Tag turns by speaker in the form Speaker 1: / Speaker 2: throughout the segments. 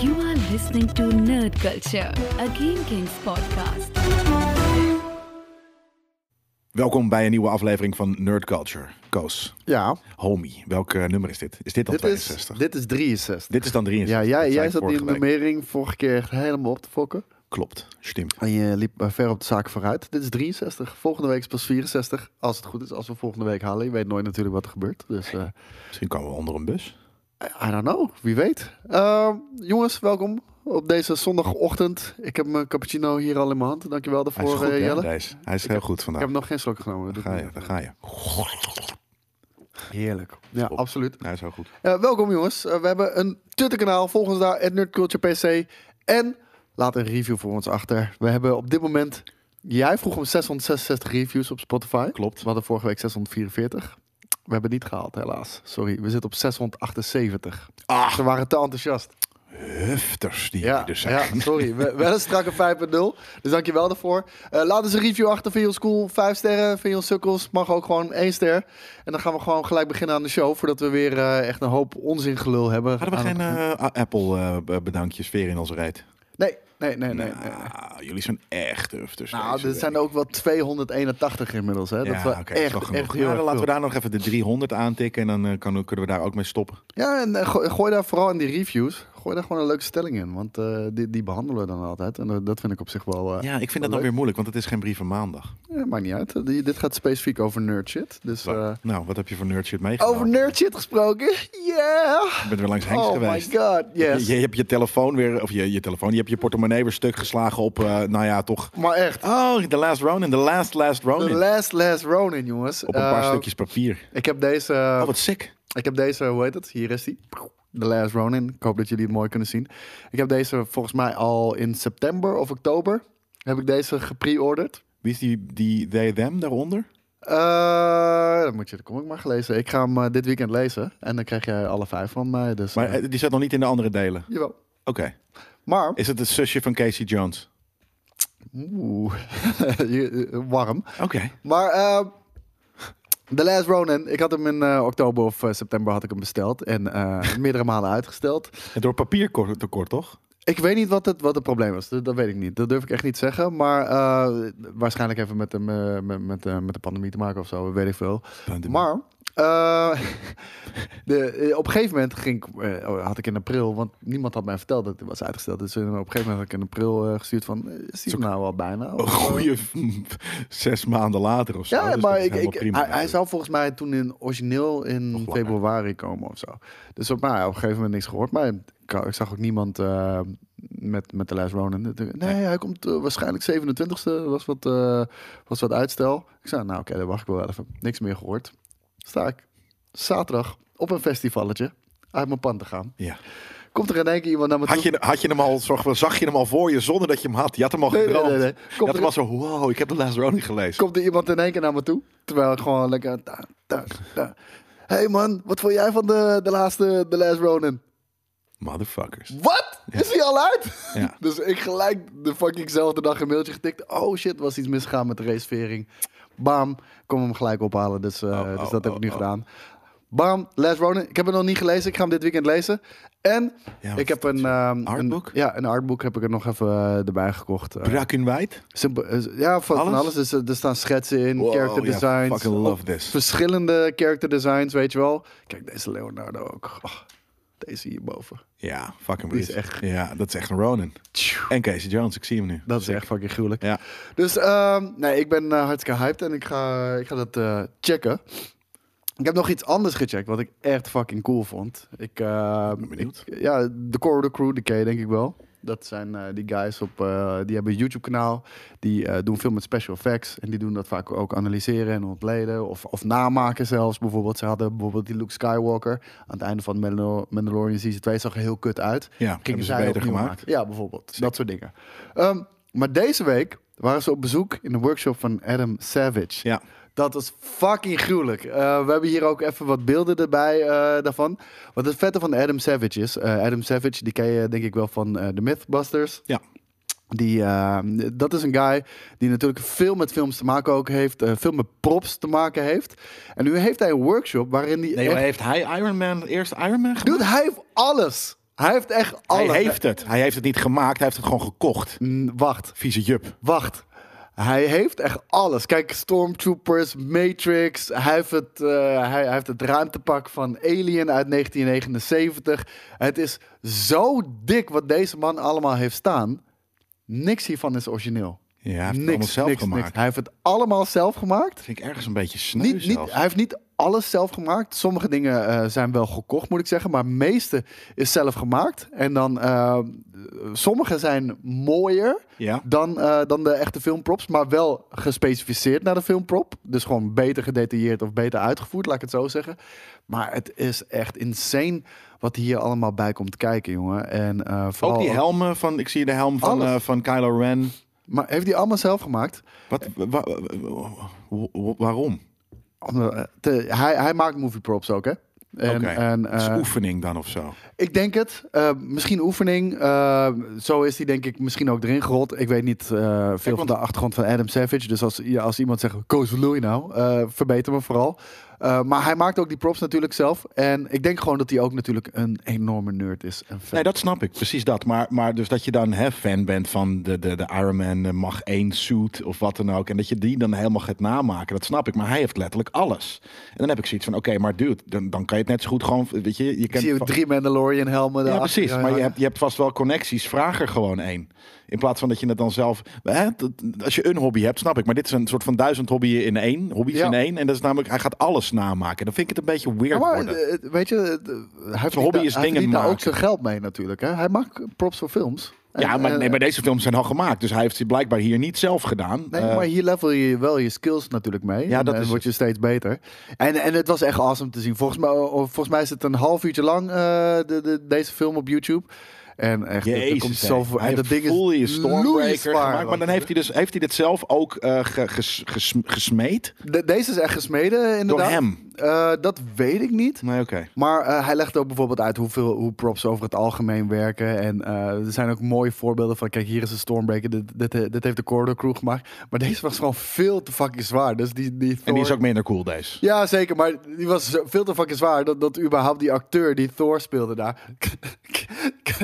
Speaker 1: You are listening to Nerd Culture, a Game Kings podcast.
Speaker 2: Welkom bij een nieuwe aflevering van Nerd Culture. Koos,
Speaker 3: Ja,
Speaker 2: homie, welk eh, nummer is dit? Is dit dan
Speaker 3: dit is,
Speaker 2: 62?
Speaker 3: dit is 63.
Speaker 2: Dit is dan 63.
Speaker 3: ja, jij,
Speaker 2: dat zei
Speaker 3: jij
Speaker 2: ik
Speaker 3: zat die
Speaker 2: vorige week.
Speaker 3: nummering vorige keer echt helemaal op te fokken.
Speaker 2: Klopt, stimmt.
Speaker 3: En je liep eh, ver op de zaak vooruit. Dit is 63. Volgende week is pas 64. Als het goed is, als we volgende week halen. Je weet nooit natuurlijk wat er gebeurt. Dus eh,
Speaker 2: Misschien komen we onder een bus.
Speaker 3: I don't know. Wie weet. Ehm, jongens, welkom op deze zondagochtend. Ik heb mijn cappuccino hier al in mijn hand. Dankjewel
Speaker 2: Hij is
Speaker 3: daarvoor,
Speaker 2: goed,
Speaker 3: eh,
Speaker 2: hè,
Speaker 3: Jelle.
Speaker 2: Thijs? Hij is heel goed
Speaker 3: Ik
Speaker 2: vandaag.
Speaker 3: heb nog geen slok genomen.
Speaker 2: Daar ga je, daar ga je.
Speaker 3: Heerlijk. Ja,
Speaker 2: Top.
Speaker 3: absoluut.
Speaker 2: Hij is heel goed.
Speaker 3: Eh, welkom jongens. Eh, we hebben een Twitter-kanaal. Volg ons daar, at NerdCulturePC. En laat een review voor ons achter. We hebben op dit moment... Jij vroeg om 666 reviews op Spotify.
Speaker 2: Klopt.
Speaker 3: We hadden vorige week 644. We hebben niet gehaald, helaas. Sorry, we zitten op 678.
Speaker 2: Ah,
Speaker 3: Ze waren te enthousiast.
Speaker 2: hufters die
Speaker 3: Ja,
Speaker 2: er
Speaker 3: ja
Speaker 2: dus zijn.
Speaker 3: sorry. We, wel een strakke 5.0. Dus dankjewel daarvoor. Eh, laat eens een review achter. Vind je ons cool? Vijf sterren. Vind je ons sukkels? Mag ook gewoon één ster. En dan gaan we gewoon gelijk beginnen aan de show. Voordat we weer eh, echt een hoop onzin gelul hebben.
Speaker 2: Hadden we
Speaker 3: Aan-
Speaker 2: geen eh, Apple eh, bedankjes weer in onze reet?
Speaker 3: Nee, nee, nee, nee. nee.
Speaker 2: Nou, jullie zijn echt hufters.
Speaker 3: Nou,
Speaker 2: deze
Speaker 3: er zijn
Speaker 2: week.
Speaker 3: ook wel 281 inmiddels. Hè? Dat
Speaker 2: Ja,
Speaker 3: we
Speaker 2: oké, is
Speaker 3: echt,
Speaker 2: wel genoeg.
Speaker 3: echt
Speaker 2: Ja,
Speaker 3: heel
Speaker 2: dan
Speaker 3: erg
Speaker 2: laten we
Speaker 3: veel.
Speaker 2: daar nog even de 300 aantikken en dan eh, kan, kunnen we daar ook mee stoppen.
Speaker 3: Ja, en eh, go- gooi daar vooral in die reviews. Gooi daar gewoon een leuke stelling in. Want eh, die, die behandelen we dan altijd. En eh, dat vind ik op zich wel... eh,
Speaker 2: Ja, ik vind dat
Speaker 3: wel
Speaker 2: dan
Speaker 3: leuk.
Speaker 2: weer moeilijk, want het is geen brieven maandag.
Speaker 3: eh, maakt niet uit. Die- dit gaat specifiek over nerd shit. Dus, eh,
Speaker 2: Nou, wat heb je voor nerd shit meegenomen?
Speaker 3: over nerd shit gesproken. Yeah!
Speaker 2: Ik ben weer langs Henks
Speaker 3: Oh
Speaker 2: geweest.
Speaker 3: my god, yes.
Speaker 2: Je, je hebt je telefoon weer, of je, je telefoon, je hebt je portemonnee weer stuk geslagen op, eh, nou ja, toch.
Speaker 3: Maar echt,
Speaker 2: Oh, The Last Ronin, The Last Last
Speaker 3: the
Speaker 2: Ronin.
Speaker 3: last last Ronin, jongens.
Speaker 2: op een paar
Speaker 3: Eh,
Speaker 2: stukjes papier.
Speaker 3: Ik heb deze...
Speaker 2: Oh, wat sick.
Speaker 3: Ik heb deze, hoe heet het? Hier is die. The Last Ronin. Ik hoop dat jullie het mooi kunnen zien. Ik heb deze volgens mij al in september of oktober. Heb ik deze gepreorderd.
Speaker 2: Wie is die, die they, them daaronder?
Speaker 3: Eh dan moet je de comic maar gelezen. Ik ga hem eh, dit weekend lezen. En dan krijg jij alle vijf van mij. Dus,
Speaker 2: Maar
Speaker 3: eh,
Speaker 2: eh, die zat nog niet in de andere delen.
Speaker 3: jawel.
Speaker 2: Oké.
Speaker 3: Maar,
Speaker 2: Is het het zusje van Casey Jones?
Speaker 3: oeh, je- eh, warm.
Speaker 2: Oké.
Speaker 3: Maar eh, The Last Ronin, ik had hem in eh, oktober of eh, september had ik hem besteld. En eh, meerdere malen uitgesteld.
Speaker 2: En Door papiertekort, toch?
Speaker 3: Ik weet niet wat het, wat het probleem was. Dat, dat weet ik niet. Dat durf ik echt niet zeggen. Maar eh, waarschijnlijk even met, de, me- met, met, de- met de pandemie te maken of zo. Weet ik veel. Maar eh, de, eh, op een gegeven moment ging, ik, eh, oh, had ik in april... Want niemand had mij verteld dat het was uitgesteld. Dus eh, op een gegeven moment had ik in april eh, gestuurd van... eh, Is die er nou al bijna?
Speaker 2: Een
Speaker 3: Of-
Speaker 2: goede zes maanden later of zo.
Speaker 3: ja,
Speaker 2: Dus dat
Speaker 3: maar
Speaker 2: is
Speaker 3: ik,
Speaker 2: helemaal
Speaker 3: ik,
Speaker 2: prima
Speaker 3: hij, hij
Speaker 2: natuurlijk.
Speaker 3: zou volgens mij toen in origineel in
Speaker 2: langer.
Speaker 3: februari komen of zo. Dus op, nou, op een gegeven moment niks gehoord. Maar ik, ik zag ook niemand eh, met, met The Last Ronin. Nee, hij komt eh, waarschijnlijk 27e. Was wat, eh, was wat uitstel. Ik zei, nou oké, dan wacht ik wel even. Niks meer gehoord. Sta ik zaterdag op een festivalletje uit mijn pan te gaan.
Speaker 2: Ja.
Speaker 3: Komt er in één keer iemand naar me toe.
Speaker 2: Had je, had je hem al, zorg- zag je hem al voor je zonder dat je hem had? Je had hem al
Speaker 3: Nee, nee,
Speaker 2: gedroomd.
Speaker 3: nee, nee.
Speaker 2: Je
Speaker 3: Komt
Speaker 2: had
Speaker 3: er-
Speaker 2: hem al zo, wow, ik heb de Last Ronin gelezen.
Speaker 3: komt er iemand in één keer naar me toe. Terwijl ik gewoon lekker... Da, da, da. hey man, wat vond jij van de, de laatste The Last Ronin?
Speaker 2: Motherfuckers.
Speaker 3: Wat? Is hij al uit?
Speaker 2: Ja.
Speaker 3: dus ik gelijk de fuckingzelfde dag een mailtje getikt. Oh shit, was iets misgegaan met de reservering. Bam, kom hem gelijk ophalen. Dus, eh,
Speaker 2: Oh, oh,
Speaker 3: dus dat heb
Speaker 2: oh,
Speaker 3: ik nu
Speaker 2: oh.
Speaker 3: gedaan. Bam, Last Ronin. Ik heb hem nog niet gelezen. Ik ga hem dit weekend lezen. En
Speaker 2: Ja,
Speaker 3: ik
Speaker 2: wat
Speaker 3: heb een... ehm,
Speaker 2: Artbook?
Speaker 3: Een, ja, een artbook heb ik er nog even eh, erbij gekocht. Eh,
Speaker 2: Brak in wijd.
Speaker 3: Simpel, eh, ja, van
Speaker 2: Alles?
Speaker 3: alles. Van alles. Dus, eh, er staan schetsen in,
Speaker 2: Wow,
Speaker 3: character
Speaker 2: ja,
Speaker 3: designs.
Speaker 2: fucking love this.
Speaker 3: Verschillende character designs, weet je wel. Kijk, deze Leonardo ook. Oh, deze hierboven.
Speaker 2: Ja, fucking
Speaker 3: Die is
Speaker 2: Brit.
Speaker 3: echt-
Speaker 2: Ja, dat is echt een Ronin.
Speaker 3: Tjoe,
Speaker 2: En Casey Jones, ik zie hem nu.
Speaker 3: Dat is echt fucking gruwelijk.
Speaker 2: Ja.
Speaker 3: Dus ehm, nee, ik ben eh, hartstikke hyped en ik ga, ik ga dat eh, checken. Ik heb nog iets anders gecheckt wat ik echt fucking cool vond. Ik, eh,
Speaker 2: ben benieuwd.
Speaker 3: ik- ja, de Corridor Crew, die ken je denk ik wel. Dat zijn eh, die guys op, eh, die hebben een YouTube kanaal. Die eh, doen veel met special effects. En die doen dat vaak ook analyseren en ontleden. Of, of namaken zelfs. Bijvoorbeeld, ze hadden bijvoorbeeld die Luke Skywalker. Aan het einde van Mandalor- Mandalorian season 2 zag er heel kut uit.
Speaker 2: Ja, hebben ze
Speaker 3: zij
Speaker 2: beter
Speaker 3: opnieuw
Speaker 2: gemaakt.
Speaker 3: maken. Ja, bijvoorbeeld. Dat soort dingen. Ehm, maar deze week waren ze op bezoek in de workshop van Adam Savage.
Speaker 2: Ja.
Speaker 3: Dat was fucking gruwelijk. Eh, we hebben hier ook even wat beelden erbij eh, daarvan. Wat het vette van Adam Savage is. eh, Adam Savage, die ken je denk ik wel van eh The Mythbusters.
Speaker 2: Ja.
Speaker 3: Die, eh, dat is een guy die natuurlijk veel met films te maken ook heeft. eh, veel met props te maken heeft. En nu heeft hij een workshop waarin hij
Speaker 2: Nee,
Speaker 3: echt
Speaker 2: maar heeft hij Iron Man, eerst Iron Man gemaakt?
Speaker 3: Dude, hij heeft alles. Hij heeft echt
Speaker 2: Hij
Speaker 3: alles.
Speaker 2: heeft het. Hij heeft het niet gemaakt. Hij heeft het gewoon gekocht.
Speaker 3: Mm, Wacht,
Speaker 2: Vieze jup.
Speaker 3: wacht. Hij heeft echt alles. Kijk, Stormtroopers, Matrix. Hij heeft het, eh, hij, hij heeft het ruimtepak van Alien uit 1979. Het is zo dik wat deze man allemaal heeft staan. Niks hiervan is origineel.
Speaker 2: Ja, hij heeft het
Speaker 3: niks,
Speaker 2: allemaal zelf
Speaker 3: niks,
Speaker 2: gemaakt.
Speaker 3: niks. Hij heeft het allemaal zelf gemaakt.
Speaker 2: Vind ik ergens een beetje sneu
Speaker 3: Niet, niet,
Speaker 2: zelfs.
Speaker 3: hij heeft niet alles zelf gemaakt. Sommige dingen eh, zijn wel gekocht, moet ik zeggen. Maar het meeste is zelf gemaakt. En dan, eh, sommige zijn mooier
Speaker 2: Ja.
Speaker 3: dan, eh, dan de echte filmprops. Maar wel gespecificeerd naar de filmprop. Dus gewoon beter gedetailleerd of beter uitgevoerd, laat ik het zo zeggen. Maar het is echt insane wat hier allemaal bij komt kijken, jongen. En, eh, vooral
Speaker 2: Ook die helmen van... Ik zie de helm van,
Speaker 3: Alles.
Speaker 2: eh, van Kylo Ren.
Speaker 3: Maar heeft hij allemaal zelf gemaakt?
Speaker 2: Wat, wa- wa- wa- wa- waarom?
Speaker 3: Omdat, eh, te- hij, hij maakt movie props ook, hè? En,
Speaker 2: Oké. Dus
Speaker 3: en,
Speaker 2: Het is
Speaker 3: eh,
Speaker 2: oefening dan of zo.
Speaker 3: Ik denk het. Eh, misschien oefening. Eh, zo is die denk ik misschien ook erin gerold. Ik weet niet eh, veel van
Speaker 2: want-
Speaker 3: de achtergrond van Adam Savage. Dus als, ja, als iemand zegt, Koos, wat wil je nou? Eh, verbeter me vooral. Eh, maar hij maakt ook die props natuurlijk zelf. En ik denk gewoon dat hij ook natuurlijk een enorme nerd is. En fan.
Speaker 2: Nee, dat snap ik. Precies dat. Maar, maar dus dat je dan hè, fan bent van de, de, de Iron Man eh, Mach 1 suit of wat dan ook. En dat je die dan helemaal gaat namaken. Dat snap ik. Maar hij heeft letterlijk alles. En dan heb ik zoiets van, oké, maar dude, dan, dan kan je het net zo goed gewoon... Weet je, je
Speaker 3: ik
Speaker 2: kent
Speaker 3: zie
Speaker 2: va-
Speaker 3: ook drie Mandalorian helmen eh,
Speaker 2: Ja,
Speaker 3: daarachter.
Speaker 2: precies. Maar je hebt, je hebt vast wel connecties. Vraag er gewoon één. In plaats van dat je het dan zelf... Hè, dat- als je een hobby hebt, snap ik. Maar dit is een soort van duizend hobbyen in één. Hobby's
Speaker 3: Ja.
Speaker 2: in één. En dat is namelijk... Hij gaat alles namaken. Dan vind ik het een beetje weird
Speaker 3: Ja, maar
Speaker 2: worden.
Speaker 3: eh, weet je, eh, hij heeft
Speaker 2: hobby
Speaker 3: niet-
Speaker 2: is
Speaker 3: hij
Speaker 2: dingen
Speaker 3: verdient daar ook
Speaker 2: maken.
Speaker 3: zijn geld mee natuurlijk. Hè? Hij maakt props voor films.
Speaker 2: Ja,
Speaker 3: En,
Speaker 2: maar,
Speaker 3: eh,
Speaker 2: nee, maar deze films zijn al gemaakt. Dus hij heeft ze blijkbaar hier niet zelf gedaan.
Speaker 3: Nee,
Speaker 2: Eh,
Speaker 3: maar hier level je wel je skills natuurlijk mee.
Speaker 2: Ja,
Speaker 3: En,
Speaker 2: dat
Speaker 3: eh,
Speaker 2: is
Speaker 3: word je steeds beter. En, en het was echt awesome te zien. Volgens mij, oh, volgens mij is het een half uurtje lang eh, de, de, deze film op YouTube. En echt, er- er
Speaker 2: Jezus,
Speaker 3: komt
Speaker 2: hé.
Speaker 3: zoveel...
Speaker 2: Hij
Speaker 3: En dat
Speaker 2: heeft
Speaker 3: ding is
Speaker 2: Fully een Stormbreaker
Speaker 3: loeizwaar.
Speaker 2: gemaakt, Maar dan heeft hij, dus, heeft hij dit zelf ook eh, ge- ges- ges- gesmeed?
Speaker 3: De- deze is echt gesmeden, inderdaad.
Speaker 2: hem?
Speaker 3: Eh, dat weet ik niet.
Speaker 2: Nee, oké.
Speaker 3: Maar eh, hij legt ook bijvoorbeeld uit hoeveel, hoe props over het algemeen werken. En eh, er zijn ook mooie voorbeelden van... kijk, hier is een Stormbreaker, dit, dit, dit heeft de Corridor Crew gemaakt. Maar deze was gewoon veel te fucking zwaar. Dus die, die
Speaker 2: En die
Speaker 3: Thor-
Speaker 2: is ook minder cool, deze.
Speaker 3: Ja, zeker. Maar die was zo- veel te fucking zwaar dat, dat überhaupt die acteur die Thor speelde daar...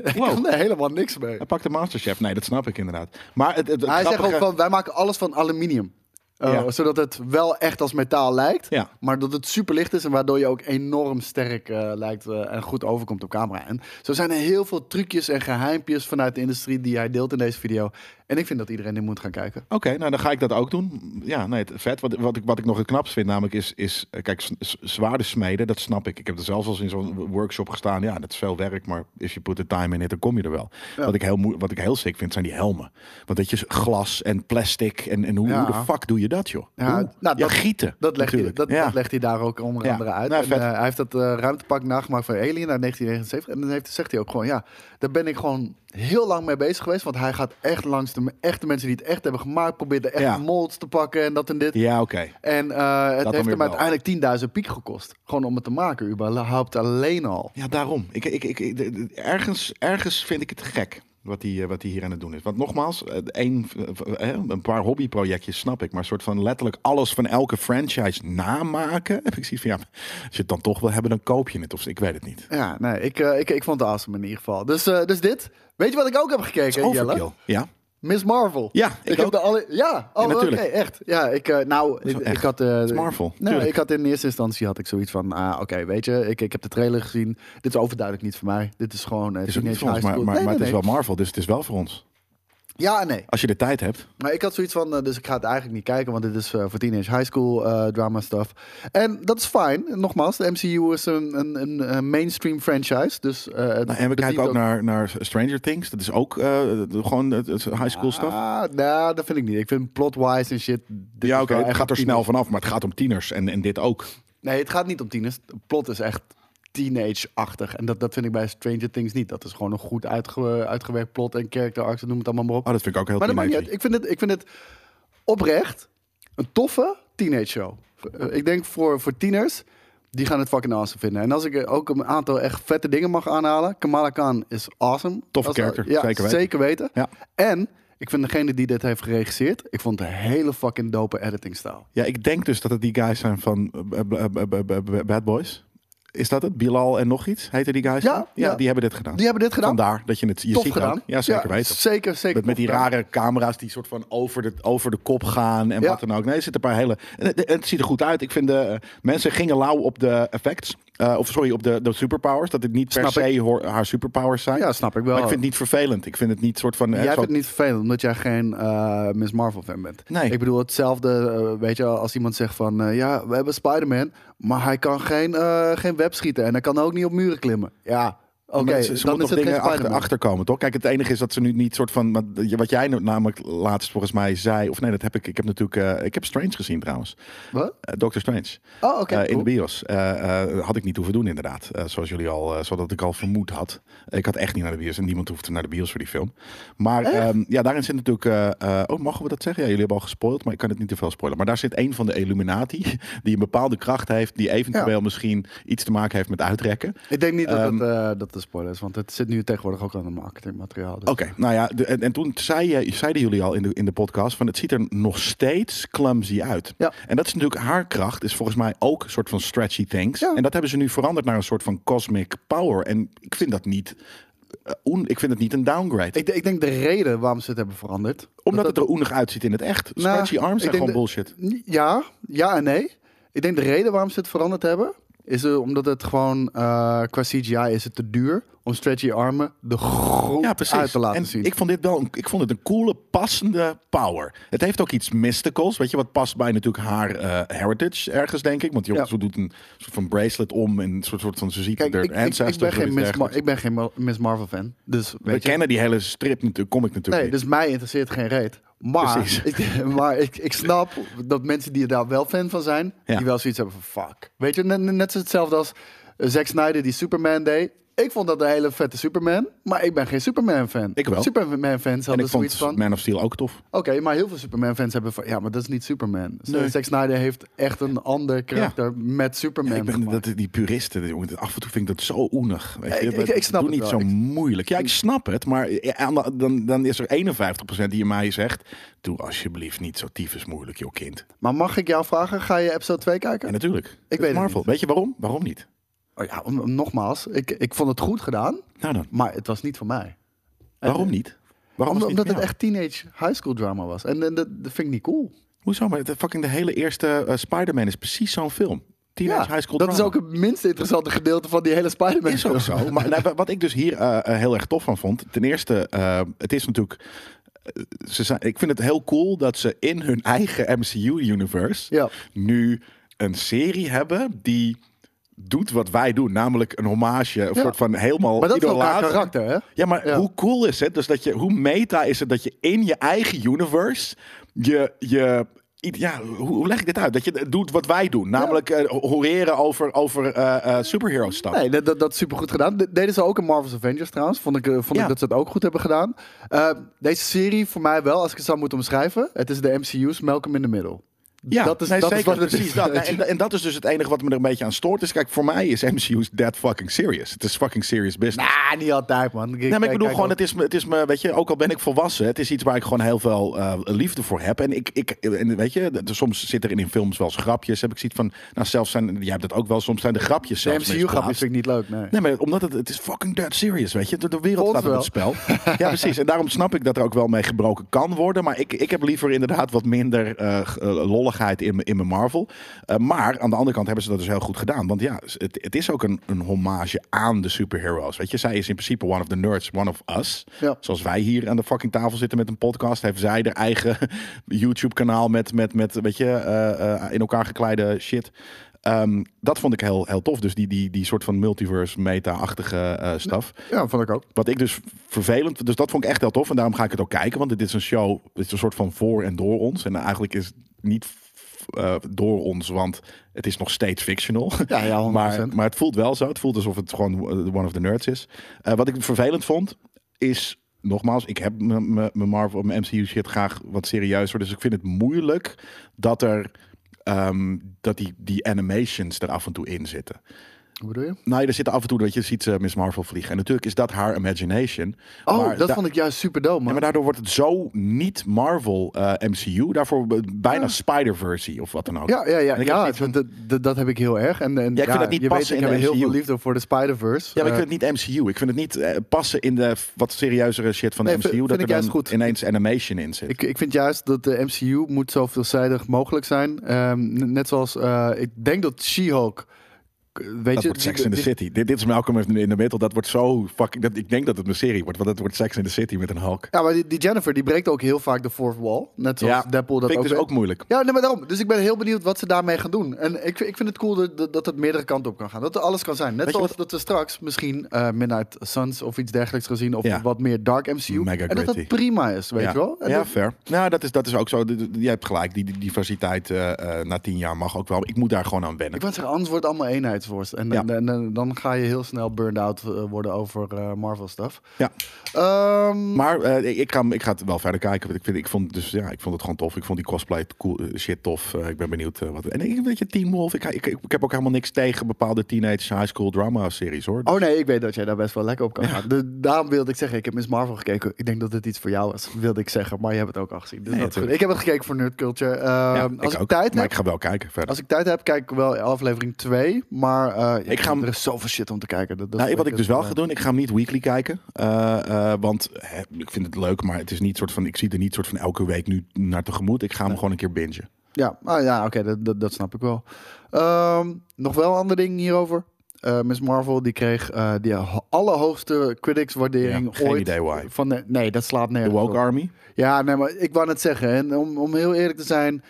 Speaker 3: ik
Speaker 2: Wow.
Speaker 3: kon er helemaal niks mee.
Speaker 2: Hij pakt de Masterchef. Nee, dat snap ik inderdaad. Maar het, het, het
Speaker 3: Hij zegt ook
Speaker 2: grappige-
Speaker 3: van, wij maken alles van aluminium. Uh,
Speaker 2: Ja.
Speaker 3: Zodat het wel echt als metaal lijkt,
Speaker 2: Ja.
Speaker 3: maar dat het super licht is en waardoor je ook enorm sterk eh, lijkt eh, en goed overkomt op camera. En zo zijn er heel veel trucjes en geheimpjes vanuit de industrie die hij deelt in deze video. En ik vind dat iedereen dit moet gaan kijken.
Speaker 2: Oké, nou dan ga ik dat ook doen. Ja, nee, het- vet. Wat, wat, ik, wat ik nog het knapst vind namelijk is, is eh, kijk, s- s- zwaarde smeden, dat snap ik. Ik heb er zelfs al eens in zo'n workshop gestaan. Ja, dat is veel werk, maar if you put the time in it, dan kom je er wel. Wat, ik heel, moe- wat ik heel sick vind, zijn die helmen. Want dat je glas en plastic en, en hoe,
Speaker 3: Ja.
Speaker 2: hoe de fuck doe je dat, joh?
Speaker 3: Ja,
Speaker 2: Hoe?
Speaker 3: nou,
Speaker 2: ja,
Speaker 3: dat-
Speaker 2: gieten.
Speaker 3: Dat legt, hij,
Speaker 2: natuurlijk.
Speaker 3: dat,
Speaker 2: ja.
Speaker 3: dat legt hij daar ook onder
Speaker 2: Ja.
Speaker 3: andere uit.
Speaker 2: Nou,
Speaker 3: En,
Speaker 2: vet.
Speaker 3: eh, hij heeft dat eh, ruimtepak nagemaakt van Alien uit 1979. En dan heeft, zegt hij ook gewoon, ja, daar ben ik gewoon heel lang mee bezig geweest. Want hij gaat echt langs de echte mensen die het echt hebben gemaakt. Probeert de echte
Speaker 2: Ja.
Speaker 3: molds te pakken en dat en dit.
Speaker 2: Ja, oké.
Speaker 3: En eh, het
Speaker 2: dan
Speaker 3: heeft
Speaker 2: weer
Speaker 3: hem
Speaker 2: wel.
Speaker 3: uiteindelijk 10.000 piek gekost. Gewoon om het te maken, überhaupt alleen al.
Speaker 2: Ja, daarom. Ik, ik, ik, ik- de- de- ergens, ergens vind ik het gek wat hij eh, wat die hier aan het doen is. Want nogmaals, eh, één, eh, eh, een paar hobbyprojectjes snap ik. Maar een soort van letterlijk alles van elke franchise namaken. Heb ik zoiets van, ja, als je het dan toch wil hebben, dan koop je het. Of ik weet het niet.
Speaker 3: Ja, nee, ik, eh, ik, ik vond het awesome in ieder geval. Dus, eh, dus dit. Weet je wat ik ook heb gekeken, Jelle?
Speaker 2: Overkill. Ja.
Speaker 3: Miss Marvel.
Speaker 2: Ja, ik
Speaker 3: ik, heb
Speaker 2: ook.
Speaker 3: de alle. Ja,
Speaker 2: Ja,
Speaker 3: oh, oké,
Speaker 2: natuurlijk.
Speaker 3: echt. Ja, ik, eh, nou, ik,
Speaker 2: echt.
Speaker 3: ik had. eh,
Speaker 2: is Marvel,
Speaker 3: Nee,
Speaker 2: tuurlijk.
Speaker 3: ik had in eerste instantie had ik zoiets van, ah, oké, weet je, ik, ik heb de trailer gezien. Dit is overduidelijk niet voor mij. Dit is gewoon. eh,
Speaker 2: Het is ook niet
Speaker 3: teenage
Speaker 2: voor ons,
Speaker 3: high
Speaker 2: maar,
Speaker 3: school.
Speaker 2: maar,
Speaker 3: Nee,
Speaker 2: maar het
Speaker 3: nee,
Speaker 2: is wel Marvel, dus het is wel voor ons.
Speaker 3: nee. Ja, en nee.
Speaker 2: Als je de tijd hebt.
Speaker 3: Maar ik had zoiets van, eh, dus ik ga het eigenlijk niet kijken, want dit is eh, voor teenage high school eh, drama stuff. En dat is fijn. Nogmaals, de MCU is een, een, een, eh, mainstream franchise. Dus, eh, het
Speaker 2: Nou, en we
Speaker 3: bedient
Speaker 2: kijken ook naar, naar Stranger Things. Dat is ook eh, gewoon het het high school stuff.
Speaker 3: Ah, nou, dat vind ik niet. Ik vind plot-wise en shit. dit
Speaker 2: ja,
Speaker 3: is
Speaker 2: oké,
Speaker 3: wel
Speaker 2: het
Speaker 3: echt
Speaker 2: gaat er
Speaker 3: tieners.
Speaker 2: snel vanaf, maar het gaat om tieners en, en dit ook. Oh,
Speaker 3: Nee, het gaat niet om tieners. De plot is echt teenage-achtig. En dat, dat vind ik bij Stranger Things niet. Dat is gewoon een goed uitge- uitgewerkt plot en character arcs, noem het allemaal maar op.
Speaker 2: Oh, dat vind ik ook heel
Speaker 3: Maar dat maakt niet
Speaker 2: teenagery.
Speaker 3: uit. Ik vind het, ik vind het oprecht een toffe teenage show. Eh, Ik denk voor, voor tieners, die gaan het fucking awesome vinden. En als ik eh, ook een aantal echt vette dingen mag aanhalen. Kamala Khan is awesome.
Speaker 2: Toffe
Speaker 3: Als-
Speaker 2: character,
Speaker 3: ja,
Speaker 2: zeker weten.
Speaker 3: weten.
Speaker 2: Ja.
Speaker 3: En ik vind degene die dit heeft geregisseerd, ik vond een hele fucking dope editingstijl.
Speaker 2: eh, Ja, ik denk dus dat het die guys zijn van eh, b- b- b- b- b- Bad Boys. is dat het? Bilal en nog iets? Heette die guys?
Speaker 3: Ja,
Speaker 2: ja,
Speaker 3: ja.
Speaker 2: die hebben dit gedaan.
Speaker 3: Die hebben dit gedaan.
Speaker 2: Vandaar dat je het je
Speaker 3: Tof
Speaker 2: ziet
Speaker 3: gedaan.
Speaker 2: ook. Ja, zeker weten.
Speaker 3: Zeker, zeker.
Speaker 2: Met, met
Speaker 3: tof
Speaker 2: die
Speaker 3: gedaan.
Speaker 2: rare camera's die soort van over de, over de kop gaan en
Speaker 3: Ja.
Speaker 2: wat dan ook. Nee, er zitten een paar hele... en het, en het ziet er goed uit. Ik vind de... eh, mensen gingen lauw op de effects. Eh, of sorry, op de, de superpowers. Dat dit niet per
Speaker 3: Snap ik.
Speaker 2: se hoor- haar superpowers zijn.
Speaker 3: Ja, snap ik wel.
Speaker 2: maar ik vind het niet vervelend. Ik vind het niet soort van... eh, zo-
Speaker 3: Jij vindt het niet vervelend omdat jij geen eh, Miss Marvel fan bent.
Speaker 2: Nee.
Speaker 3: Ik bedoel hetzelfde, eh, weet je, als iemand zegt van eh, ja, we hebben Spider-Man, maar hij kan geen, eh, geen web schieten en hij kan ook niet op muren klimmen. Ja, oké,
Speaker 2: Maar ze- ze
Speaker 3: dan is
Speaker 2: moeten
Speaker 3: het
Speaker 2: toch
Speaker 3: geen
Speaker 2: dingen achter,
Speaker 3: Spider-Man.
Speaker 2: achterkomen, toch? Kijk, het enige is dat ze nu niet soort van... want je- Wat jij nu namelijk laatst volgens mij zei... Of nee, dat heb ik... Ik heb natuurlijk... eh, ik heb Strange gezien trouwens.
Speaker 3: Wat?
Speaker 2: Eh, Doctor Strange.
Speaker 3: Oh, oké,
Speaker 2: Eh,
Speaker 3: cool.
Speaker 2: In de bios. Eh, eh, had ik niet hoeven doen inderdaad. Eh, zoals jullie al... eh, zodat ik al vermoed had. Ik had echt niet naar de bios. En niemand hoefde naar de bios voor die film. Maar ehm, ja, daarin zit natuurlijk... eh, eh, oh, mogen we dat zeggen? Ja, jullie hebben al gespoild. Maar ik kan het niet te veel spoilen. Maar daar zit een van de Illuminati... Die een bepaalde kracht heeft. Die eventueel misschien iets te maken heeft met uitrekken.
Speaker 3: Ik denk niet dat
Speaker 2: Ehm,
Speaker 3: dat, eh, dat de spoiler is, want het zit nu tegenwoordig ook aan het marketingmateriaal. Dus.
Speaker 2: Oké, nou ja, de- en, en toen zei, je- zeiden jullie al in de, in de podcast van het ziet er nog steeds clumsy uit.
Speaker 3: Ja.
Speaker 2: En dat is natuurlijk haar kracht, is volgens mij ook een soort van stretchy things.
Speaker 3: Ja.
Speaker 2: En dat hebben ze nu veranderd naar een soort van cosmic power. En ik vind dat niet, eh, oen- ik vind het niet een downgrade.
Speaker 3: Ik, ik denk de reden waarom ze het hebben veranderd.
Speaker 2: Omdat
Speaker 3: dat-
Speaker 2: het er oenig uitziet in het echt.
Speaker 3: Nou,
Speaker 2: stretchy arms
Speaker 3: ik
Speaker 2: zijn
Speaker 3: denk
Speaker 2: gewoon
Speaker 3: de-
Speaker 2: bullshit.
Speaker 3: Ja, ja en nee. Ik denk de reden waarom ze het veranderd hebben, is eh, omdat het gewoon eh, qua CGI is het te duur om stretchy armen de grond
Speaker 2: Ja, precies.
Speaker 3: uit te laten
Speaker 2: en
Speaker 3: zien.
Speaker 2: Ik vond dit wel een, ik vond het een coole, passende power. Het heeft ook iets mysticals, weet je, wat past bij natuurlijk haar eh, heritage ergens, denk ik. Want die
Speaker 3: Ja.
Speaker 2: ze doet een soort van bracelet om en een soort, soort van, ze ziet
Speaker 3: Kijk,
Speaker 2: haar
Speaker 3: ik, ik- ik,
Speaker 2: ancestors.
Speaker 3: ben
Speaker 2: of
Speaker 3: geen
Speaker 2: iets
Speaker 3: Miss Mar-
Speaker 2: dergelijks.
Speaker 3: ik ben geen Mar- Miss Marvel fan. Dus weet
Speaker 2: We
Speaker 3: je.
Speaker 2: kennen die hele strip natuurlijk, kom ik natuurlijk
Speaker 3: Nee,
Speaker 2: niet.
Speaker 3: dus mij interesseert geen reet. Maar,
Speaker 2: Precies.
Speaker 3: ik, maar ik, ik snap dat mensen die daar wel fan van zijn,
Speaker 2: Ja.
Speaker 3: die wel zoiets hebben van fuck. Weet je, net, net zo hetzelfde als eh, Zack Snyder die Superman deed. Ik vond dat een hele vette Superman, maar ik ben geen Superman-fan.
Speaker 2: Ik wel.
Speaker 3: Superman-fans
Speaker 2: en
Speaker 3: hadden
Speaker 2: ik
Speaker 3: zoiets
Speaker 2: vond
Speaker 3: van...
Speaker 2: Man of Steel ook tof.
Speaker 3: Oké, maar heel veel Superman-fans hebben van... Ja, maar dat is niet Superman. Dus, eh,
Speaker 2: Nee.
Speaker 3: Zack Snyder heeft echt een ander karakter met Superman
Speaker 2: ik ben,
Speaker 3: gemaakt.
Speaker 2: dat, die puristen, die- jongen, af en toe vind ik dat zo oenig. Weet
Speaker 3: Ja,
Speaker 2: je?
Speaker 3: ik-
Speaker 2: Dat-
Speaker 3: ik- ik snap
Speaker 2: doe
Speaker 3: het
Speaker 2: niet
Speaker 3: wel.
Speaker 2: zo
Speaker 3: Ik-
Speaker 2: moeilijk. Ja, ik snap het, maar ja, aan de- dan, dan is er 51% die in mij zegt... Doe alsjeblieft niet zo tyfus moeilijk, joh kind.
Speaker 3: Maar mag ik jou vragen, ga je episode 2
Speaker 2: Ja,
Speaker 3: kijken?
Speaker 2: natuurlijk. Het is
Speaker 3: weet het
Speaker 2: Marvel.
Speaker 3: niet.
Speaker 2: Weet je waarom? Waarom niet?
Speaker 3: Oh ja, om- om- nogmaals, ik, ik vond het goed gedaan,
Speaker 2: Nou dan,
Speaker 3: maar het was niet voor mij.
Speaker 2: waarom niet? Waarom
Speaker 3: Om-
Speaker 2: was het niet
Speaker 3: Eh,
Speaker 2: voor
Speaker 3: omdat het
Speaker 2: jou?
Speaker 3: echt teenage high school drama was. En, en dat, dat vind ik niet cool.
Speaker 2: Hoezo? Maar de, fucking de hele eerste eh, Spider-Man is precies zo'n film. Teenage High School
Speaker 3: dat
Speaker 2: Drama.
Speaker 3: is ook het minst interessante gedeelte van die hele Spider-Man.
Speaker 2: Is ook zo. Maar nou, wat ik dus hier eh, eh, heel erg tof van vond. Ten eerste, eh, het is natuurlijk. eh, Ze zijn, ik vind het heel cool dat ze in hun eigen MCU-universe
Speaker 3: Ja.
Speaker 2: nu een serie hebben die doet wat wij doen. Namelijk een hommage, een
Speaker 3: Ja.
Speaker 2: soort van helemaal
Speaker 3: Maar dat is ook haar
Speaker 2: idolaat.
Speaker 3: karakter, hè?
Speaker 2: Ja, maar
Speaker 3: Ja.
Speaker 2: hoe cool is het? Dus dat je, hoe meta is het dat je in je eigen universe je. je i- ja, hoe hoe leg ik dit uit? Dat je doet wat wij doen. Namelijk eh, horeren over, over eh eh superhero stuff.
Speaker 3: Nee, dat, dat, dat is supergoed gedaan. De- Deden ze ook in Marvel's Avengers trouwens. Vond ik, eh, vond
Speaker 2: Ja.
Speaker 3: ik dat ze dat ook goed hebben gedaan. Eh, deze serie voor mij wel, als ik het zou moeten omschrijven. Het is de MCU's Malcolm in the Middle.
Speaker 2: Ja,
Speaker 3: dat is,
Speaker 2: nee,
Speaker 3: dat is
Speaker 2: zeker,
Speaker 3: wat het
Speaker 2: precies
Speaker 3: is.
Speaker 2: dat. Nee, en, en dat is dus het enige wat me er een beetje aan stoort. Is kijk, voor mij is MCU's that fucking serious. Het is fucking serious business.
Speaker 3: Nah, niet altijd, man.
Speaker 2: Nee, maar ik bedoel gewoon,
Speaker 3: het.
Speaker 2: het is, me, het is me, weet je, ook al ben ik volwassen, het is iets waar ik gewoon heel veel eh, liefde voor heb. En ik, ik en weet je, d- soms zit er in, in films wel eens grapjes. Heb ik zoiets van, nou zelfs zijn, jij hebt dat ook wel, soms zijn de grapjes
Speaker 3: De
Speaker 2: zelfs
Speaker 3: MCU-grapjes
Speaker 2: misplaatst.
Speaker 3: vind ik niet leuk, nee.
Speaker 2: Nee, maar omdat het, het is fucking dead serious, weet je. De, de wereld
Speaker 3: Voor ons
Speaker 2: staat op het spel. Ja, precies. En daarom snap ik dat er ook wel mee gebroken kan worden. Maar ik, ik heb liever inderdaad wat minder eh, g- eh, lolligheid in, m- in mijn Marvel. Eh, maar aan de andere kant hebben ze dat dus heel goed gedaan. Want ja, het, het is ook een, een hommage aan de superheroes, weet je. Zij is in principe one of the nerds, one of us.
Speaker 3: Ja.
Speaker 2: Zoals wij hier aan de fucking tafel zitten met een podcast, heeft zij haar eigen YouTube-kanaal met, met, met, weet je, eh, eh, in elkaar gekleide shit. Ehm, dat vond ik heel, heel tof. Dus die, die, die soort van multiverse meta-achtige eh stuff.
Speaker 3: Ja, vond ik ook.
Speaker 2: Wat ik dus vervelend, dus dat vond ik echt heel tof. En daarom ga ik het ook kijken, want dit is een show, dit is een soort van voor en door ons. En eigenlijk is het niet eh, door ons, want het is nog steeds fictional.
Speaker 3: Ja, ja, 100%.
Speaker 2: Maar, maar het voelt wel zo. Het voelt alsof het gewoon eh, one of the nerds is. Eh, wat ik vervelend vond, is nogmaals, ik heb mijn mijn- mijn Marvel, mijn MCU shit graag wat serieuzer. Dus ik vind het moeilijk dat er ehm, dat die, die animations er af en toe in zitten.
Speaker 3: Hoe bedoel je?
Speaker 2: Nou, er zitten af en toe dat je ziet eh, Miss Marvel vliegen. En natuurlijk is dat haar imagination.
Speaker 3: Oh,
Speaker 2: maar
Speaker 3: dat
Speaker 2: da-
Speaker 3: vond ik juist super dope,
Speaker 2: Ja,
Speaker 3: man.
Speaker 2: maar daardoor wordt het zo niet Marvel eh, MCU. Daarvoor b- bijna Spider-Versie of wat dan ook.
Speaker 3: Ah. Ja, ja, ja.
Speaker 2: En ik heb
Speaker 3: ja
Speaker 2: zoiets van-
Speaker 3: dat, dat, dat heb ik heel erg. En, en,
Speaker 2: Ja, ik vind dat niet
Speaker 3: je
Speaker 2: passen
Speaker 3: weet,
Speaker 2: in
Speaker 3: ik
Speaker 2: de
Speaker 3: heb heel veel
Speaker 2: MCU.
Speaker 3: liefde voor de Spider-Verse.
Speaker 2: Ja, maar
Speaker 3: Eh,
Speaker 2: ik vind het niet MCU. Ik vind het niet eh, passen in de f- wat serieuzere shit van de
Speaker 3: Nee,
Speaker 2: MCU.
Speaker 3: vind- vind
Speaker 2: dat
Speaker 3: ik
Speaker 2: er dan
Speaker 3: juist goed.
Speaker 2: ineens animation in zit.
Speaker 3: Ik, ik vind juist dat de MCU moet zo veelzijdig mogelijk zijn. Ehm, n- net zoals, eh, ik denk dat She-Hulk... k- Weet
Speaker 2: dat
Speaker 3: je,
Speaker 2: wordt Sex
Speaker 3: die-
Speaker 2: in the
Speaker 3: die-
Speaker 2: City. Dit, dit is Malcolm in de Middle. Dat wordt zo fucking... Dat, ik denk dat het een serie wordt. Want het wordt Sex in the City met een Hulk.
Speaker 3: Ja, maar die, die Jennifer, die breekt ook heel vaak de fourth wall. Net zoals Deadpool dat
Speaker 2: vind
Speaker 3: ook
Speaker 2: ik dus
Speaker 3: deed.
Speaker 2: ook moeilijk.
Speaker 3: Ja, nee, maar daarom. Dus ik ben heel benieuwd wat ze daarmee gaan doen. En ik, ik vind het cool dat, dat, dat het meerdere kanten op kan gaan. Dat er alles kan zijn. Net
Speaker 2: Weet je
Speaker 3: zoals dat we straks misschien eh, Midnight Suns of iets dergelijks gaan zien. Of
Speaker 2: Ja.
Speaker 3: wat meer Dark MCU.
Speaker 2: Mega
Speaker 3: en dat dat
Speaker 2: gritty.
Speaker 3: prima is, weet
Speaker 2: ja.
Speaker 3: je wel? En
Speaker 2: ja,
Speaker 3: dat-
Speaker 2: fair. Nou, dat is, dat is ook zo. D- d- Je hebt gelijk. Die die diversiteit eh, eh, na tien jaar mag ook wel. Ik moet daar gewoon aan wennen.
Speaker 3: ik wou zeggen, anders wordt het allemaal eenheidsworst. En,
Speaker 2: Ja.
Speaker 3: en, en- en dan ga je heel snel burned out eh, worden over eh, Marvel stuff.
Speaker 2: Ja.
Speaker 3: Ehm,
Speaker 2: Maar eh, ik, ga, hem- ik ga het wel verder kijken. want Ik, vind, ik, vond, dus, ja, ik vond het gewoon tof. Ik vond die cosplay cool, eh, shit tof. Eh, ik ben benieuwd eh, wat. En ik weet je, Teen Wolf. Ik, ik, ik, ik heb ook helemaal niks tegen bepaalde teenage high school drama series hoor.
Speaker 3: Oh nee, ik weet dat jij daar best wel lekker op kan gaan. Dus daarom wilde ik zeggen, ik heb Miss Marvel gekeken. Ik denk dat dit iets voor jou is, wilde ik zeggen. Maar je hebt het ook al gezien. Dus
Speaker 2: Nee,
Speaker 3: dat is goed.
Speaker 2: natuurlijk.
Speaker 3: Ik heb het gekeken voor Nerd Culture. Ehm,
Speaker 2: Ja,
Speaker 3: als ik,
Speaker 2: ook.
Speaker 3: tijd
Speaker 2: maar
Speaker 3: heb,
Speaker 2: ik ga wel kijken verder.
Speaker 3: als ik tijd heb, kijk ik wel aflevering 2. Maar eh, ja,
Speaker 2: Ik ga hem-
Speaker 3: er is zoveel shit om te kijken. Dat, dat
Speaker 2: Nou,
Speaker 3: is
Speaker 2: wat ik dus wel
Speaker 3: eh,
Speaker 2: ga doen, ik ga hem niet weekly kijken. Eh, eh, want hè, ik vind het leuk, maar het is niet soort van, ik zie er niet soort van elke week nu naar tegemoet. Ik ga hem gewoon een keer bingen.
Speaker 3: Ja, ah, ja oké, dat, dat, dat snap ik wel. Ehm, nog wel een ander ding hierover. Eh, Miss Marvel die kreeg eh die ho- allerhoogste critics waardering
Speaker 2: Ja, geen
Speaker 3: ooit.
Speaker 2: idee why.
Speaker 3: Van de, nee, dat slaat
Speaker 2: De
Speaker 3: nergens op.
Speaker 2: Woke Army.
Speaker 3: Ja, nee, maar ik wou net zeggen. En om, om heel eerlijk te zijn,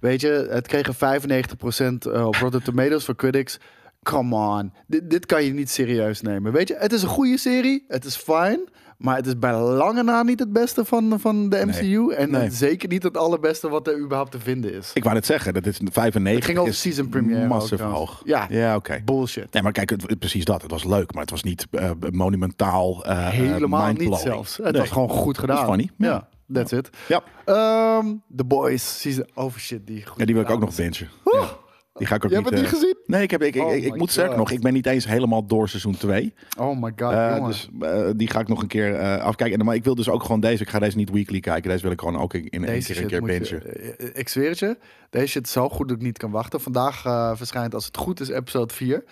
Speaker 3: weet je, het kregen 95% eh, op Rotten Tomatoes voor critics. Come on, dit, dit kan je niet serieus nemen. Weet je, het is een goede serie, het is fijn, maar het is bij lange na niet het beste van, van de
Speaker 2: Nee.
Speaker 3: MCU. En
Speaker 2: Nee.
Speaker 3: zeker niet het allerbeste wat er überhaupt te vinden is.
Speaker 2: Ik wou net zeggen, dat is
Speaker 3: het
Speaker 2: 95
Speaker 3: ging over
Speaker 2: is
Speaker 3: season premiere. ook
Speaker 2: massief
Speaker 3: trouwens.
Speaker 2: hoog.
Speaker 3: Ja,
Speaker 2: Ja, oké.
Speaker 3: bullshit.
Speaker 2: Nee, maar kijk, het, het- precies dat. Het was leuk, maar het was niet eh, monumentaal. eh, eh,
Speaker 3: Helemaal niet
Speaker 2: mindblowing.
Speaker 3: zelfs. Het
Speaker 2: Nee.
Speaker 3: was gewoon goed gedaan.
Speaker 2: funny, ja.
Speaker 3: Ja, that's it.
Speaker 2: Ja.
Speaker 3: Ehm, The Boys, season... Oh shit, die goed
Speaker 2: Ja, die wil ik ook
Speaker 3: gedaan
Speaker 2: nog
Speaker 3: is.
Speaker 2: bingen.
Speaker 3: Oeh.
Speaker 2: Ja. Die ga ik ook
Speaker 3: Jij
Speaker 2: niet...
Speaker 3: hebt het
Speaker 2: eh,
Speaker 3: niet gezien?
Speaker 2: Nee, ik, heb, ik, ik,
Speaker 3: Oh
Speaker 2: ik, ik
Speaker 3: my
Speaker 2: moet sterker
Speaker 3: God.
Speaker 2: nog, ik ben niet eens helemaal door seizoen 2.
Speaker 3: Oh my god,
Speaker 2: Eh,
Speaker 3: jongen.
Speaker 2: dus eh, die ga ik nog een keer eh, afkijken. En, maar ik wil dus ook gewoon deze. Ik ga deze niet weekly kijken. Deze wil ik gewoon ook in, in één keer een keer
Speaker 3: moet
Speaker 2: bingen.
Speaker 3: je, eh, eh, ik zweer het je, deze shit is zo goed dat ik niet kan wachten. Vandaag eh, verschijnt, als het goed is, episode 4.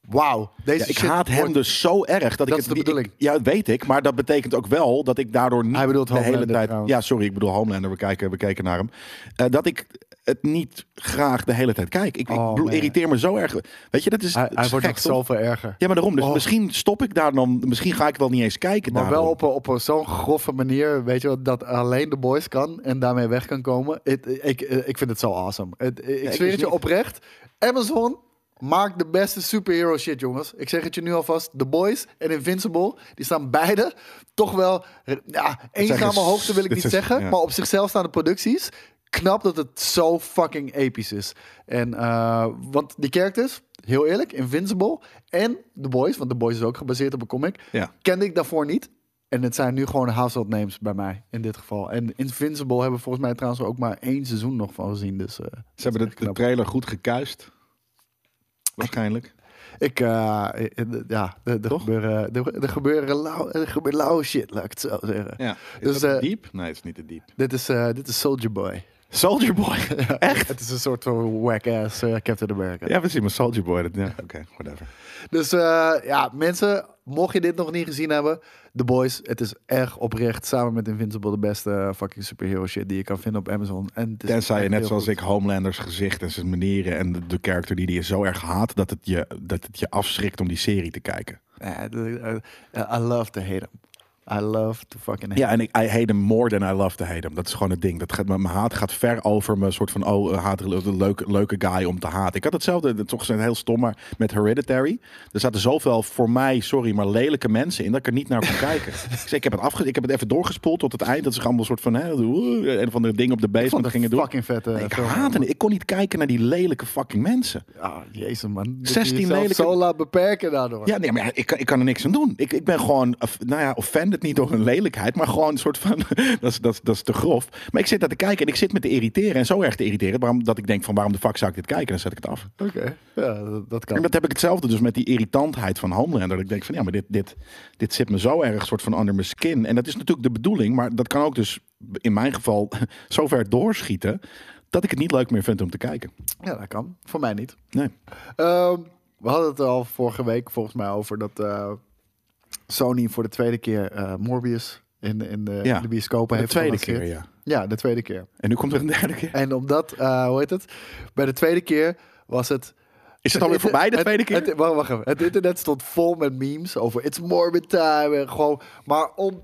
Speaker 3: Wauw, deze
Speaker 2: Ja, ik
Speaker 3: shit
Speaker 2: haat hem
Speaker 3: wordt-
Speaker 2: dus zo erg. Dat,
Speaker 3: Dat
Speaker 2: ik
Speaker 3: is
Speaker 2: het,
Speaker 3: de
Speaker 2: niet-
Speaker 3: bedoeling.
Speaker 2: ik- ja, dat weet ik. Maar dat betekent ook wel dat ik daardoor niet
Speaker 3: Hij bedoelt
Speaker 2: de hele
Speaker 3: Homelander
Speaker 2: tijd...
Speaker 3: trouwens.
Speaker 2: Ja, sorry, ik bedoel Homelander. We kijken, we kijken naar hem. Eh, dat ik het niet graag de hele tijd kijk. Ik,
Speaker 3: Oh,
Speaker 2: ik bedoel,
Speaker 3: man.
Speaker 2: irriteer me zo erg. Weet je, dat is,
Speaker 3: Hij,
Speaker 2: dat
Speaker 3: hij
Speaker 2: is
Speaker 3: wordt
Speaker 2: gek,
Speaker 3: nog
Speaker 2: toch?
Speaker 3: zoveel erger.
Speaker 2: Ja, maar daarom. Dus
Speaker 3: Oh.
Speaker 2: misschien stop ik daar dan... Misschien ga ik wel niet eens kijken
Speaker 3: Maar wel
Speaker 2: daarom.
Speaker 3: op, een- op een- zo'n grove manier, weet je wel, dat alleen de boys kan en daarmee weg kan komen. Het- ik, eh, ik vind het zo awesome. Het- ik
Speaker 2: ik
Speaker 3: zweer
Speaker 2: dus
Speaker 3: het je
Speaker 2: niet.
Speaker 3: oprecht. Amazon maakt de beste superhero shit, jongens. Ik zeg het je nu alvast. The Boys en Invincible, die staan beide toch wel... eh, Ja, eenzame
Speaker 2: echt-
Speaker 3: hoogte wil ik
Speaker 2: dit
Speaker 3: niet
Speaker 2: dus- is-
Speaker 3: zeggen,
Speaker 2: ja.
Speaker 3: maar op zichzelf staan de producties. Knap dat het zo fucking episch is. En, eh, want die characters, heel eerlijk, Invincible en The Boys, want The Boys is ook gebaseerd op een comic,
Speaker 2: Ja.
Speaker 3: kende ik daarvoor niet. En het zijn nu gewoon household names bij mij, in dit geval. En Invincible hebben we volgens mij trouwens ook maar één seizoen nog van gezien. Dus eh,
Speaker 2: Ze hebben de, de trailer goed gekuist. Waarschijnlijk.
Speaker 3: ik, eh, eh, ja, er- er
Speaker 2: Toch?
Speaker 3: gebeuren, eh, er, er gebeuren lauw, er gebeurt lauwe shit, laat ik het zo zeggen.
Speaker 2: Ja. Is
Speaker 3: Dus,
Speaker 2: dat
Speaker 3: eh,
Speaker 2: diep? Nee, het is niet te diep.
Speaker 3: Dit, is, eh, dit is Soldier Boy.
Speaker 2: Soldier Boy. Echt?
Speaker 3: Het is een soort van whack-ass eh, Captain America.
Speaker 2: Ja, precies, maar Soldier Boy. dat- Ja, Oké, whatever.
Speaker 3: Dus eh, ja, mensen, mocht je dit nog niet gezien hebben, The Boys, het is echt oprecht samen met Invincible de beste eh, fucking superhero shit die je kan vinden op Amazon. En het is
Speaker 2: Tenzij je
Speaker 3: echt
Speaker 2: net
Speaker 3: heel
Speaker 2: zoals
Speaker 3: goed.
Speaker 2: ik Homelanders gezicht en zijn manieren en de, de character die die je zo erg haat, dat het, je, dat het je afschrikt om die serie te kijken.
Speaker 3: Ja, eh, eh, I love to hate him. I love to fucking hate
Speaker 2: Ja, en ik, I hate him more than I love to hate him. Dat is gewoon het ding. Dat gaat, mijn mijn haat gaat ver over mijn soort van, oh, eh, haat, de leuke, leuke guy om te haten. Ik had hetzelfde, dat is toch zijn heel stom, maar met Hereditary. Er zaten zoveel, voor mij, sorry, maar lelijke mensen in dat ik er niet naar kon kijken. Ik, zei, ik, heb het afge, ik heb het even doorgespoeld tot het eind. Dat ze gewoon een soort van, hè, de- een van de dingen op de
Speaker 3: Ik vond
Speaker 2: basement
Speaker 3: het
Speaker 2: gingen doen.
Speaker 3: fucking vette
Speaker 2: Nee, ik
Speaker 3: film.
Speaker 2: haatte het. Ik kon niet kijken naar die lelijke fucking mensen.
Speaker 3: Ah, jezus man. Dat
Speaker 2: 16
Speaker 3: je jezelf
Speaker 2: lelijke-
Speaker 3: zo laat beperken daardoor.
Speaker 2: Ja, nee, maar ja, ik, kan- ik kan er niks aan doen. Ik, ik ben gewoon, of- nou ja, offended het niet door hun lelijkheid, maar gewoon een soort van. dat, is, dat, is- dat is te grof. Maar ik zit daar te kijken en ik zit me te irriteren. En zo erg te irriteren. Waarom, dat ik denk: van waarom de fuck zou ik dit kijken? Dan zet ik het af.
Speaker 3: Oké, ja, dat, dat kan.
Speaker 2: En dat heb ik hetzelfde dus met die irritantheid van handelen. En dat ik denk van ja, maar dit, dit, dit zit me zo erg soort van under mijn skin. En dat is natuurlijk de bedoeling, maar dat kan ook dus in mijn geval zo ver doorschieten dat ik het niet leuk meer vind om te kijken.
Speaker 3: Ja, dat kan. Voor mij niet.
Speaker 2: Nee.
Speaker 3: Ehm, we hadden het al vorige week volgens mij over dat eh, Sony voor de tweede keer eh, Morbius in, in, de,
Speaker 2: Ja,
Speaker 3: in de bioscopen
Speaker 2: De
Speaker 3: heeft
Speaker 2: tweede
Speaker 3: gelanceerd.
Speaker 2: keer, ja.
Speaker 3: Ja, de tweede keer.
Speaker 2: En nu komt er een derde keer.
Speaker 3: En omdat, eh, hoe heet het? Bij de tweede keer was het...
Speaker 2: Is het alweer voorbij de
Speaker 3: het-
Speaker 2: tweede keer?
Speaker 3: het- wacht, wacht even. Het internet stond vol met memes over It's Morbid Time. En gewoon, maar om,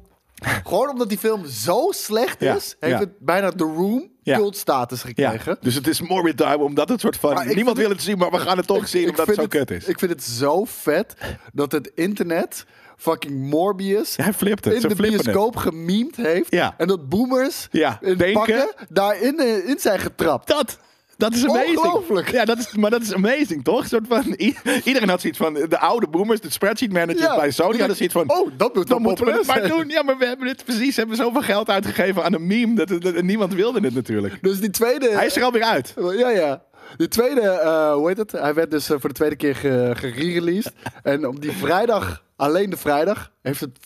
Speaker 3: gewoon omdat die film zo slecht
Speaker 2: Ja,
Speaker 3: is, heeft
Speaker 2: ja.
Speaker 3: het bijna The Room
Speaker 2: Ja.
Speaker 3: cult status
Speaker 2: Ja,
Speaker 3: gekregen.
Speaker 2: dus het is morbid time omdat het soort van
Speaker 3: Maar ik
Speaker 2: niemand
Speaker 3: vind-
Speaker 2: wil het zien, maar we gaan het toch zien omdat het zo
Speaker 3: vind
Speaker 2: kut is.
Speaker 3: Ik vind het zo vet dat het internet fucking Morbius
Speaker 2: Ja, hij flipt het.
Speaker 3: in
Speaker 2: Ze
Speaker 3: de
Speaker 2: flippen het.
Speaker 3: bioscoop gemiemd heeft.
Speaker 2: Ja.
Speaker 3: En dat boomers
Speaker 2: Ja,
Speaker 3: in
Speaker 2: denken.
Speaker 3: pakken daarin eh, in zijn getrapt.
Speaker 2: Dat. Dat is amazing.
Speaker 3: Ongelooflijk.
Speaker 2: Ja, dat is, maar dat is amazing, toch? Een Soort van, i- iedereen had zoiets van, de oude boomers, de spreadsheet managers
Speaker 3: Ja.
Speaker 2: bij Sony hadden zoiets van...
Speaker 3: Oh, dat moet wel
Speaker 2: dan moeten we het
Speaker 3: populair
Speaker 2: maar
Speaker 3: zijn.
Speaker 2: doen. Ja, maar we hebben dit precies, hebben we zoveel geld uitgegeven aan een meme. Dat, dat- dat- niemand wilde dit natuurlijk.
Speaker 3: Dus die tweede...
Speaker 2: Hij is er alweer uit.
Speaker 3: Ja, ja. De tweede, eh, hoe heet het? Hij werd dus eh, voor de tweede keer ge- gerereleased. en op die vrijdag, alleen de vrijdag, heeft het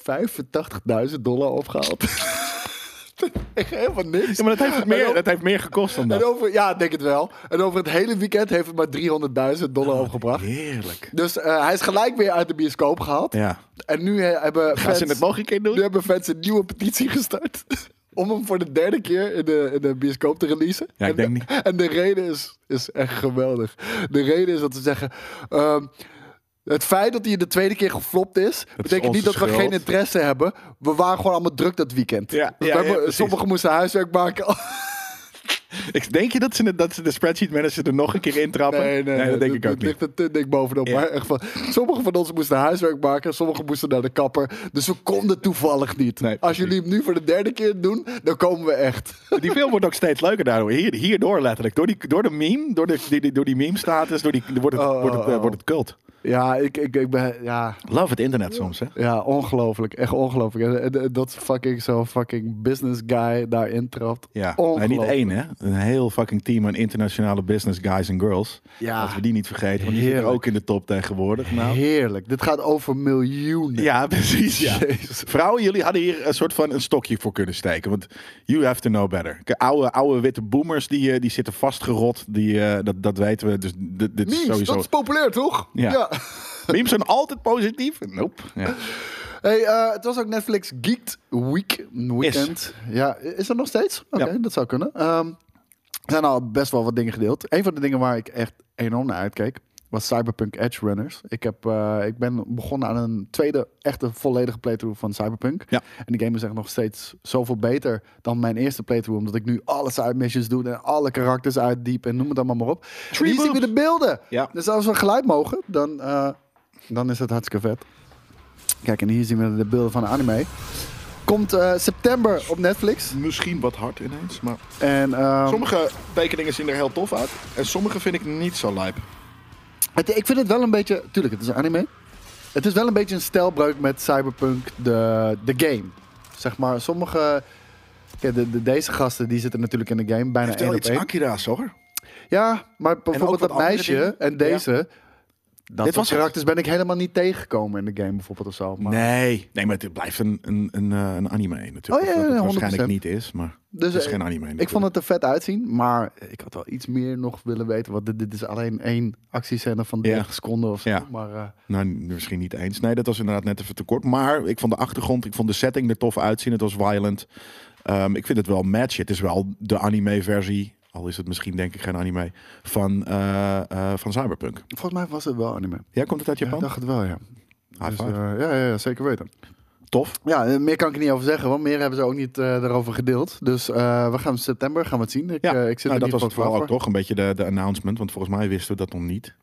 Speaker 3: 85.000 dollar opgehaald. Echt helemaal niks.
Speaker 2: Ja, maar dat heeft, het meer,
Speaker 3: En,
Speaker 2: dat heeft meer gekost dan
Speaker 3: o- en
Speaker 2: dat.
Speaker 3: over, ja, ik denk het wel. En over het hele weekend heeft het maar 300.000
Speaker 2: Oh,
Speaker 3: dollar opgebracht.
Speaker 2: Heerlijk.
Speaker 3: Dus eh, hij is gelijk weer uit de bioscoop gehaald.
Speaker 2: Ja.
Speaker 3: En nu he- hebben
Speaker 2: Gaan
Speaker 3: fans,
Speaker 2: ze het nog een keer
Speaker 3: nu
Speaker 2: doen?
Speaker 3: hebben fans een nieuwe petitie gestart. Om hem voor de derde keer in de, in de bioscoop te releasen.
Speaker 2: Ja, ik
Speaker 3: en,
Speaker 2: denk
Speaker 3: de, en de reden is, is echt geweldig. De reden is dat ze zeggen... ehm, het feit dat hij de tweede keer geflopt is... betekent
Speaker 2: onze
Speaker 3: niet dat we
Speaker 2: schuld.
Speaker 3: geen interesse hebben. We waren gewoon allemaal druk dat weekend.
Speaker 2: Ja,
Speaker 3: We
Speaker 2: ja, ja,
Speaker 3: hebben-
Speaker 2: precies.
Speaker 3: sommigen moesten huiswerk maken.
Speaker 2: Ik denk je dat ze, de- dat ze de spreadsheet manager er nog een keer intrappen? dat denk ik
Speaker 3: dat
Speaker 2: ook niet.
Speaker 3: ligt er te dik bovenop.
Speaker 2: Ja.
Speaker 3: Maar echt van, sommigen van ons moesten huiswerk maken, sommigen moesten naar de kapper. Dus we konden toevallig niet.
Speaker 2: Nee,
Speaker 3: Als
Speaker 2: precies.
Speaker 3: jullie hem nu voor de derde keer doen, dan komen we echt.
Speaker 2: Die film wordt ook steeds leuker daardoor. Hier, hierdoor letterlijk. Door, die, door de meme, door, de, die, die- door die meme-status, door die, wordt, het,
Speaker 3: Oh, oh,
Speaker 2: wordt, het, eh,
Speaker 3: oh.
Speaker 2: wordt het cult.
Speaker 3: Ja, ik, ik, ik ben. Ja,
Speaker 2: Love het internet soms, hè?
Speaker 3: ja ongelooflijk. Echt ongelooflijk. En- en- en Dat fucking zo'n fucking business guy daarin trapt.
Speaker 2: Ja, maar
Speaker 3: Ongelooflijk.
Speaker 2: niet één, hè? Een heel fucking team aan internationale business guys en girls.
Speaker 3: Ja.
Speaker 2: Laten we die niet vergeten, want die zitten
Speaker 3: Heerlijk.
Speaker 2: ook in de top tegenwoordig. Nou.
Speaker 3: Heerlijk. Dit gaat over miljoenen.
Speaker 2: Ja, precies. Ja.
Speaker 3: Jezus.
Speaker 2: Vrouwen, jullie hadden hier een soort van een stokje voor kunnen steken. Want you have to know better. K- Oude, oude witte boomers, die, eh, die zitten vastgerot. Die, eh, dat, dat weten we. Dus dit, dit is
Speaker 3: Memes,
Speaker 2: sowieso...
Speaker 3: dat is populair toch?
Speaker 2: Ja. Memes zijn altijd positief. Nope. Ja.
Speaker 3: Hey, eh, het was ook Netflix Geeked Week, weekend. Ja, is dat nog steeds? Oké,
Speaker 2: Ja.
Speaker 3: dat zou kunnen. Ehm, er zijn al best wel wat dingen gedeeld. Een van de dingen waar ik echt enorm naar uitkeek was Cyberpunk Edge Runners. Ik, heb, eh, ik ben begonnen aan een tweede echte volledige playthrough van Cyberpunk.
Speaker 2: Ja.
Speaker 3: En die game is echt nog steeds zoveel beter dan mijn eerste playthrough. Omdat ik nu alle side missions doe en alle karakters uitdiep en noem het allemaal maar op. En hier zien we de beelden.
Speaker 2: Ja.
Speaker 3: Dus als we geluid mogen, dan, eh, dan is het hartstikke vet. Kijk, en hier zien we de beelden van de anime. Komt eh, september op Netflix.
Speaker 2: Misschien wat hard ineens, maar...
Speaker 3: En ehm,
Speaker 2: Sommige tekeningen zien er heel tof uit. En sommige vind ik niet zo lijp.
Speaker 3: het, ik vind het wel een beetje... Tuurlijk, het is een anime. Het is wel een beetje een stijlbreuk met Cyberpunk de, de game. Zeg maar, sommige... Kijk, de, de- deze gasten die zitten natuurlijk in de game, bijna
Speaker 2: Heeft wel
Speaker 3: één op
Speaker 2: iets
Speaker 3: één.
Speaker 2: Akira's, hoor.
Speaker 3: Ja, maar
Speaker 2: ook
Speaker 3: bijvoorbeeld
Speaker 2: wat
Speaker 3: dat meisje
Speaker 2: andere dingen.
Speaker 3: en deze... Dat
Speaker 2: Dit
Speaker 3: Dit
Speaker 2: was-
Speaker 3: was karakters ben ik helemaal niet tegengekomen in de game bijvoorbeeld of zo. Maar...
Speaker 2: Nee. Nee, maar het blijft een, een, een, eh, een anime natuurlijk.
Speaker 3: Oh, ja,
Speaker 2: Of dat het
Speaker 3: ja,
Speaker 2: waarschijnlijk
Speaker 3: 100%.
Speaker 2: niet is, maar
Speaker 3: Dus,
Speaker 2: het is
Speaker 3: eh,
Speaker 2: geen anime
Speaker 3: Ik vond het er vet uitzien, maar ik had wel iets meer nog willen weten. Want dit, dit is alleen één actiescène van
Speaker 2: Ja.
Speaker 3: 30 seconden of zo.
Speaker 2: Ja.
Speaker 3: Maar eh,
Speaker 2: Nou, misschien niet eens. Nee, dat was inderdaad net even te kort. Maar ik vond de achtergrond, ik vond de setting er tof uitzien. Het was violent. Ehm, ik vind het wel een match. Het is wel de anime-versie, al is het misschien denk ik geen anime, van, eh, eh, van Cyberpunk.
Speaker 3: volgens mij was het wel anime.
Speaker 2: Ja, komt het uit
Speaker 3: Ja,
Speaker 2: Japan?
Speaker 3: ik dacht het wel, ja.
Speaker 2: High
Speaker 3: Dus,
Speaker 2: five.
Speaker 3: eh, ja, ja, ja, zeker weten.
Speaker 2: Tof.
Speaker 3: Ja, eh, meer kan ik er niet over zeggen, want meer hebben ze ook niet eh daarover gedeeld. Dus eh, we gaan in september gaan we het zien. Ik,
Speaker 2: Ja,
Speaker 3: eh, ik zit
Speaker 2: nou,
Speaker 3: er
Speaker 2: dat was
Speaker 3: niet van
Speaker 2: het vooral
Speaker 3: klaar
Speaker 2: ook toch een beetje de, de announcement. Want volgens mij wisten we dat nog niet.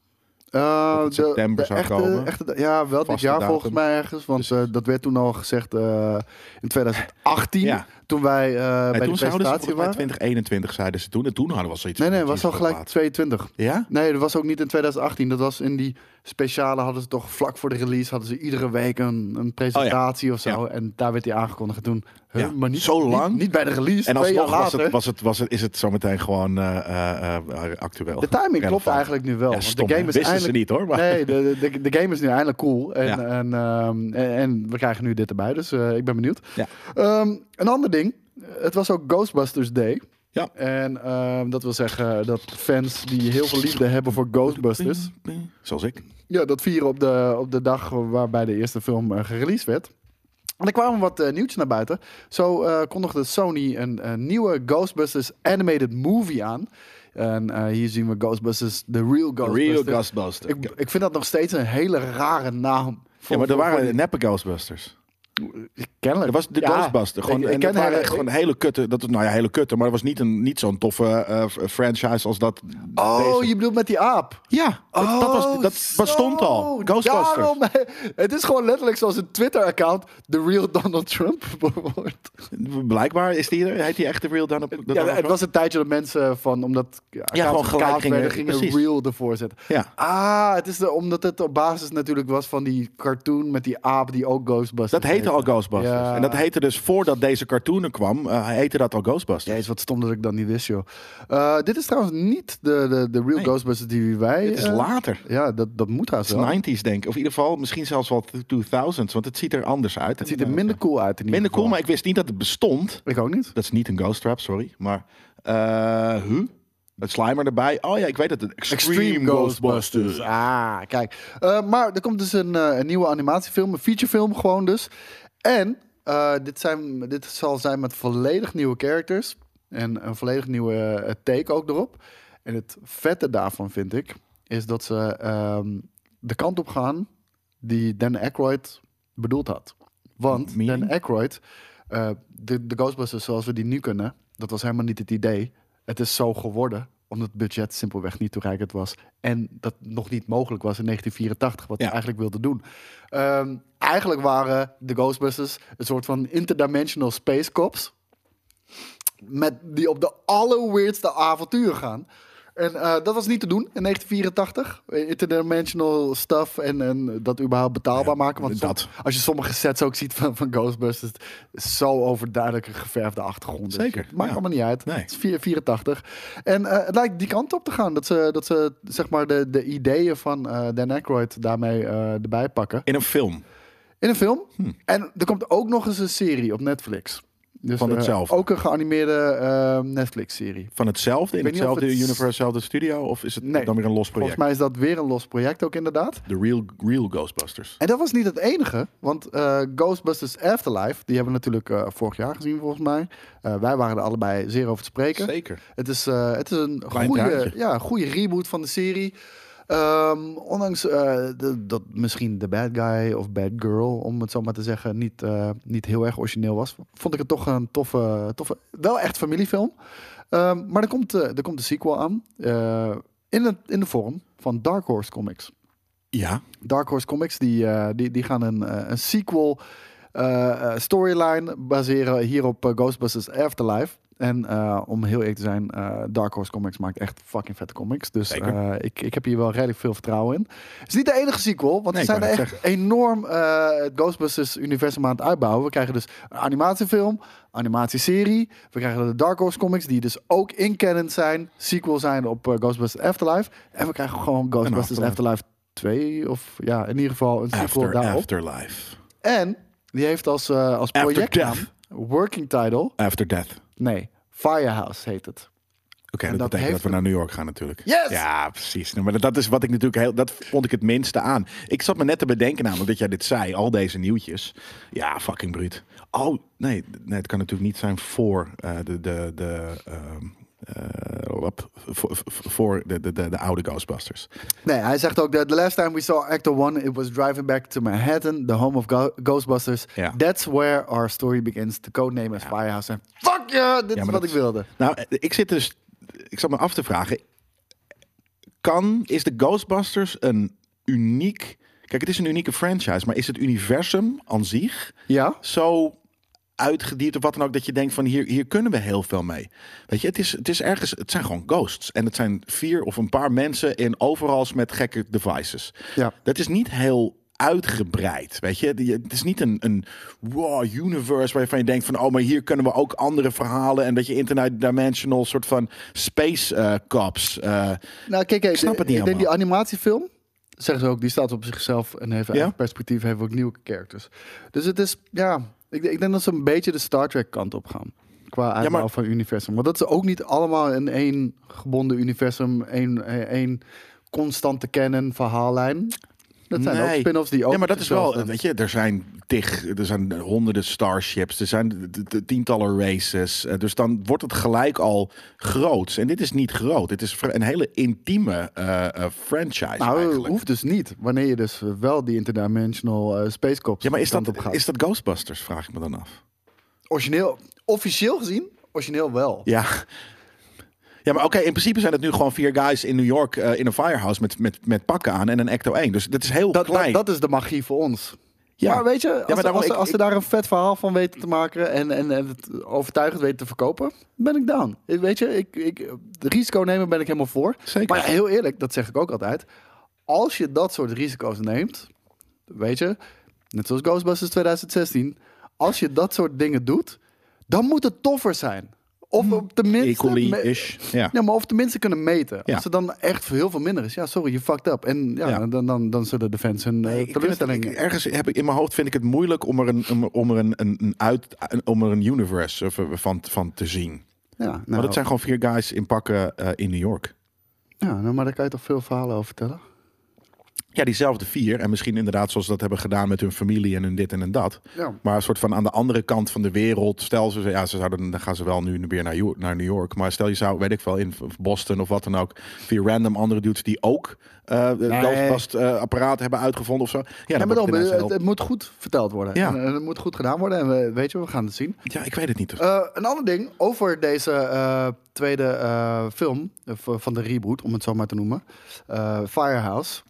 Speaker 3: Eh,
Speaker 2: Dat het
Speaker 3: de-
Speaker 2: september
Speaker 3: de
Speaker 2: zou
Speaker 3: echte-
Speaker 2: komen.
Speaker 3: echte- ja, wel dit
Speaker 2: Vaste
Speaker 3: jaar
Speaker 2: datum.
Speaker 3: volgens mij ergens. Want eh, dat werd toen al gezegd eh, in 2018,
Speaker 2: Ja.
Speaker 3: toen wij eh, bij
Speaker 2: en
Speaker 3: de
Speaker 2: toen zouden ze
Speaker 3: presentatie
Speaker 2: volgens mij
Speaker 3: waren.
Speaker 2: 2021 zeiden ze toen. En toen hadden we al zoiets
Speaker 3: Nee,
Speaker 2: van,
Speaker 3: nee,
Speaker 2: "Jezus,
Speaker 3: was al
Speaker 2: wat
Speaker 3: gelijk
Speaker 2: laat."
Speaker 3: 22.
Speaker 2: Ja?
Speaker 3: Nee, dat was ook niet in 2018. Dat was in die speciale hadden ze toch vlak voor de release hadden ze iedere week een, een presentatie of zo. En daar werd hij aangekondigd toen. Huh,
Speaker 2: Oh Ja,
Speaker 3: Maar niet
Speaker 2: zo
Speaker 3: niet-
Speaker 2: lang.
Speaker 3: Niet, bij de release.
Speaker 2: En
Speaker 3: twee jaar
Speaker 2: alsnog was
Speaker 3: later.
Speaker 2: het, was het, was het, is het zometeen gewoon eh, eh, eh, actueel.
Speaker 3: De timing klopt
Speaker 2: Relevant.
Speaker 3: eigenlijk nu wel.
Speaker 2: Ja,
Speaker 3: want
Speaker 2: stom,
Speaker 3: de
Speaker 2: hè?
Speaker 3: game is
Speaker 2: Wisten
Speaker 3: eindelijk...
Speaker 2: ze niet hoor. Maar
Speaker 3: Nee, de, de, de game is nu eindelijk cool. En,
Speaker 2: Ja.
Speaker 3: en, ehm, en, en we krijgen nu dit erbij, dus eh, ik ben benieuwd.
Speaker 2: Ja.
Speaker 3: Ehm, een ander ding. Het was ook Ghostbusters Day.
Speaker 2: Ja.
Speaker 3: En ehm, dat wil zeggen dat fans die heel veel liefde hebben voor Ghostbusters...
Speaker 2: Zoals ik.
Speaker 3: Ja, dat vieren op de, op de dag waarbij de eerste film eh, gereleased werd. En er kwamen wat eh, nieuwtjes naar buiten. Zo eh, kondigde Sony een, een nieuwe Ghostbusters animated movie aan. En eh, hier zien we Ghostbusters, The Real
Speaker 2: Real
Speaker 3: Ghostbusters.
Speaker 2: Ghostbusters.
Speaker 3: Ik, ik vind dat nog steeds een hele rare naam.
Speaker 2: ja,
Speaker 3: voor-
Speaker 2: maar er
Speaker 3: voor-
Speaker 2: waren
Speaker 3: voor-
Speaker 2: neppe Ghostbusters.
Speaker 3: kennelijk.
Speaker 2: Er was de
Speaker 3: Ja,
Speaker 2: Ghostbuster. Gewoon,
Speaker 3: ik- ik
Speaker 2: en
Speaker 3: ken
Speaker 2: dat waren
Speaker 3: hele-
Speaker 2: echt gewoon hele kutte. Dat, nou ja, hele kutte. Maar dat was niet, een- niet zo'n toffe eh, f- franchise als dat.
Speaker 3: Oh,
Speaker 2: deze.
Speaker 3: je bedoelt met die aap.
Speaker 2: ja. dat- dat, was,
Speaker 3: Oh,
Speaker 2: dat bestond
Speaker 3: zo.
Speaker 2: al. Ghostbusters.
Speaker 3: Daarom, het is gewoon letterlijk zoals een Twitter-account... The Real Donald Trump wordt.
Speaker 2: Blijkbaar is die er. Heet die echt de Real Donald? Donald
Speaker 3: Ja,
Speaker 2: Trump?
Speaker 3: het was een tijdje dat mensen eh, van, omdat accounts
Speaker 2: gewoon gelijk
Speaker 3: gekaafd
Speaker 2: gingen,
Speaker 3: werden, gingen
Speaker 2: precies.
Speaker 3: real ervoor zetten.
Speaker 2: Ja.
Speaker 3: Ah, het is de, omdat het op basis natuurlijk was van die cartoon met die aap die ook Ghostbusters
Speaker 2: Dat heette al Ghostbusters.
Speaker 3: Ja.
Speaker 2: En dat heette dus voordat deze cartoon er kwam, eh, heette dat al Ghostbusters.
Speaker 3: Jezus, wat stom dat ik dat niet wist, joh. Eh, dit is trouwens niet de, de, de real
Speaker 2: Nee.
Speaker 3: Ghostbusters die wij...
Speaker 2: Dit is
Speaker 3: eh,
Speaker 2: later.
Speaker 3: Ja, dat, dat moet haast
Speaker 2: Het
Speaker 3: wel.
Speaker 2: is 90s denk ik. Of in ieder geval misschien zelfs wel 2000s. Want het ziet er anders uit.
Speaker 3: Het ziet er minder cool uit in ieder
Speaker 2: Minder cool,
Speaker 3: geval.
Speaker 2: maar ik wist niet dat het bestond.
Speaker 3: Ik ook niet.
Speaker 2: Dat is niet een ghost trap, sorry. Maar, eh huh? Het slimer erbij. Oh ja, ik weet het. Een Extreme, Ghostbusters.
Speaker 3: Ah, kijk. Eh, maar er komt dus een, eh, een nieuwe animatiefilm, een featurefilm gewoon dus. En eh, dit, zijn, dit zal zijn met volledig nieuwe characters. En een volledig nieuwe eh, take ook erop. En het vette daarvan vind ik, is dat ze ehm, de kant op gaan die Dan Aykroyd bedoeld had. Want
Speaker 2: Meaning?
Speaker 3: Dan Aykroyd, eh, de, de Ghostbusters zoals we die nu kunnen, dat was helemaal niet het idee. Het is zo geworden omdat het budget simpelweg niet toereikend was. En dat nog niet mogelijk was in 1984, wat
Speaker 2: Ja.
Speaker 3: ze eigenlijk wilden doen. Ehm, eigenlijk waren de Ghostbusters een soort van interdimensional space cops. Met, die op de allerweirdste avonturen gaan. En eh, dat was niet te doen in 1984. Eh, Interdimensional stuff en, en dat überhaupt betaalbaar maken. Want
Speaker 2: dat.
Speaker 3: som- als je sommige sets ook ziet van, van Ghostbusters... is zo overduidelijk een geverfde achtergrond. Dus
Speaker 2: Zeker,
Speaker 3: het Maakt
Speaker 2: ja.
Speaker 3: allemaal niet uit.
Speaker 2: Nee.
Speaker 3: Het is 4- 84. En eh, het lijkt die kant op te gaan. Dat ze, dat ze zeg maar de, de ideeën van eh, Dan Aykroyd daarmee eh, erbij pakken.
Speaker 2: In een film.
Speaker 3: In een film.
Speaker 2: Hm.
Speaker 3: En er komt ook nog eens een serie op Netflix. Dus,
Speaker 2: Van
Speaker 3: eh,
Speaker 2: hetzelfde.
Speaker 3: ook een geanimeerde eh, Netflix-serie.
Speaker 2: Van hetzelfde, in
Speaker 3: weet niet of
Speaker 2: hetzelfde
Speaker 3: het-
Speaker 2: universe, hetzelfde studio. Of is het
Speaker 3: Nee.
Speaker 2: dan weer een los project?
Speaker 3: Volgens mij is dat weer een los project ook inderdaad.
Speaker 2: De real, real Ghostbusters.
Speaker 3: En dat was niet het enige, want eh, Ghostbusters Afterlife, die hebben we natuurlijk eh, vorig jaar gezien volgens mij. Eh, wij waren er allebei zeer over te spreken.
Speaker 2: Zeker.
Speaker 3: Het is, eh, het is een
Speaker 2: Klein
Speaker 3: goede,
Speaker 2: draadje.
Speaker 3: ja, goede reboot van de serie. Ehm, ondanks eh, de- dat misschien de bad guy of bad girl, om het zo maar te zeggen, niet, eh, niet heel erg origineel was, vond ik het toch een toffe, toffe wel echt familiefilm. Ehm, maar er komt, eh, er komt de sequel aan eh, in, het, in de vorm van Dark Horse Comics.
Speaker 2: Ja.
Speaker 3: Dark Horse Comics, die, eh, die, die gaan een, eh, een sequel eh, eh, storyline baseren hier op eh, Ghostbusters Afterlife. En eh, om heel eerlijk te zijn, eh, Dark Horse Comics maakt echt fucking vette comics. Dus
Speaker 2: Zeker.
Speaker 3: eh, ik, ik heb hier wel redelijk veel vertrouwen in. Het is niet de enige sequel, want
Speaker 2: Nee,
Speaker 3: ze
Speaker 2: ik
Speaker 3: zijn er
Speaker 2: wou
Speaker 3: echt
Speaker 2: net
Speaker 3: enorm eh, het Ghostbusters-universum aan het uitbouwen. We krijgen dus een animatiefilm, animatieserie. We krijgen de Dark Horse Comics, die dus ook inkennend zijn, sequel zijn op eh, Ghostbusters Afterlife. En we krijgen gewoon Ghostbusters
Speaker 2: Afterlife.
Speaker 3: Afterlife 2, of ja, in ieder geval een sequel
Speaker 2: After,
Speaker 3: daarop.
Speaker 2: afterlife.
Speaker 3: En die heeft als, eh als
Speaker 2: After
Speaker 3: projectnaam,
Speaker 2: Death.
Speaker 3: working title,
Speaker 2: After Death. Oké,
Speaker 3: nee, Firehouse heet het.
Speaker 2: dat,
Speaker 3: dat
Speaker 2: betekent
Speaker 3: heeft
Speaker 2: dat we naar New York gaan natuurlijk.
Speaker 3: Yes!
Speaker 2: Ja, precies. Nee, Maar dat is wat ik natuurlijk heel... Dat vond ik het minste aan. Ik zat me net te bedenken namelijk dat jij dit zei. Al deze nieuwtjes. Ja, fucking bruut. Oh, nee. nee het kan natuurlijk niet zijn voor eh, de... de, de ehm, eh, op- voor voor de, de, de, de oude Ghostbusters.
Speaker 3: Nee, hij zegt ook dat the last time we saw Actor 1, it was driving back to Manhattan, the home of Go- Ghostbusters.
Speaker 2: Ja.
Speaker 3: That's where our story begins. The codename is Firehouse. En fuck yeah, dit
Speaker 2: Ja,
Speaker 3: is
Speaker 2: maar
Speaker 3: wat
Speaker 2: dat-
Speaker 3: ik wilde.
Speaker 2: Nou, eh, ik zit dus... Ik zat me af te vragen... Kan... Is de Ghostbusters een uniek... Kijk, het is een unieke franchise, maar is het universum aan zich
Speaker 3: Ja?
Speaker 2: zo uitgediept of wat dan ook. Dat je denkt van hier, hier kunnen we heel veel mee. Weet je, het is, het is ergens, het zijn gewoon ghosts. En het zijn vier of een paar mensen in overals met gekke devices.
Speaker 3: Ja.
Speaker 2: Dat is niet heel uitgebreid, weet je. Die- Het is niet een, een raw universe waarvan je denkt van... oh, maar hier kunnen we ook andere verhalen... en dat je interdimensional soort van space eh, cops... eh,
Speaker 3: Nou, kijk, kijk,
Speaker 2: snap
Speaker 3: de-
Speaker 2: het niet
Speaker 3: ik denk die
Speaker 2: helemaal.
Speaker 3: animatiefilm, zeggen ze ook, die staat op zichzelf en heeft eigen
Speaker 2: Ja?
Speaker 3: perspectief, heeft ook nieuwe characters. Dus het is, ja, ik, ik denk dat ze een beetje de Star Trek kant op gaan. Qua uitbouw
Speaker 2: maar-
Speaker 3: van universum. Want dat ze ook niet allemaal in één gebonden universum, één, één- één constante canon, verhaallijn. Dat zijn ook
Speaker 2: Nee.
Speaker 3: spin-offs die ook...
Speaker 2: Ja, maar
Speaker 3: op
Speaker 2: dat is
Speaker 3: zichzelf
Speaker 2: wel,
Speaker 3: staan.
Speaker 2: weet je, er zijn tig, er zijn honderden starships, er zijn d- d- d- tientallen races. Eh, Dus dan wordt het gelijk al groots. En dit is niet groot. Dit is vri- een hele intieme eh, eh, franchise
Speaker 3: Nou,
Speaker 2: eigenlijk.
Speaker 3: hoeft dus niet. Wanneer je dus wel die interdimensional eh, space cops
Speaker 2: Ja, maar is
Speaker 3: kant op
Speaker 2: dat,
Speaker 3: gaat.
Speaker 2: is dat Ghostbusters, vraag ik me dan af.
Speaker 3: Origineel, officieel gezien, origineel wel.
Speaker 2: Ja. Ja, maar oké, in principe zijn het nu gewoon vier guys in New York eh, in een firehouse met, met, met pakken aan en een Ecto 1. Dus dat is heel
Speaker 3: dat, dat,
Speaker 2: klein.
Speaker 3: dat is de magie voor ons.
Speaker 2: Ja.
Speaker 3: Maar weet je, als,
Speaker 2: maar
Speaker 3: ze-
Speaker 2: daarom,
Speaker 3: als, ze-
Speaker 2: ik-
Speaker 3: als ze
Speaker 2: ik-
Speaker 3: daar een vet verhaal van weten te maken en, en, en het overtuigend weten te verkopen, ben ik down. Ik- Weet je, ik, ik, de risico nemen ben ik helemaal voor.
Speaker 2: Zeker.
Speaker 3: Maar heel eerlijk, dat zeg ik ook altijd. Als je dat soort risico's neemt, weet je, net zoals Ghostbusters 2016, als je dat soort dingen doet, dan moet het toffer zijn. Of op tenminste...
Speaker 2: Equally-ish. Hm. Ja.
Speaker 3: Ja, maar of tenminste kunnen meten.
Speaker 2: Ja.
Speaker 3: Als het dan echt heel veel minder is. Ja, sorry, je fucked up. En ja,
Speaker 2: Ja.
Speaker 3: Dan, dan, dan zullen de fans hun eh,
Speaker 2: Ik vind het-
Speaker 3: teleurstelling...
Speaker 2: ik- ergens heb ik in mijn hoofd vind ik het moeilijk om er een, om, om er een, een, een uit, een- om er een universe eh, van, van te zien.
Speaker 3: ja, nou,
Speaker 2: maar dat zijn gewoon vier guys in pakken eh, in New York.
Speaker 3: ja, nou, maar daar kan je toch veel verhalen over vertellen?
Speaker 2: Ja, diezelfde vier. En misschien inderdaad zoals ze dat hebben gedaan met hun familie en hun dit en hun dat.
Speaker 3: Ja.
Speaker 2: Maar een soort van aan de andere kant van de wereld. Stel ze, ja, ze zouden, dan gaan ze wel nu weer naar, Jo- naar New York. Maar stel je zou, weet ik wel, in Boston of wat dan ook. Vier random andere dudes die ook eh Ghostbust eh, apparaat hebben uitgevonden of zo. Ja,
Speaker 3: Ja,
Speaker 2: dan
Speaker 3: maar
Speaker 2: wordt
Speaker 3: dan,
Speaker 2: het ineens
Speaker 3: het,
Speaker 2: heel-
Speaker 3: het moet goed verteld worden.
Speaker 2: Ja.
Speaker 3: En, en het moet goed gedaan worden. En we, weet je, we gaan het zien.
Speaker 2: ja, ik weet het niet.
Speaker 3: Eh, een ander ding over deze eh, tweede eh, film eh, v- van de reboot, om het zo maar te noemen. eh, Firehouse.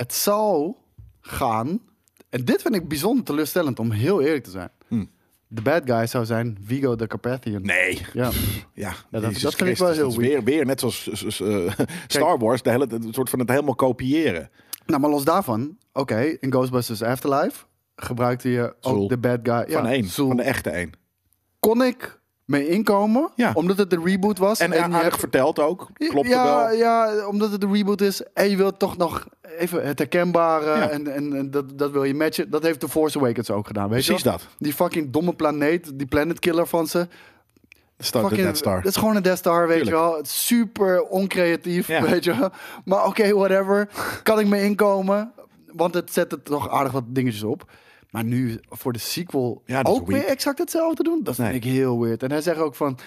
Speaker 3: Het zal gaan. En dit vind ik bijzonder teleurstellend, om heel eerlijk te zijn.
Speaker 2: Hm.
Speaker 3: De bad guy zou zijn Vigo the Carpathian.
Speaker 2: Nee.
Speaker 3: Ja.
Speaker 2: Ja,
Speaker 3: Nou, dat-
Speaker 2: Jezus
Speaker 3: dat vind ik wel
Speaker 2: Christus,
Speaker 3: heel
Speaker 2: dat is weer, weer net zoals s- s- eh, Star Wars, de hele, het soort van het helemaal kopiëren.
Speaker 3: Nou, maar los daarvan. Oké, in Ghostbusters Afterlife gebruikte je
Speaker 2: Zool.
Speaker 3: ook de bad guy.
Speaker 2: Van één,
Speaker 3: Zool.
Speaker 2: van de echte één.
Speaker 3: Kon ik mee inkomen,
Speaker 2: Ja.
Speaker 3: omdat het de reboot was.
Speaker 2: En,
Speaker 3: je
Speaker 2: en aardig
Speaker 3: hebt-
Speaker 2: verteld ook, klopt er
Speaker 3: ja,
Speaker 2: wel.
Speaker 3: Ja, omdat het de reboot is. En je wilt toch nog even het herkenbare.
Speaker 2: Ja.
Speaker 3: En, en, en dat, dat wil je matchen. Dat heeft The Force Awakens ook gedaan. Weet
Speaker 2: Precies
Speaker 3: je wel?
Speaker 2: dat.
Speaker 3: Die fucking domme planeet. Die planet killer van ze.
Speaker 2: Star, de
Speaker 3: Fucking-
Speaker 2: Death Star.
Speaker 3: Het is gewoon een Death Star, weet
Speaker 2: Tuurlijk.
Speaker 3: je wel. Het is Super oncreatief,
Speaker 2: Ja.
Speaker 3: weet je wel. Maar oké, whatever. Kan ik me inkomen? Want het zet het toch aardig wat dingetjes op. Maar nu voor de sequel
Speaker 2: Ja, dat is
Speaker 3: ook
Speaker 2: weird.
Speaker 3: weer exact hetzelfde doen? Dat
Speaker 2: Nee.
Speaker 3: vind ik heel weird. En hij zegt ook van...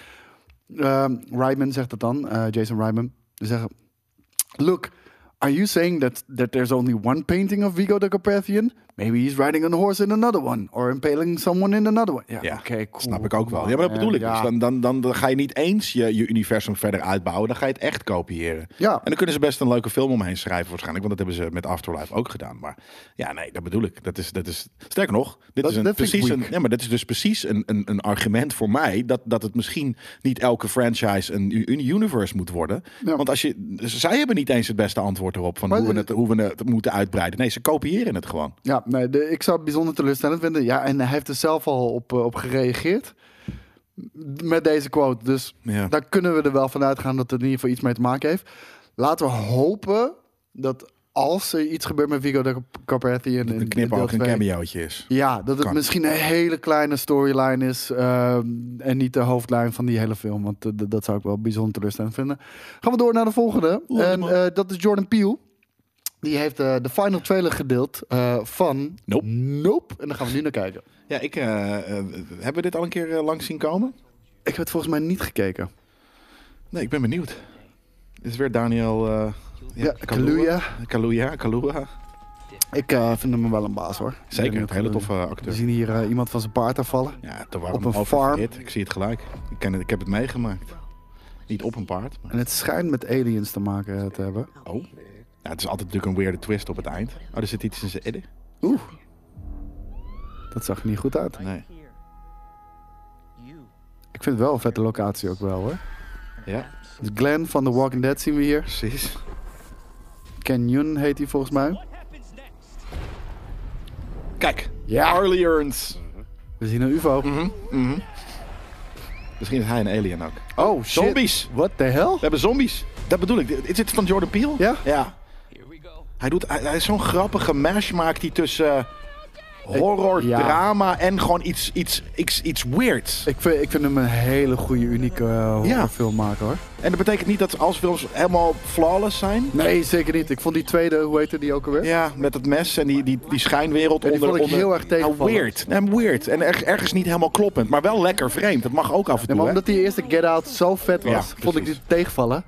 Speaker 3: ehm Ryman zegt dat dan, eh, Jason Ryman. Ze zeggen... Look, are you saying that, that there's only one painting of Vigo the Carpathian? Maybe he's riding on a horse in another one. Or impaling someone in another one. Ja,
Speaker 2: Ja,
Speaker 3: oké, cool.
Speaker 2: Snap ik ook wel.
Speaker 3: man.
Speaker 2: Ja, maar dat
Speaker 3: En
Speaker 2: bedoel ik.
Speaker 3: ja.
Speaker 2: Dus dan, dan, dan, dan ga je niet eens je, je universum verder uitbouwen. Dan ga je het echt kopiëren.
Speaker 3: Ja.
Speaker 2: En dan kunnen ze best een leuke film omheen schrijven waarschijnlijk. Want dat hebben ze met Afterlife ook gedaan. Maar ja, nee, dat bedoel ik. Dat is, dat is, sterker nog, dit
Speaker 3: Dat-
Speaker 2: is, een,
Speaker 3: dat vind ik
Speaker 2: precies een,
Speaker 3: weak.
Speaker 2: ja, maar dat is dus precies een, een, een argument voor mij... Dat, dat het misschien niet elke franchise een, u- een universe moet worden.
Speaker 3: Ja.
Speaker 2: Want als je, zij hebben niet eens het beste antwoord erop... van
Speaker 3: Maar
Speaker 2: hoe we,
Speaker 3: de-
Speaker 2: het, hoe we het moeten uitbreiden. Nee, ze kopiëren het gewoon.
Speaker 3: Ja, nee, de, ik zou het bijzonder teleurstellend vinden. Ja, en hij heeft er zelf al op, eh, op gereageerd. Met deze quote. Dus
Speaker 2: Ja.
Speaker 3: daar kunnen we er wel van uitgaan dat het in ieder geval iets mee te maken heeft. Laten we hopen dat als er iets gebeurt met Vigo de Carpathian... in-
Speaker 2: Een
Speaker 3: in
Speaker 2: knipoog,
Speaker 3: deel
Speaker 2: een
Speaker 3: twee,
Speaker 2: cameootje is.
Speaker 3: Ja, dat het
Speaker 2: Kan.
Speaker 3: misschien een hele kleine storyline is. ehm, en niet de hoofdlijn van die hele film. Want eh, d- dat zou ik wel bijzonder teleurstellend vinden. Gaan we door naar de volgende.
Speaker 2: Oeh,
Speaker 3: en
Speaker 2: man.
Speaker 3: eh, dat is Jordan Peele. Die heeft eh, de final trailer gedeeld eh, van
Speaker 2: Nope.
Speaker 3: Nope. En daar gaan we nu naar kijken.
Speaker 2: Ja, ik, eh, eh, hebben we dit al een keer eh, langs zien komen?
Speaker 3: Ik heb het volgens mij niet gekeken.
Speaker 2: Nee, ik ben benieuwd. Dit is weer Daniel... eh
Speaker 3: Ja, Kaluuya.
Speaker 2: Kaluuya, Kaluuya.
Speaker 3: Ik eh, vind hem wel een baas hoor. Ik
Speaker 2: Zeker,
Speaker 3: denk
Speaker 2: een
Speaker 3: dat
Speaker 2: hele
Speaker 3: we-
Speaker 2: toffe
Speaker 3: We
Speaker 2: acteur.
Speaker 3: zien hier eh, iemand van zijn paard afvallen.
Speaker 2: Ja, te warm
Speaker 3: op een
Speaker 2: over
Speaker 3: farm.
Speaker 2: voor dit. Ik zie het gelijk. Ik, ken het, ik heb het meegemaakt. Niet op een paard. Maar...
Speaker 3: En het schijnt met aliens te maken eh, te hebben.
Speaker 2: Oh. Ja, het is altijd natuurlijk een weirde twist op het eind. Oh, er zit iets in zijn edde.
Speaker 3: Oeh. Dat zag er niet goed uit.
Speaker 2: Nee.
Speaker 3: Ik vind het wel een vette locatie ook wel hoor.
Speaker 2: Ja,
Speaker 3: Dus Glenn van The Walking Dead zien we hier.
Speaker 2: precies.
Speaker 3: Canyon heet hij volgens mij.
Speaker 2: Kijk,
Speaker 3: Ja.
Speaker 2: Harley Earns.
Speaker 3: We zien een UFO.
Speaker 2: Misschien is hij een alien ook.
Speaker 3: Oh shit.
Speaker 2: Zombies.
Speaker 3: What the hell?
Speaker 2: We hebben zombies. Dat bedoel ik. Is dit van Jordan Peele?
Speaker 3: Ja?
Speaker 2: Ja. Hij, doet, hij, hij is zo'n grappige mash maakt hij tussen eh, horror,
Speaker 3: Ja.
Speaker 2: drama en gewoon iets, iets, iets, iets weirds.
Speaker 3: Ik vind, ik vind hem een hele goede, unieke eh,
Speaker 2: Ja.
Speaker 3: horrorfilmmaker hoor.
Speaker 2: En dat betekent niet dat als films helemaal flawless zijn.
Speaker 3: Nee, zeker niet. Ik vond die tweede, hoe heette die ook alweer?
Speaker 2: Ja, met dat mes en die, die, die schijnwereld
Speaker 3: Ja, die
Speaker 2: onder...
Speaker 3: vond ik
Speaker 2: onder,
Speaker 3: heel erg
Speaker 2: Ja,
Speaker 3: tegenvallend.
Speaker 2: weird. En weird. En er- ergens niet helemaal kloppend. Maar wel lekker vreemd. Dat mag ook af en
Speaker 3: Nee,
Speaker 2: toe.
Speaker 3: maar
Speaker 2: hè?
Speaker 3: omdat die eerste Get Out zo vet was,
Speaker 2: Ja,
Speaker 3: vond ik
Speaker 2: precies.
Speaker 3: die tegenvallen.